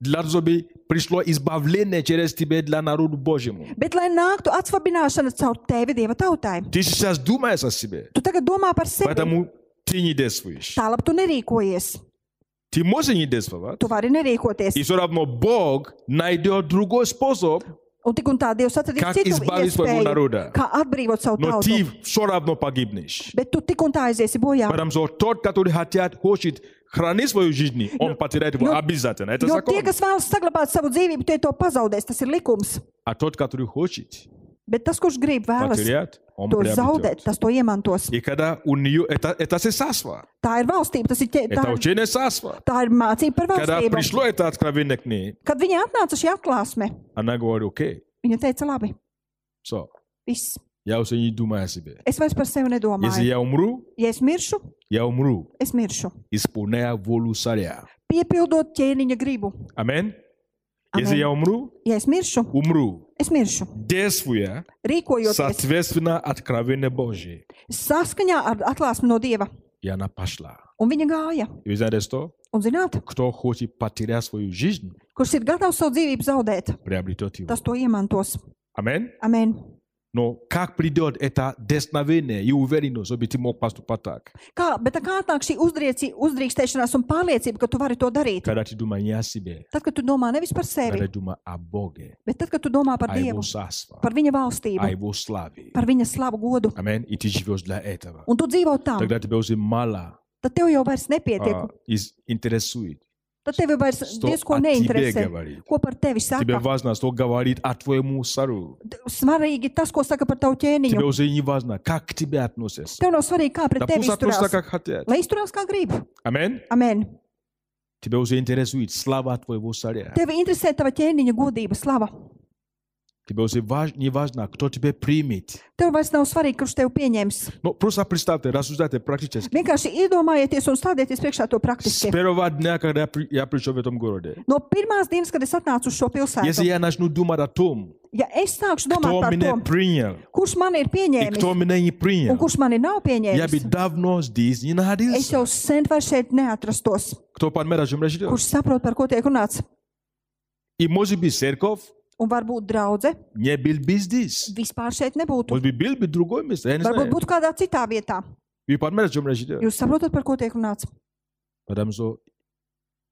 S1: для того, чтобы пришло избавление через тебя для народу Божьему.
S2: Bet, lai nāktu atsvabināšana caur tevi, Dieva tautai,
S1: Ты сейчас думаешь о себе,
S2: tu tagad domā par sevi.
S1: поэтому ты не действуешь.
S2: Tālāk tu nerīkojies,
S1: Ты можешь не действовать,
S2: tu vari
S1: и
S2: nerīkoties.
S1: все равно Бог найдет другой способ,
S2: Un tik un tā Dievs atradīs
S1: как
S2: citu
S1: избавить своего
S2: iespēju,
S1: народа.
S2: kā atbrīvot savu
S1: Но
S2: tautu.
S1: ты все равно погибнешь.
S2: Bet tu tik un tā aiziesi bojā.
S1: Потому что тот, который хотят, хочет хранить свою жизнь, он потеряет его
S2: но-
S1: обязательно. Это
S2: Jo
S1: закон.
S2: tie, kas vēlas saglabāt savu dzīvību, tie to pazaudēs. Tas ir likums.
S1: А тот, который хочет,
S2: Bet tas, kurš grib vēlas
S1: потерят, он
S2: to zaudēt,
S1: приобретет.
S2: tas to iemantos.
S1: И когда у нее это, это сесаство,
S2: Tā ir valstība, tas ir ķē- tā,
S1: это
S2: ir-
S1: учение сасва.
S2: tā ir mācība par
S1: Когда
S2: valstību.
S1: пришло это откровение к ней,
S2: Kad viņa atnāca šī atklāsme,
S1: она говорит, окей,
S2: viņa teica, labi,
S1: все,
S2: viss,
S1: я уже не думаю о себе.
S2: es vairs par sevi
S1: Если
S2: nedomāju.
S1: я умру,
S2: Ja es miršu,
S1: я умру,
S2: es miršu.
S1: исполняя волю царя.
S2: Piepildot ķēniņa gribu.
S1: Амин.
S2: Amen.
S1: Если я умру,
S2: Ja es miršu,
S1: умру,
S2: es miršu.
S1: действуя
S2: Rīkojoties
S1: соответственно откровение Божие.
S2: saskaņā ar atklāsmi no dieva.
S1: И она пошла.
S2: Un viņa gāja.
S1: И вы знаете что?
S2: Un zināt,
S1: Кто хочет потерять свою жизнь,
S2: kurš ir gatavs savu dzīvību zaudēt,
S1: приобретет его.
S2: tas to iemantos.
S1: Амин.
S2: Amen.
S1: Но как придет это десновение и уверенность, чтобы ты мог поступать так?
S2: Kā, bet tā kā nāk šī uzdrieci- uzdrīkstēšanās un pārliecība, ka tu vari to darīt?
S1: Когда ты думаешь не о себе,
S2: Tad, kad tu domā nevis par
S1: когда
S2: sevi,
S1: ты думаешь о Боге,
S2: bet tad, kad tu domā par
S1: о Его
S2: Dievu,
S1: царстве,
S2: par viņa
S1: о
S2: valstību,
S1: Его славе.
S2: par viņa slavu godu,
S1: Аминь. И ты живешь для этого.
S2: un tu dzīvo tā,
S1: Тогда тебе уже мало
S2: tad tev jau vairs
S1: а,
S2: nepietiek.
S1: из- интересует,
S2: Tad tev jau vairs
S1: что
S2: diezko
S1: о тебе
S2: neinteresē.
S1: говорит.
S2: Ko par tevi
S1: Тебе
S2: saka?
S1: важно, что говорит о твоему цару.
S2: Svarīgi tas, ko saka par tavu
S1: Тебе
S2: ķēniņu.
S1: уже не важно, как к тебе относятся.
S2: Tev nav svarīgi, kā pret
S1: Да
S2: tevi
S1: пусть относятся,
S2: izturās.
S1: как хотят.
S2: Lai izturās kā grib.
S1: Аминь.
S2: Amen.
S1: Тебя уже интересует слава твоего царя.
S2: Tevi interesē tava ķēniņa godība, slava.
S1: Тебе уже важ- не важно, кто тебя примет.
S2: Tev vairs nav svarīgi, kurš tevi pieņems.
S1: Но просто представьте, рассуждайте практически.
S2: Vienkārši iedomājieties un stādieties priekšā to
S1: С
S2: praktiski.
S1: первого дня, когда я при- я пришел в этом городе,
S2: No pirmās dienas, kad es atnācu uz šo
S1: если
S2: pilsētu,
S1: я начну думать о том,
S2: ja es sākšu domāt
S1: кто
S2: par
S1: меня
S2: to,
S1: принял
S2: kurš man ir
S1: и
S2: pieņēmis
S1: кто меня не
S2: un
S1: принял,
S2: kurš man nav
S1: я бы
S2: pieņēmis,
S1: давно здесь не
S2: es
S1: находился.
S2: jau sen vairs šeit neatrastos.
S1: Кто понимает, о чем речь идет?
S2: Kurš saprot, par ko tiek runāts?
S1: И может быть церковь
S2: Un varbūt draudzene
S1: не был бы здесь.
S2: vispār šeit nebūtu.
S1: Может быть, был бы в другом месте, я не
S2: Varbūt
S1: знаю.
S2: būtu kādā citā vietā.
S1: Вы понимаете, о чем речь идет?
S2: Jūs saprotat, par ko tiek runāts?
S1: Потому что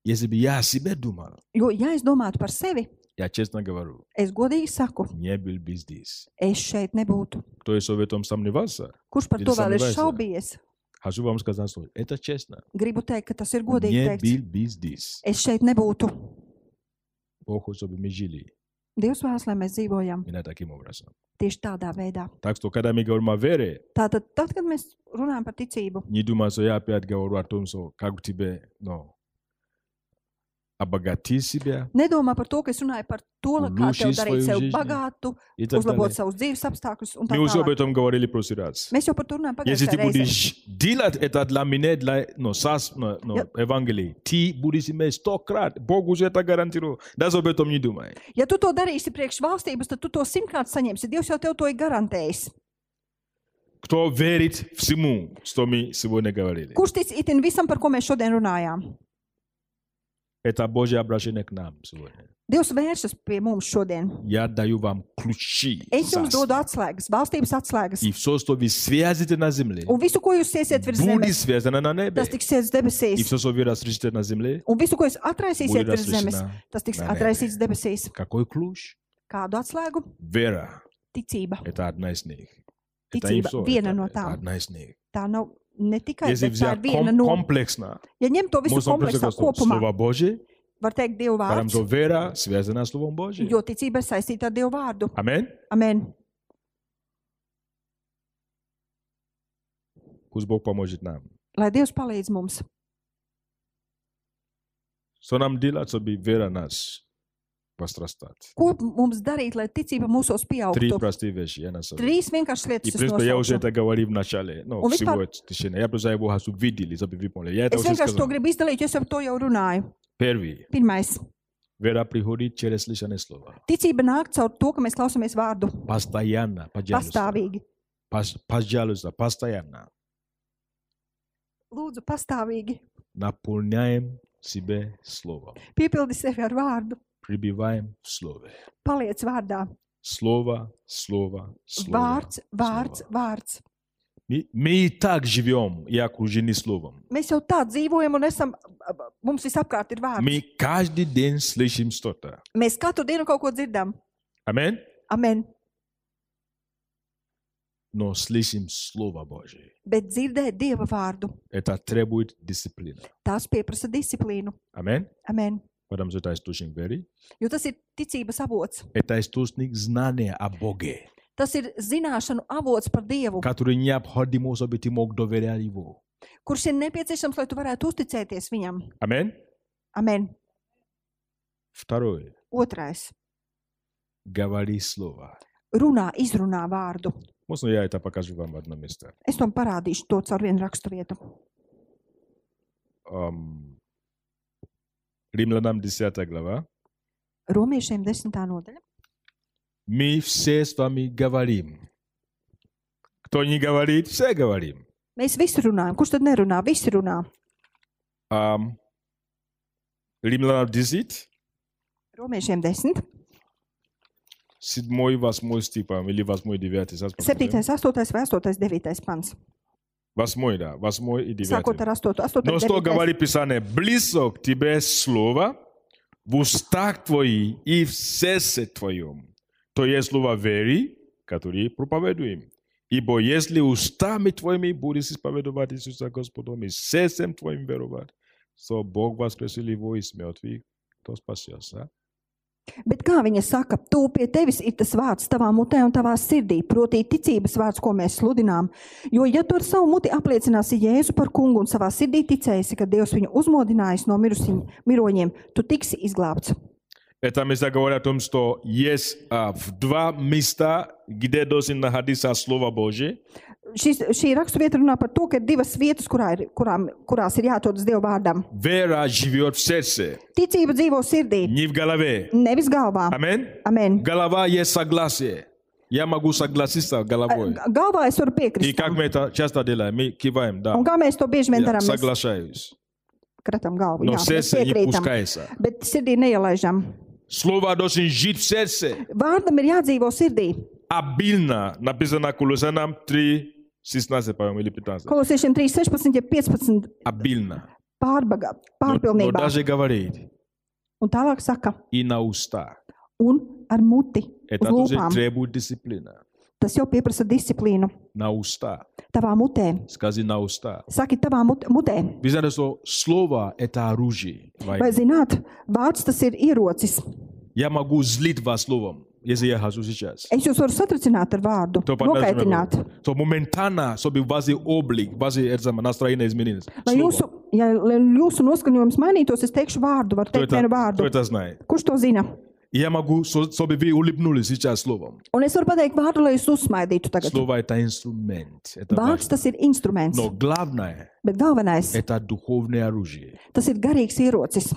S1: если бы я о себе думал,
S2: Jo, ja es domātu par sevi,
S1: я честно говорю,
S2: es godīgi saku,
S1: не был бы здесь.
S2: es šeit nebūtu.
S1: Кто еще в этом сомневался,
S2: Kurš par
S1: Ir
S2: to vēl ir
S1: samivērsa.
S2: šaubies?
S1: хочу вам сказать, что это честно.
S2: Gribu teikt, ka tas ir godīgi
S1: Не
S2: teikt.
S1: был бы здесь.
S2: Es šeit nebūtu.
S1: Бог хочет, чтобы мы жили
S2: Dievs vēlas, lai mēs dzīvojam
S1: именно таким образом.
S2: tieši tādā veidā.
S1: Так что, когда мы говорим о вере,
S2: Tātad, tad, kad mēs runājam par ticību,
S1: не думай, что я опять говорю о том, что как тебе, но обогати себя
S2: nedomā par to, ka es runāju par to,
S1: Un
S2: kā tev
S1: lūšīs
S2: darīt
S1: svoju
S2: sevi
S1: žižņi.
S2: bagātu,
S1: и так
S2: uzlabot
S1: далее.
S2: savus dzīves apstākļus un tā
S1: Мы уже об
S2: tālāk.
S1: этом говорили в прошлый раз.
S2: Mēs jau par to runājam
S1: Если ты
S2: pagājušajā reizē.
S1: будешь делать это для меня, для но, сас, но, но,
S2: Я-
S1: Евангелие, ты будешь иметь сто крат. Бог уже это гарантировал. Даже об этом не думай.
S2: Ja tu to darīsi priekš valstības, tad tu to simtkārt saņemsi. Dievs jau tev to ir garantējis.
S1: Кто верит всему, что мы сегодня говорили?
S2: Kurš tic itin visam, par ko mēs šodien runājām?
S1: Это Божье обращение к нам сегодня.
S2: Dievs vēršas pie mums šodien.
S1: Я даю вам ключи.
S2: Es jums
S1: царства.
S2: dodu atslēgas, valstības atslēgas.
S1: И все, что вы связите на земле,
S2: Un visu, ko jūs iesiet virs
S1: будет
S2: zemes,
S1: связано на небе.
S2: tas tiks iesiet
S1: И
S2: debesīs.
S1: все, что вы расслышите на земле,
S2: Un visu, ko jūs atraisīsiet
S1: будет
S2: virs zemes,
S1: расслышано.
S2: tas tiks
S1: Nē, nē,
S2: atraisīts debesīs.
S1: Какой ключ?
S2: Kādu atslēgu?
S1: Вера.
S2: Ticība.
S1: Это одна из них. Это не
S2: Ticība.
S1: все.
S2: Viena no
S1: Это, это
S2: tām.
S1: одна из них.
S2: Tā nav ne tikai
S1: Если
S2: bet tā
S1: взять
S2: ir viena
S1: ком,
S2: no.
S1: комплексно,
S2: Ja ņem to
S1: можно
S2: visu
S1: просто
S2: kompleksā
S1: сказать, что
S2: kopumā,
S1: Слово Божие,
S2: var teikt Dievu
S1: потому
S2: vārdu,
S1: что вера связана с Словом Божьим.
S2: jo ticība ir saistīta ar Dievu vārdu.
S1: Аминь.
S2: Amen.
S1: Пусть Бог поможет нам.
S2: Lai Dievs palīdz mums.
S1: Что нам делать, чтобы вера нас возрастать?
S2: Ko mums darīt, lai ticība mūsos
S1: Три
S2: pieaugtu?
S1: простые вещи я назову.
S2: Trīs vienkāršas
S1: И, в
S2: lietas. es
S1: принципе, я уже
S2: nosaukšu.
S1: это говорил в начале, но
S2: Он ведь
S1: всего
S2: пар-
S1: этого течения. Я просто
S2: prostě
S1: его хочу видели, чтобы вы поняли. Я это
S2: Es
S1: уже
S2: vienkārši to
S1: сказал.
S2: gribu izdarīt, jo es jau par to jau runāju.
S1: Первый.
S2: Pirmais.
S1: Вера приходит через слышание слова.
S2: Ticība nāk caur to, ka mēs klausāmies vārdu
S1: Постоянно, пожалуйста.
S2: pastāvīgi.
S1: Пос- Пожалуйста, постоянно.
S2: Lūdzu, pastāvīgi
S1: Наполняем себя словом.
S2: piepildi sevi ar vārdu.
S1: Прибиваем в слове.
S2: Paliec vārdā.
S1: Слово, слово, слово.
S2: Vārds, vārds, vārds.
S1: Мы, мы и так живем и окружены словом.
S2: Mēs jau tā dzīvojam un esam, mums visapkārt ir vārds.
S1: Мы каждый день слышим что-то.
S2: Mēs katru dienu kaut ko dzirdam.
S1: Аминь.
S2: Amen. No,
S1: Но слышим Слово Божие.
S2: Bet dzirdēt dieva vārdu,
S1: Это требует дисциплины.
S2: tas prasa disciplīnu.
S1: Аминь.
S2: Amen.
S1: Потому что это источник веры.
S2: Jo tas ir ticības avots.
S1: Это источник знания о Боге.
S2: Tas ir zināšanu avots par Dievu,
S1: который необходим, чтобы ты мог доверять Его.
S2: kurš ir nepieciešams, lai tu varētu uzticēties viņam.
S1: Аминь.
S2: Amen.
S1: Второе.
S2: Otrais
S1: Говори слово.
S2: - runā, izrunā vārdu.
S1: Можно я это покажу вам одно место?
S2: Es tam parādīšu to caur vienu raksturvietu.
S1: Ам,
S2: Um,
S1: Римлянам 10 глава.
S2: Romiešiem 10. nodaļa.
S1: Мы все с вами говорим. Кто не говорит, все говорим.
S2: Mēs visi runājam. Kurš tad nerunā? Visi runā.
S1: Ам, Римлянам 10,
S2: Romiešiem 10.
S1: 7, 8 стих, по-моему, или 8, 9. Сейчас посмотрим.
S2: 7., 8. vai 8. 9. pants.
S1: 8, да, 8 и 9.
S2: Sākot ar 8. 8.
S1: Но что
S2: 9..
S1: говорит Писание? Близок к тебе слово в устах твои и в сердце твоем. То есть слово веры, которое проповедуем. Ибо если устами твоими будешь исповедовать Иисуса Господом и сердцем твоим веровать, то Бог воскресил его из мертвых, то спасется.
S2: Bet kā viņa saka, tu pie tevis ir tas vārds tavā mutē un tavā sirdī, proti, ticības vārds, ko mēs sludinām. Jo, ja tu ar savu muti apliecināsi Jēzu par kungu un savā sirdī ticēsi, ka Dievs viņu uzmodinājis no mirusiņ, miroņiem, tu tiksi izglābts.
S1: Это место говорит о том, что есть а, в два места, где должен находиться Слово Божие,
S2: Šis, šī raksturvieta runā par to, ka ir divas vietas, kurā ir, kurām, kurās ir jāatrodas Dieva vārdam.
S1: вера живет в сердце,
S2: Ticība dzīvo sirdī,
S1: не в голове.
S2: nevis galvā.
S1: Аминь.
S2: Amen.
S1: Голова есть согласие. Я могу согласиться головой.
S2: Ga- Galvā es varu
S1: И
S2: piekrist.
S1: как мы это часто делаем, мы киваем, да.
S2: Un kā mēs to bieži vien
S1: Я
S2: darām? Mēs
S1: соглашаюсь.
S2: kratām galvu,
S1: Но
S2: jā, mēs
S1: сердце не
S2: piekrītam,
S1: пускается.
S2: bet sirdī neielaižam.
S1: Слово должен жить в сердце.
S2: Vārdam ir jādzīvo sirdī.
S1: Обильно написано Колоссянам 3, 16, по-моему, или 15.
S2: Kolosiešiem 3, 16, ja 15
S1: Обильно.
S2: pārbaga,
S1: Но, но
S2: pārpilnībā.
S1: даже говорит,
S2: Un tālāk saka,
S1: и на уста.
S2: un ar muti, uz
S1: Это тоже
S2: lūpām.
S1: требует дисциплина.
S2: Tas jau pieprasa disciplīnu.
S1: На уста.
S2: Tavā mutē.
S1: Скажи на уста.
S2: Saki, tavā mut- mutē.
S1: Вы знаете, что слово – это оружие. во имя.
S2: Vai zināt, vārds tas ir ierocis.
S1: Я могу злить вас словом, если я хочу сейчас.
S2: Es jūs varu satricināt ar vārdu,
S1: То
S2: nokaitināt.
S1: То моментально, чтобы ваши облик, ваши это самое, настроение изменилось.
S2: Lai
S1: Слово.
S2: jūsu, ja, lai jūsu noskaņojums mainītos, es teikšu vārdu, var
S1: Кто
S2: teikt vienu
S1: это, кто
S2: vārdu.
S1: это знает?
S2: Kurš to zina?
S1: И Я могу, со- чтобы вы улыбнулись сейчас словом.
S2: Un es varu pateikt vārdu, lai jūs uzsmaidītu tagad.
S1: Слово это инструмент. Это
S2: Vārds
S1: важно.
S2: tas ir instruments,
S1: Но главное,
S2: bet galvenais
S1: это духовное оружие.
S2: tas ir garīgs ierocis.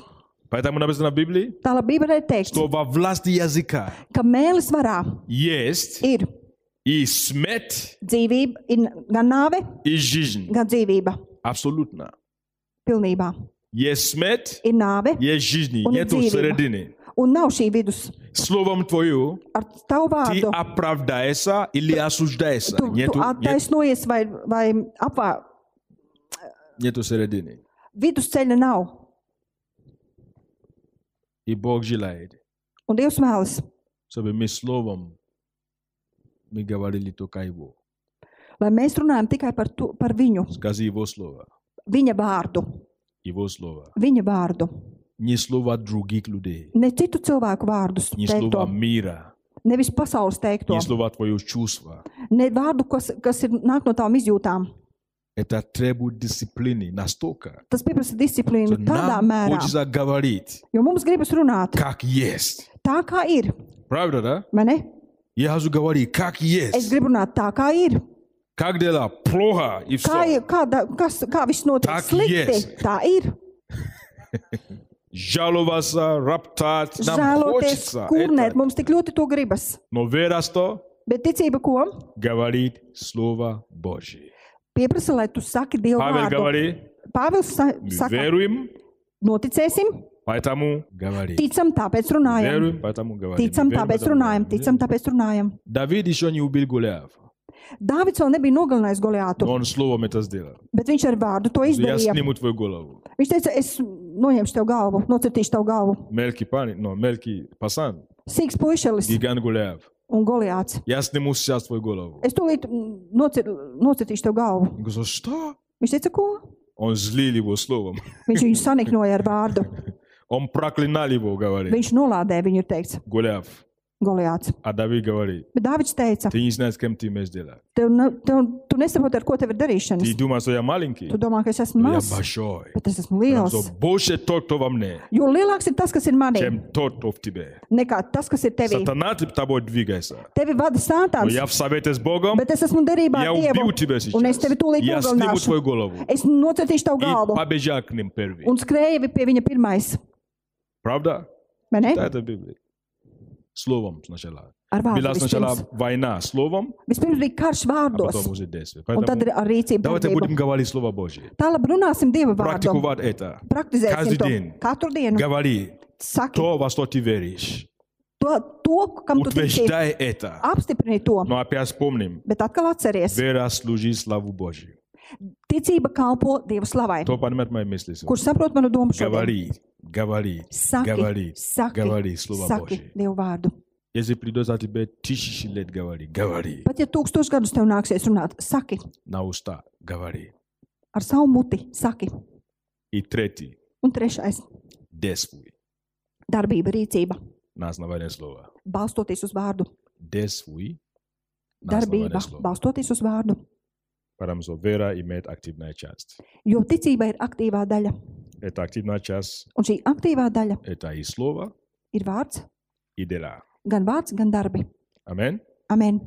S1: Поэтому написано в Библии,
S2: Tālāk bija varētu teikt,
S1: что во власти языка
S2: ka mēlis varā
S1: есть
S2: ir
S1: и смерть,
S2: dzīvība, ir gan nāve,
S1: и жизнь.
S2: gan dzīvība.
S1: Абсолютно.
S2: Pilnībā
S1: Есть смерть,
S2: ir нāve
S1: есть жизнь.
S2: Он
S1: Нету
S2: дзивим.
S1: середины.
S2: un nav šī vidus.
S1: Словом твоим
S2: Ar tavu
S1: ты
S2: vārdu
S1: оправдаешься или осуждаешься.
S2: tu,
S1: Нету, нет-
S2: tu attaisnojies vai, vai apvā.
S1: нету середины.
S2: Vidusceļa nav.
S1: И Бог желает,
S2: Un Dievs vēlas,
S1: чтобы мы словом мы говорили только Его.
S2: lai mēs runājam tikai par, tu, par viņu,
S1: Скажи Его слово.
S2: viņa vārdu,
S1: Его слово.
S2: viņa vārdu.
S1: Не слово других людей.
S2: Ne citu cilvēku vārdus,
S1: Не
S2: teikto,
S1: слово мира.
S2: nevis pasaules teikto,
S1: Не слово твое чувство.
S2: ne vārdu, kas, kas ir, nāk no tām izjūtām.
S1: Это требует дисциплины настолько,
S2: Tas prasa
S1: что
S2: disciplīnu tādā
S1: нам
S2: mērā,
S1: хочется говорить,
S2: jo mums gribas runāt
S1: как есть.
S2: tā, kā ir.
S1: Правда, да?
S2: vai ne?
S1: Я хочу говорить, как
S2: Es
S1: есть.
S2: gribu runāt tā, kā ir.
S1: Как дела? Плохо и
S2: Kā, ir-
S1: все.
S2: kāda, kas, kā viss notiek
S1: Tā
S2: slikti,
S1: ies.
S2: tā ir.
S1: Жаловаться, роптать. Нам
S2: Žēloties,
S1: хочется
S2: kurnēt,
S1: это.
S2: mums tik ļoti to gribas.
S1: Но вера что?
S2: Bet ticība ko?
S1: говорит Слово Божие.
S2: Pieprasa, lai tu saki Dievu
S1: Павел
S2: vārdu.
S1: говорит,
S2: Pāvils sa
S1: мы
S2: saka,
S1: веруем,
S2: noticēsim,
S1: поэтому говорит.
S2: ticam, tāpēc runājam.
S1: Веруем, поэтому говорит.
S2: Ticam,
S1: Мы веруем,
S2: tāpēc
S1: поэтому
S2: runājam,
S1: говорим.
S2: ticam, tāpēc runājam.
S1: Давид еще не убил Голиафа,
S2: Dāvids vēl nebija nogalinājis Goliātu,
S1: но он словом это сделал.
S2: bet viņš ar vārdu to
S1: Что Я
S2: izdarīja.
S1: сниму твою голову.
S2: Viņš teica, es noņemšu tev galvu, nocirtīšu tev galvu.
S1: Мелкий парень, но мелкий пасан,
S2: Sīgs puišelis
S1: гигант Голиаф.
S2: un goliāts.
S1: Я sниму сейчас твою голову.
S2: Es tūlīt mm, nocir, nocirtīšu tev galvu.
S1: Он говорит, что?
S2: Viņš teica, ko?
S1: Он злил его словом.
S2: Viņš viņu saniknoja ar vārdu.
S1: Он проклинал его, говорит,
S2: Viņš nolādēja viņu, ir teikts,
S1: Голиаф.
S2: Голијats.
S1: А Давид говори,
S2: Bet Dāvids teica,
S1: ти не знаеш кем ти имаш дела.
S2: tev, nav- tev, tu nesaproti, ar ko tev ir
S1: Ти
S2: darīšanas.
S1: думаш, я маленький,
S2: Tu domā, ka es esmu
S1: я
S2: mazs,
S1: большой.
S2: bet es esmu
S1: Там
S2: liels.
S1: за больше тот, кто во мне,
S2: Jo lielāks ir tas, kas ir manī,
S1: чем тот, кто в тебе.
S2: nekā tas, kas ir tevī.
S1: Сатана ты тобой двигается.
S2: Tevi vada
S1: Но
S2: sātāns,
S1: я в совете с Богом,
S2: bet es esmu derībā
S1: я
S2: ar
S1: убил тебя
S2: Dievu. Un es tevi
S1: сейчас.
S2: tūlīt
S1: Я сниму
S2: nogalināšu.
S1: твою голову.
S2: Es nocetīšu tavu
S1: И
S2: galvu
S1: побежал к ним первый.
S2: un skrēju pie viņa pirmais.
S1: Правда?
S2: Vai ne?
S1: Да, это Библия. Словом сначала.
S2: Ar vārdu.
S1: Была сначала
S2: Vispirms.
S1: война словом,
S2: vispirms bija karš
S1: а
S2: vārdos,
S1: потом уже действие.
S2: un
S1: Поэтому
S2: tad ir ar rīcību.
S1: давайте
S2: darbību.
S1: будем говорить Слово Божье.
S2: Tālāk runāsim Dieva vārdu.
S1: Практиковать это.
S2: Praktizēsim
S1: Kādu
S2: to
S1: dienu.
S2: katru dienu.
S1: Говори
S2: Saki
S1: то, во что ты веришь.
S2: to, to kam tu tici.
S1: Утверждай
S2: А.
S1: это.
S2: Apstiprini to,
S1: Но опять вспомним.
S2: bet atkal atceries,
S1: Вера служит славу Божью.
S2: ticība kalpo Dieva slavai.
S1: Кто понимает мои мысли? сегодня?
S2: Kurš saprot manu domu šodien?
S1: Говори, говори,
S2: Saki,
S1: говори,
S2: saki,
S1: говори Слово
S2: saki
S1: Божье.
S2: Dieva vārdu.
S1: Если придется тебе тысячи лет говорить, говори
S2: Pat ja tūkstoš gadus tev nāksies runāt, saki
S1: на уста, говори.
S2: ar savu muti, saki.
S1: И третий,
S2: Un trešais
S1: действуй
S2: - darbība, rīcība,
S1: на основании слова.
S2: balstoties uz vārdu.
S1: Действуй на основании
S2: Darbība,
S1: слова.
S2: balstoties uz vārdu.
S1: Потому что вера имеет активная часть.
S2: Jo ticība ir aktīvā daļa.
S1: Это активная часть,
S2: Un šī aktīvā daļa
S1: это и слово,
S2: ir vārds,
S1: и дела.
S2: gan vārds, gan darbi.
S1: Аминь.
S2: Amen.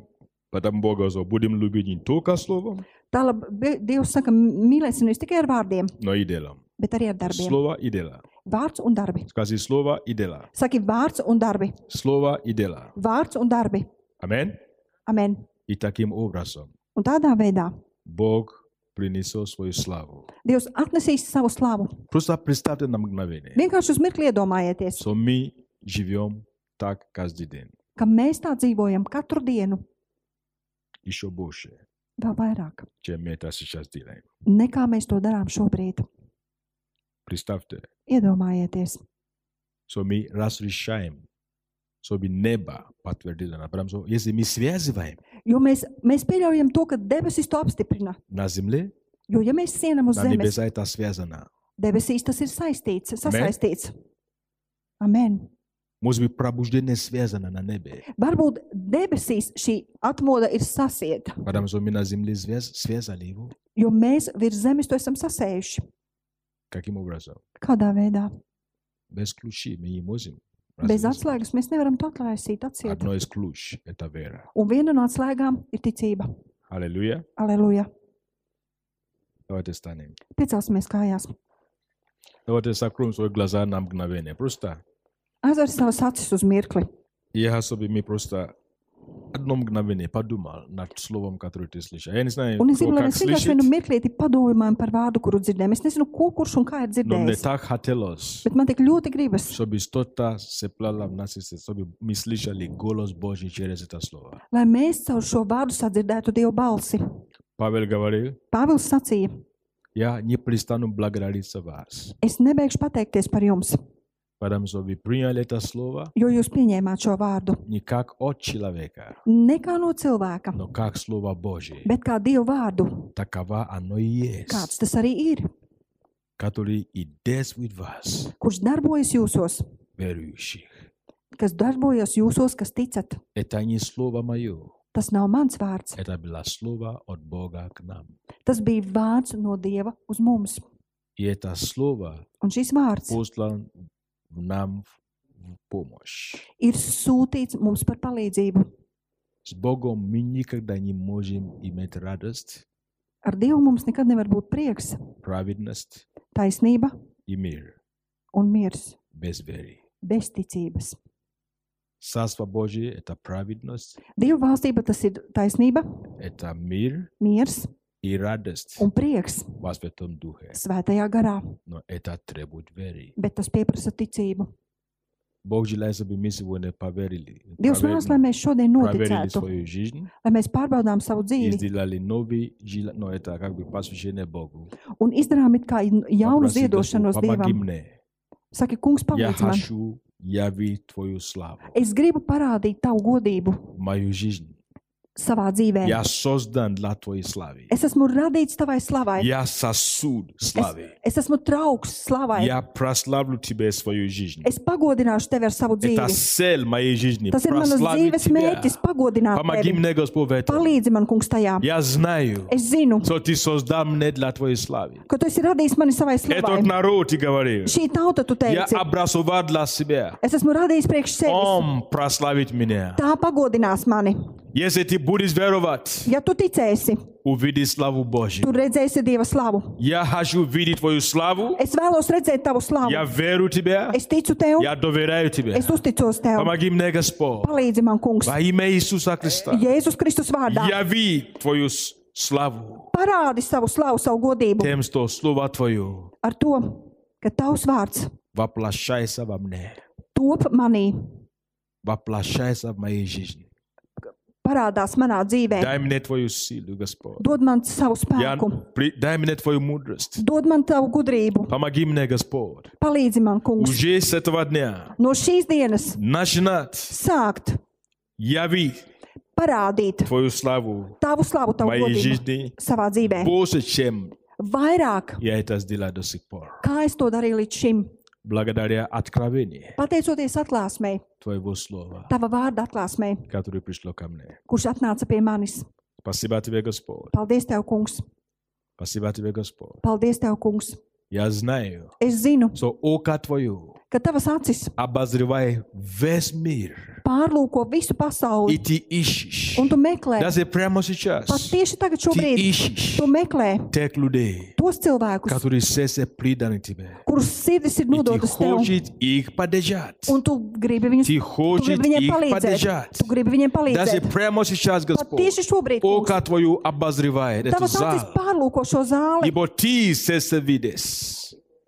S1: Потому Бога говорит, будем любить не только словом,
S2: Tālāk Be- Dievs saka, mīlēsim nevis tikai ar vārdiem,
S1: но и делом.
S2: bet arī ar darbiem.
S1: Слово и дела.
S2: Vārds un darbi.
S1: Скажи слово и дела.
S2: Saki, vārds un darbi.
S1: Слово и дела.
S2: Vārds un darbi.
S1: Аминь.
S2: Amen.
S1: И таким образом
S2: Un tādā veidā
S1: Бог принесет свою славу.
S2: Dievs atnesīs savu slavu.
S1: Просто представьте на мгновение,
S2: Vienkārši uz mirkli iedomājieties,
S1: что мы живем так каждый день.
S2: ka mēs tā dzīvojam katru dienu,
S1: Еще больше,
S2: vēl vairāk
S1: чем мы это сейчас делаем.
S2: nekā mēs to darām šobrīd.
S1: Представьте,
S2: Iedomājieties,
S1: что мы разрешаем, чтобы небо подтвердило нам. Потому что если мы связываем
S2: jo mēs, mēs pieļaujam to, ka debesis to apstiprina.
S1: на земле,
S2: Jo, ja mēs sienam uz
S1: на
S2: zemes,
S1: небеса это связано.
S2: debesīs tas ir saistīts, sasaistīts. Amen.
S1: Может быть, пробуждение связано на небе.
S2: Varbūt debesīs šī atmoda ir sasieta,
S1: Потому что мы на земле связ- связали его.
S2: jo mēs virs zemes to esam sasējuši.
S1: Каким образом?
S2: Kādā veidā?
S1: Без ключи мы не можем.
S2: Bez
S1: развязать.
S2: atslēgas mēs nevaram to atlaisīt, atciet.
S1: Одно из ключ – это вера.
S2: Un viena no atslēgām ir ticība.
S1: Аллилуйя.
S2: Aleluja!
S1: Давайте станем.
S2: Piecelsimies kājās.
S1: Давайте сокроем свои глаза на мгновение. Просто
S2: Aizver savas acis uz mirkli.
S1: я особенно мы просто одно мгновение подумал над словом, которое ты слышал. Я не знаю,
S2: Un es
S1: кто
S2: zinu, lai
S1: как
S2: mēs vienkārši vienu
S1: слышит,
S2: mirklīti padomājam par vārdu, kuru dzirdējām. Es nezinu, ko kurš un kā ir
S1: но мне
S2: dzirdējis.
S1: так хотелось,
S2: Bet man tik ļoti gribas,
S1: чтобы что-то сеплало в нас, сердце, чтобы мы слышали голос Божий через это слово.
S2: lai mēs caur šo vārdu sadzirdētu Dieva balsi.
S1: Павел говорил,
S2: Pāvils sacīja,
S1: я не перестану благодарить вас,
S2: es nebeigšu pateikties par jums,
S1: потому что вы приняли это слово
S2: jo jūs pieņēmāt šo vārdu.
S1: не как от человека,
S2: Ne kā no cilvēka,
S1: но как слово Божие.
S2: bet kā Dieva vārdu.
S1: Такова оно и есть,
S2: Kāds tas arī ir,
S1: который и действует в вас,
S2: kurš darbojas jūsos,
S1: верующих.
S2: kas darbojas jūsos, kas ticat.
S1: Это не слово мое,
S2: Tas nav mans vārds.
S1: это было слово от Бога к нам.
S2: Tas bija vārds no Dieva uz mums.
S1: И это слово
S2: Un šis vārds
S1: послан в нам в помощь.
S2: ir sūtīts mums par palīdzību.
S1: С Богом мы никогда не можем иметь радость,
S2: Ar Dievu mums nekad nevar būt prieks,
S1: праведность
S2: taisnība
S1: и мир
S2: un miers
S1: без веры.
S2: bez ticības.
S1: Царство Божие – это праведность,
S2: Dieva valstība tas ir taisnība,
S1: это мир
S2: miers
S1: и радость
S2: un prieks
S1: во Святом Духе.
S2: svētajā garā,
S1: Но это требует веры.
S2: bet tas pieprasa ticību.
S1: Бог желает, чтобы мы сегодня поверили.
S2: Dievs
S1: провер-
S2: vēlas, lai mēs šodien
S1: проверили
S2: noticētu,
S1: свою жизнь
S2: lai mēs pārbaudām savu
S1: и
S2: dzīvi
S1: сделали новый, жила- но это как бы посвящение Богу.
S2: un izdarām it kā jaunu
S1: Попроси Господь,
S2: ziedošanos
S1: помоги
S2: Dievam.
S1: мне.
S2: Saki, kungs,
S1: Я
S2: palīdz man!
S1: хочу явить Твою славу,
S2: E- Es gribu parādīt tavu godību
S1: в мою жизнь,
S2: savā dzīvē.
S1: Я создан для твоей славы.
S2: Es esmu radīts tavai slavai.
S1: Я сосуд славы.
S2: Es esmu trauks slavai.
S1: Я прославлю тебя свою жизнь.
S2: Es pagodināšu tevi ar savu
S1: Это
S2: dzīvi.
S1: цель моей жизни.
S2: Tas ir manas
S1: Прославить
S2: dzīves
S1: тебя.
S2: mērķis pagodināt
S1: Помоги
S2: tevi.
S1: мне, Господь, в этом.
S2: Palīdzi man, kungs, tajā.
S1: Я знаю,
S2: Es zinu,
S1: что ты создал меня для твоей славы.
S2: ka tu esi radījis mani savai
S1: Этот
S2: slavai.
S1: народ, ты говоришь,
S2: Šī tauta, tu
S1: я
S2: teici,
S1: образовал для себя.
S2: es esmu radījis priekš sevis.
S1: Он прославит меня.
S2: Tā pagodinās mani.
S1: Если ты будешь веровать,
S2: Ja tu ticēsi,
S1: увидишь славу Божью.
S2: tu redzēsi Dieva slavu.
S1: Я хочу видеть твою славу.
S2: Es vēlos redzēt tavu slavu.
S1: Я верю тебя.
S2: Es ticu tev,
S1: Я доверяю тебе.
S2: es uzticos tev.
S1: Помоги мне, Господь.
S2: Palīdzi man, kungs,
S1: Во имя Иисуса Христа.
S2: Jēzus Kristus vārdā.
S1: Яви твою с- славу
S2: Parādi savu slavu, savu godību
S1: тем, что слово твое
S2: ar to, ka tavs vārds
S1: воплощается во мне.
S2: top manī,
S1: Воплощается в моей жизни.
S2: parādās manā dzīvē.
S1: Дай мне твою силу, Господь.
S2: Dod man savu
S1: Я,
S2: spēku,
S1: при- дай мне твою мудрость.
S2: dod man tavu gudrību,
S1: Помоги мне, Господь.
S2: palīdzi man, kungs,
S1: Уже с этого дня
S2: no šīs dienas
S1: начинать
S2: sākt
S1: яви
S2: parādīt
S1: твою славу
S2: tavu slavu,
S1: в
S2: tavu
S1: моей
S2: godību
S1: жизни
S2: savā dzīvē.
S1: больше, чем
S2: Vairāk,
S1: я это сделал до сих пор.
S2: kā es to darīju līdz šim,
S1: Благодаря откровению
S2: pateicoties atklāsmei,
S1: твоего слова,
S2: tava vārda atklāsmei,
S1: которое пришло ко мне.
S2: kurš atnāca pie manis.
S1: Спасибо тебе, Господь.
S2: Paldies, tev, kungs!
S1: Спасибо тебе, Господь.
S2: Paldies, tev, kungs!
S1: Я знаю,
S2: Es zinu,
S1: что око твое
S2: ka tavas acis
S1: обозревает весь мир.
S2: pārlūko visu
S1: И
S2: pasauli,
S1: ты ищешь.
S2: un tu meklē
S1: Даже прямо сейчас
S2: pat tieši tagad,
S1: ты
S2: šobrīd,
S1: ищешь
S2: tu meklē
S1: тех людей,
S2: tos cilvēkus,
S1: которые сердце преданы тебе.
S2: kurus sirdis ir
S1: И ты
S2: nodotas tev.
S1: хочешь их поддержать.
S2: Un tu gribi viņus
S1: Ты
S2: tu
S1: хочешь
S2: gribi viņiem
S1: их
S2: palīdzēt.
S1: поддержать.
S2: Tu gribi viņiem
S1: Даже
S2: palīdzēt.
S1: прямо сейчас,
S2: Pat
S1: Господь,
S2: tieši šobrīd kungs,
S1: око твое обозревает эту
S2: tavas acis
S1: зал.
S2: pārlūko šo zāli,
S1: Ибо ты сердце видишь.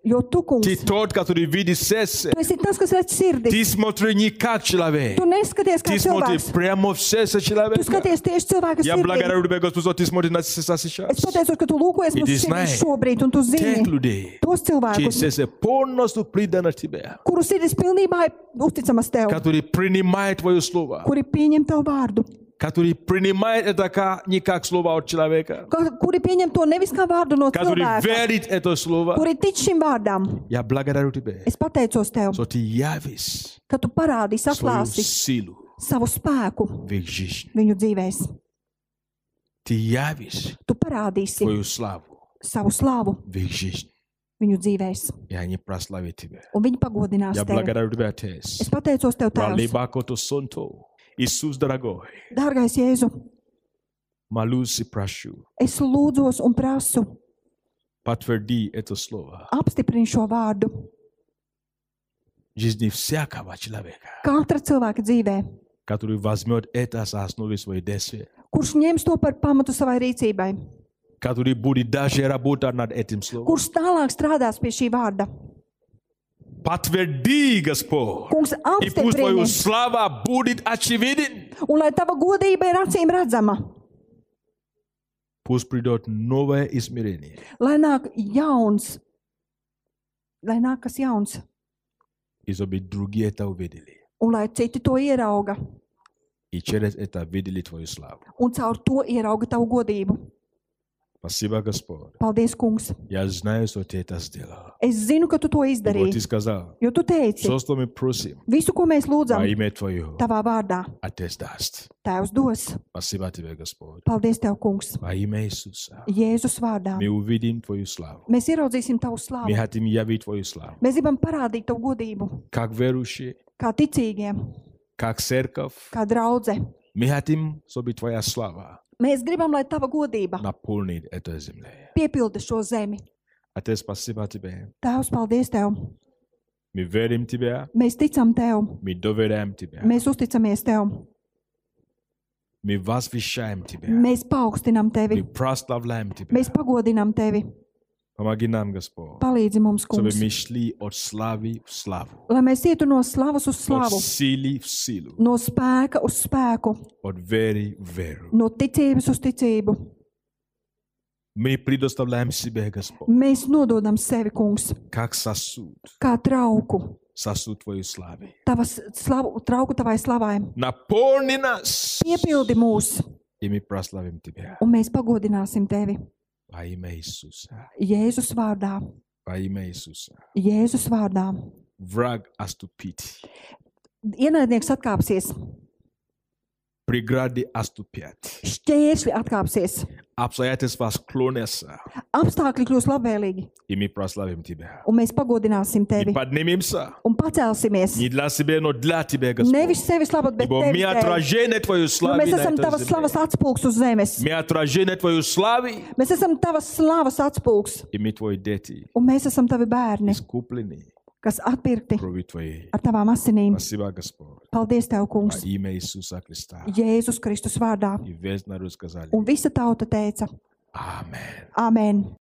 S2: jo tu,
S1: Ты
S2: kungs,
S1: тот, который видит сердце.
S2: tu esi tas, kas redz sirdi.
S1: Ты смотри не как человек.
S2: Tu neskaties kā
S1: Ты смотри
S2: cilvēks,
S1: прямо в сердце
S2: tu
S1: человека.
S2: skaties tieši cilvēka
S1: Я
S2: sirdī.
S1: благодарю тебя, Господь, что ты смотришь на сердца сейчас.
S2: Es pateicos, ka tu lūkojies
S1: It
S2: mums
S1: is
S2: sirdī
S1: night.
S2: šobrīd, un tu
S1: Тех
S2: zini
S1: людей,
S2: tos
S1: чьи
S2: cilvēkus,
S1: сердце полностью предано тебе,
S2: kuru sirdis pilnībā ir uzticamas tev,
S1: которые принимают твое слово,
S2: kuri pieņem tavu vārdu,
S1: которые принимают это как, не как слово от человека,
S2: ka- kuri pieņem to nevis kā vārdu no
S1: который
S2: cilvēka,
S1: верит это слово.
S2: kuri tic šim vārdam.
S1: Я благодарю тебя,
S2: Es pateicos tev,
S1: что ты явишь
S2: ka tu parādīsi,
S1: свою
S2: atklāsi
S1: силу
S2: savu spēku
S1: в их жизни.
S2: viņu dzīvēs.
S1: Ты явишь
S2: Tu parādīsi
S1: твою славу
S2: savu slavu
S1: в их жизни,
S2: viņu dzīvēs,
S1: и они прославят тебя.
S2: un viņi pagodinās
S1: Я
S2: tevi.
S1: благодарю тебя, Отец.
S2: Es pateicos tev, Tēvs,
S1: Валибакото сонто. Иисус дорогой,
S2: dārgais Jēzu.
S1: молюсь и прошу,
S2: Es lūdzos un prasu,
S1: подтверди это слово
S2: apstiprini šo vārdu
S1: в жизни всякого человека,
S2: katra cilvēka dzīvē,
S1: который возьмет это за основу своей действия,
S2: kurš ņems to par pamatu savai rīcībai,
S1: который будет даже работать над этим словом.
S2: kurš tālāk strādās pie šī vārda.
S1: Подтверди, Господь,
S2: Kungs,
S1: и пусть твоя
S2: apstiprini,
S1: слава будет очевиден.
S2: un lai tava godība ir acīm redzama,
S1: Пусть придет новое измерение.
S2: lai nāk jauns, lai nāk kas jauns,
S1: и чтобы другие это увидели.
S2: un lai citi to ierauga,
S1: И через это видели твою славу.
S2: un caur to ierauga tavu godību.
S1: Спасибо, Господь.
S2: Paldies, kungs!
S1: Я знаю, что ты это сделал.
S2: Es zinu, ka tu to
S1: И Вот
S2: izdarīji.
S1: ты сказал,
S2: Jo tu teici,
S1: все, что мы просим,
S2: visu, ko mēs
S1: во
S2: lūdzam,
S1: имя Твое,
S2: tavā vārdā,
S1: Отец даст.
S2: Tēvs dos.
S1: Спасибо тебе, Господь.
S2: Paldies, Tev, Kungs,
S1: Во имя Иисуса.
S2: Jēzus vārdā.
S1: Мы увидим Твою славу.
S2: Mēs ieraudzīsim Tavu
S1: Мы
S2: slavu.
S1: хотим явить Твою славу.
S2: Mēs gribam parādīt Tavu godību,
S1: Как верующие,
S2: kā ticīgiem,
S1: как церковь.
S2: kā draudzē.
S1: Мы хотим, чтобы Твоя слава
S2: Mēs gribam, lai Tava godība
S1: наполнит эту землю.
S2: piepilda šo zemi.
S1: Отец, спасибо тебе.
S2: Tēvs, paldies Tev!
S1: Мы верим Тебе,
S2: Mēs ticam Tev,
S1: мы доверяем Тебе,
S2: mēs uzticamies Tev,
S1: мы возвещаем Тебя.
S2: mēs paaugstinam Tevi,
S1: Мы прославляем Тебя.
S2: mēs pagodinam Tevi.
S1: Помоги нам, Господь,
S2: Palīdzi mums,
S1: чтобы
S2: Kungs,
S1: мы шли от славы в славу,
S2: lai mēs ietu no slavas uz
S1: от
S2: slavu,
S1: силы в силу,
S2: no spēka uz spēku,
S1: от веры в веру.
S2: no ticības uz ticību.
S1: Мы предоставляем себя, Господь,
S2: Mēs nododam sevi, kungs,
S1: как сосуд,
S2: kā trauku,
S1: сосуд Твоей славы.
S2: tavas slavu, trauku tavai slavai.
S1: Наполни нас
S2: Piepildi mūs
S1: и мы прославим Тебя.
S2: un mēs pagodināsim tevi.
S1: Во имя Иисуса.
S2: Jēzus vārdā,
S1: Во имя Иисуса.
S2: Jēzus vārdā.
S1: Враг оступит.
S2: Ienaidnieks atkāpsies,
S1: Преграды оступят.
S2: šķēršļi atkāpsies,
S1: Обстоятельства склонятся.
S2: apstākļi kļūs labvēlīgi,
S1: И мы прославим Тебя.
S2: un mēs pagodināsim
S1: И
S2: tevi
S1: поднимемся.
S2: un pacelsimies.
S1: Не для себя, но для Тебя, Господь.
S2: Nevis sevis labot, bet
S1: Ибо
S2: tevi.
S1: мы отражение Твою
S2: Jo
S1: славы.
S2: mēs
S1: на
S2: esam
S1: этой
S2: tavas
S1: земле.
S2: slavas atspūgs uz zemes.
S1: Мы отражение Твою славы.
S2: Mēs esam tavas slavas atspūgs,
S1: И мы Твои дети.
S2: un mēs esam tavi bērni,
S1: Искуплены
S2: kas atpirkti
S1: кровью Твоей.
S2: ar tavām asinīm.
S1: Спасибо, Господь.
S2: Paldies,
S1: Во
S2: Tev, Kungs,
S1: имя Иисуса Христа.
S2: Jēzus Kristus vārdā.
S1: И весь народ сказали.
S2: Un visa tauta teica:
S1: Amen.
S2: Āmen!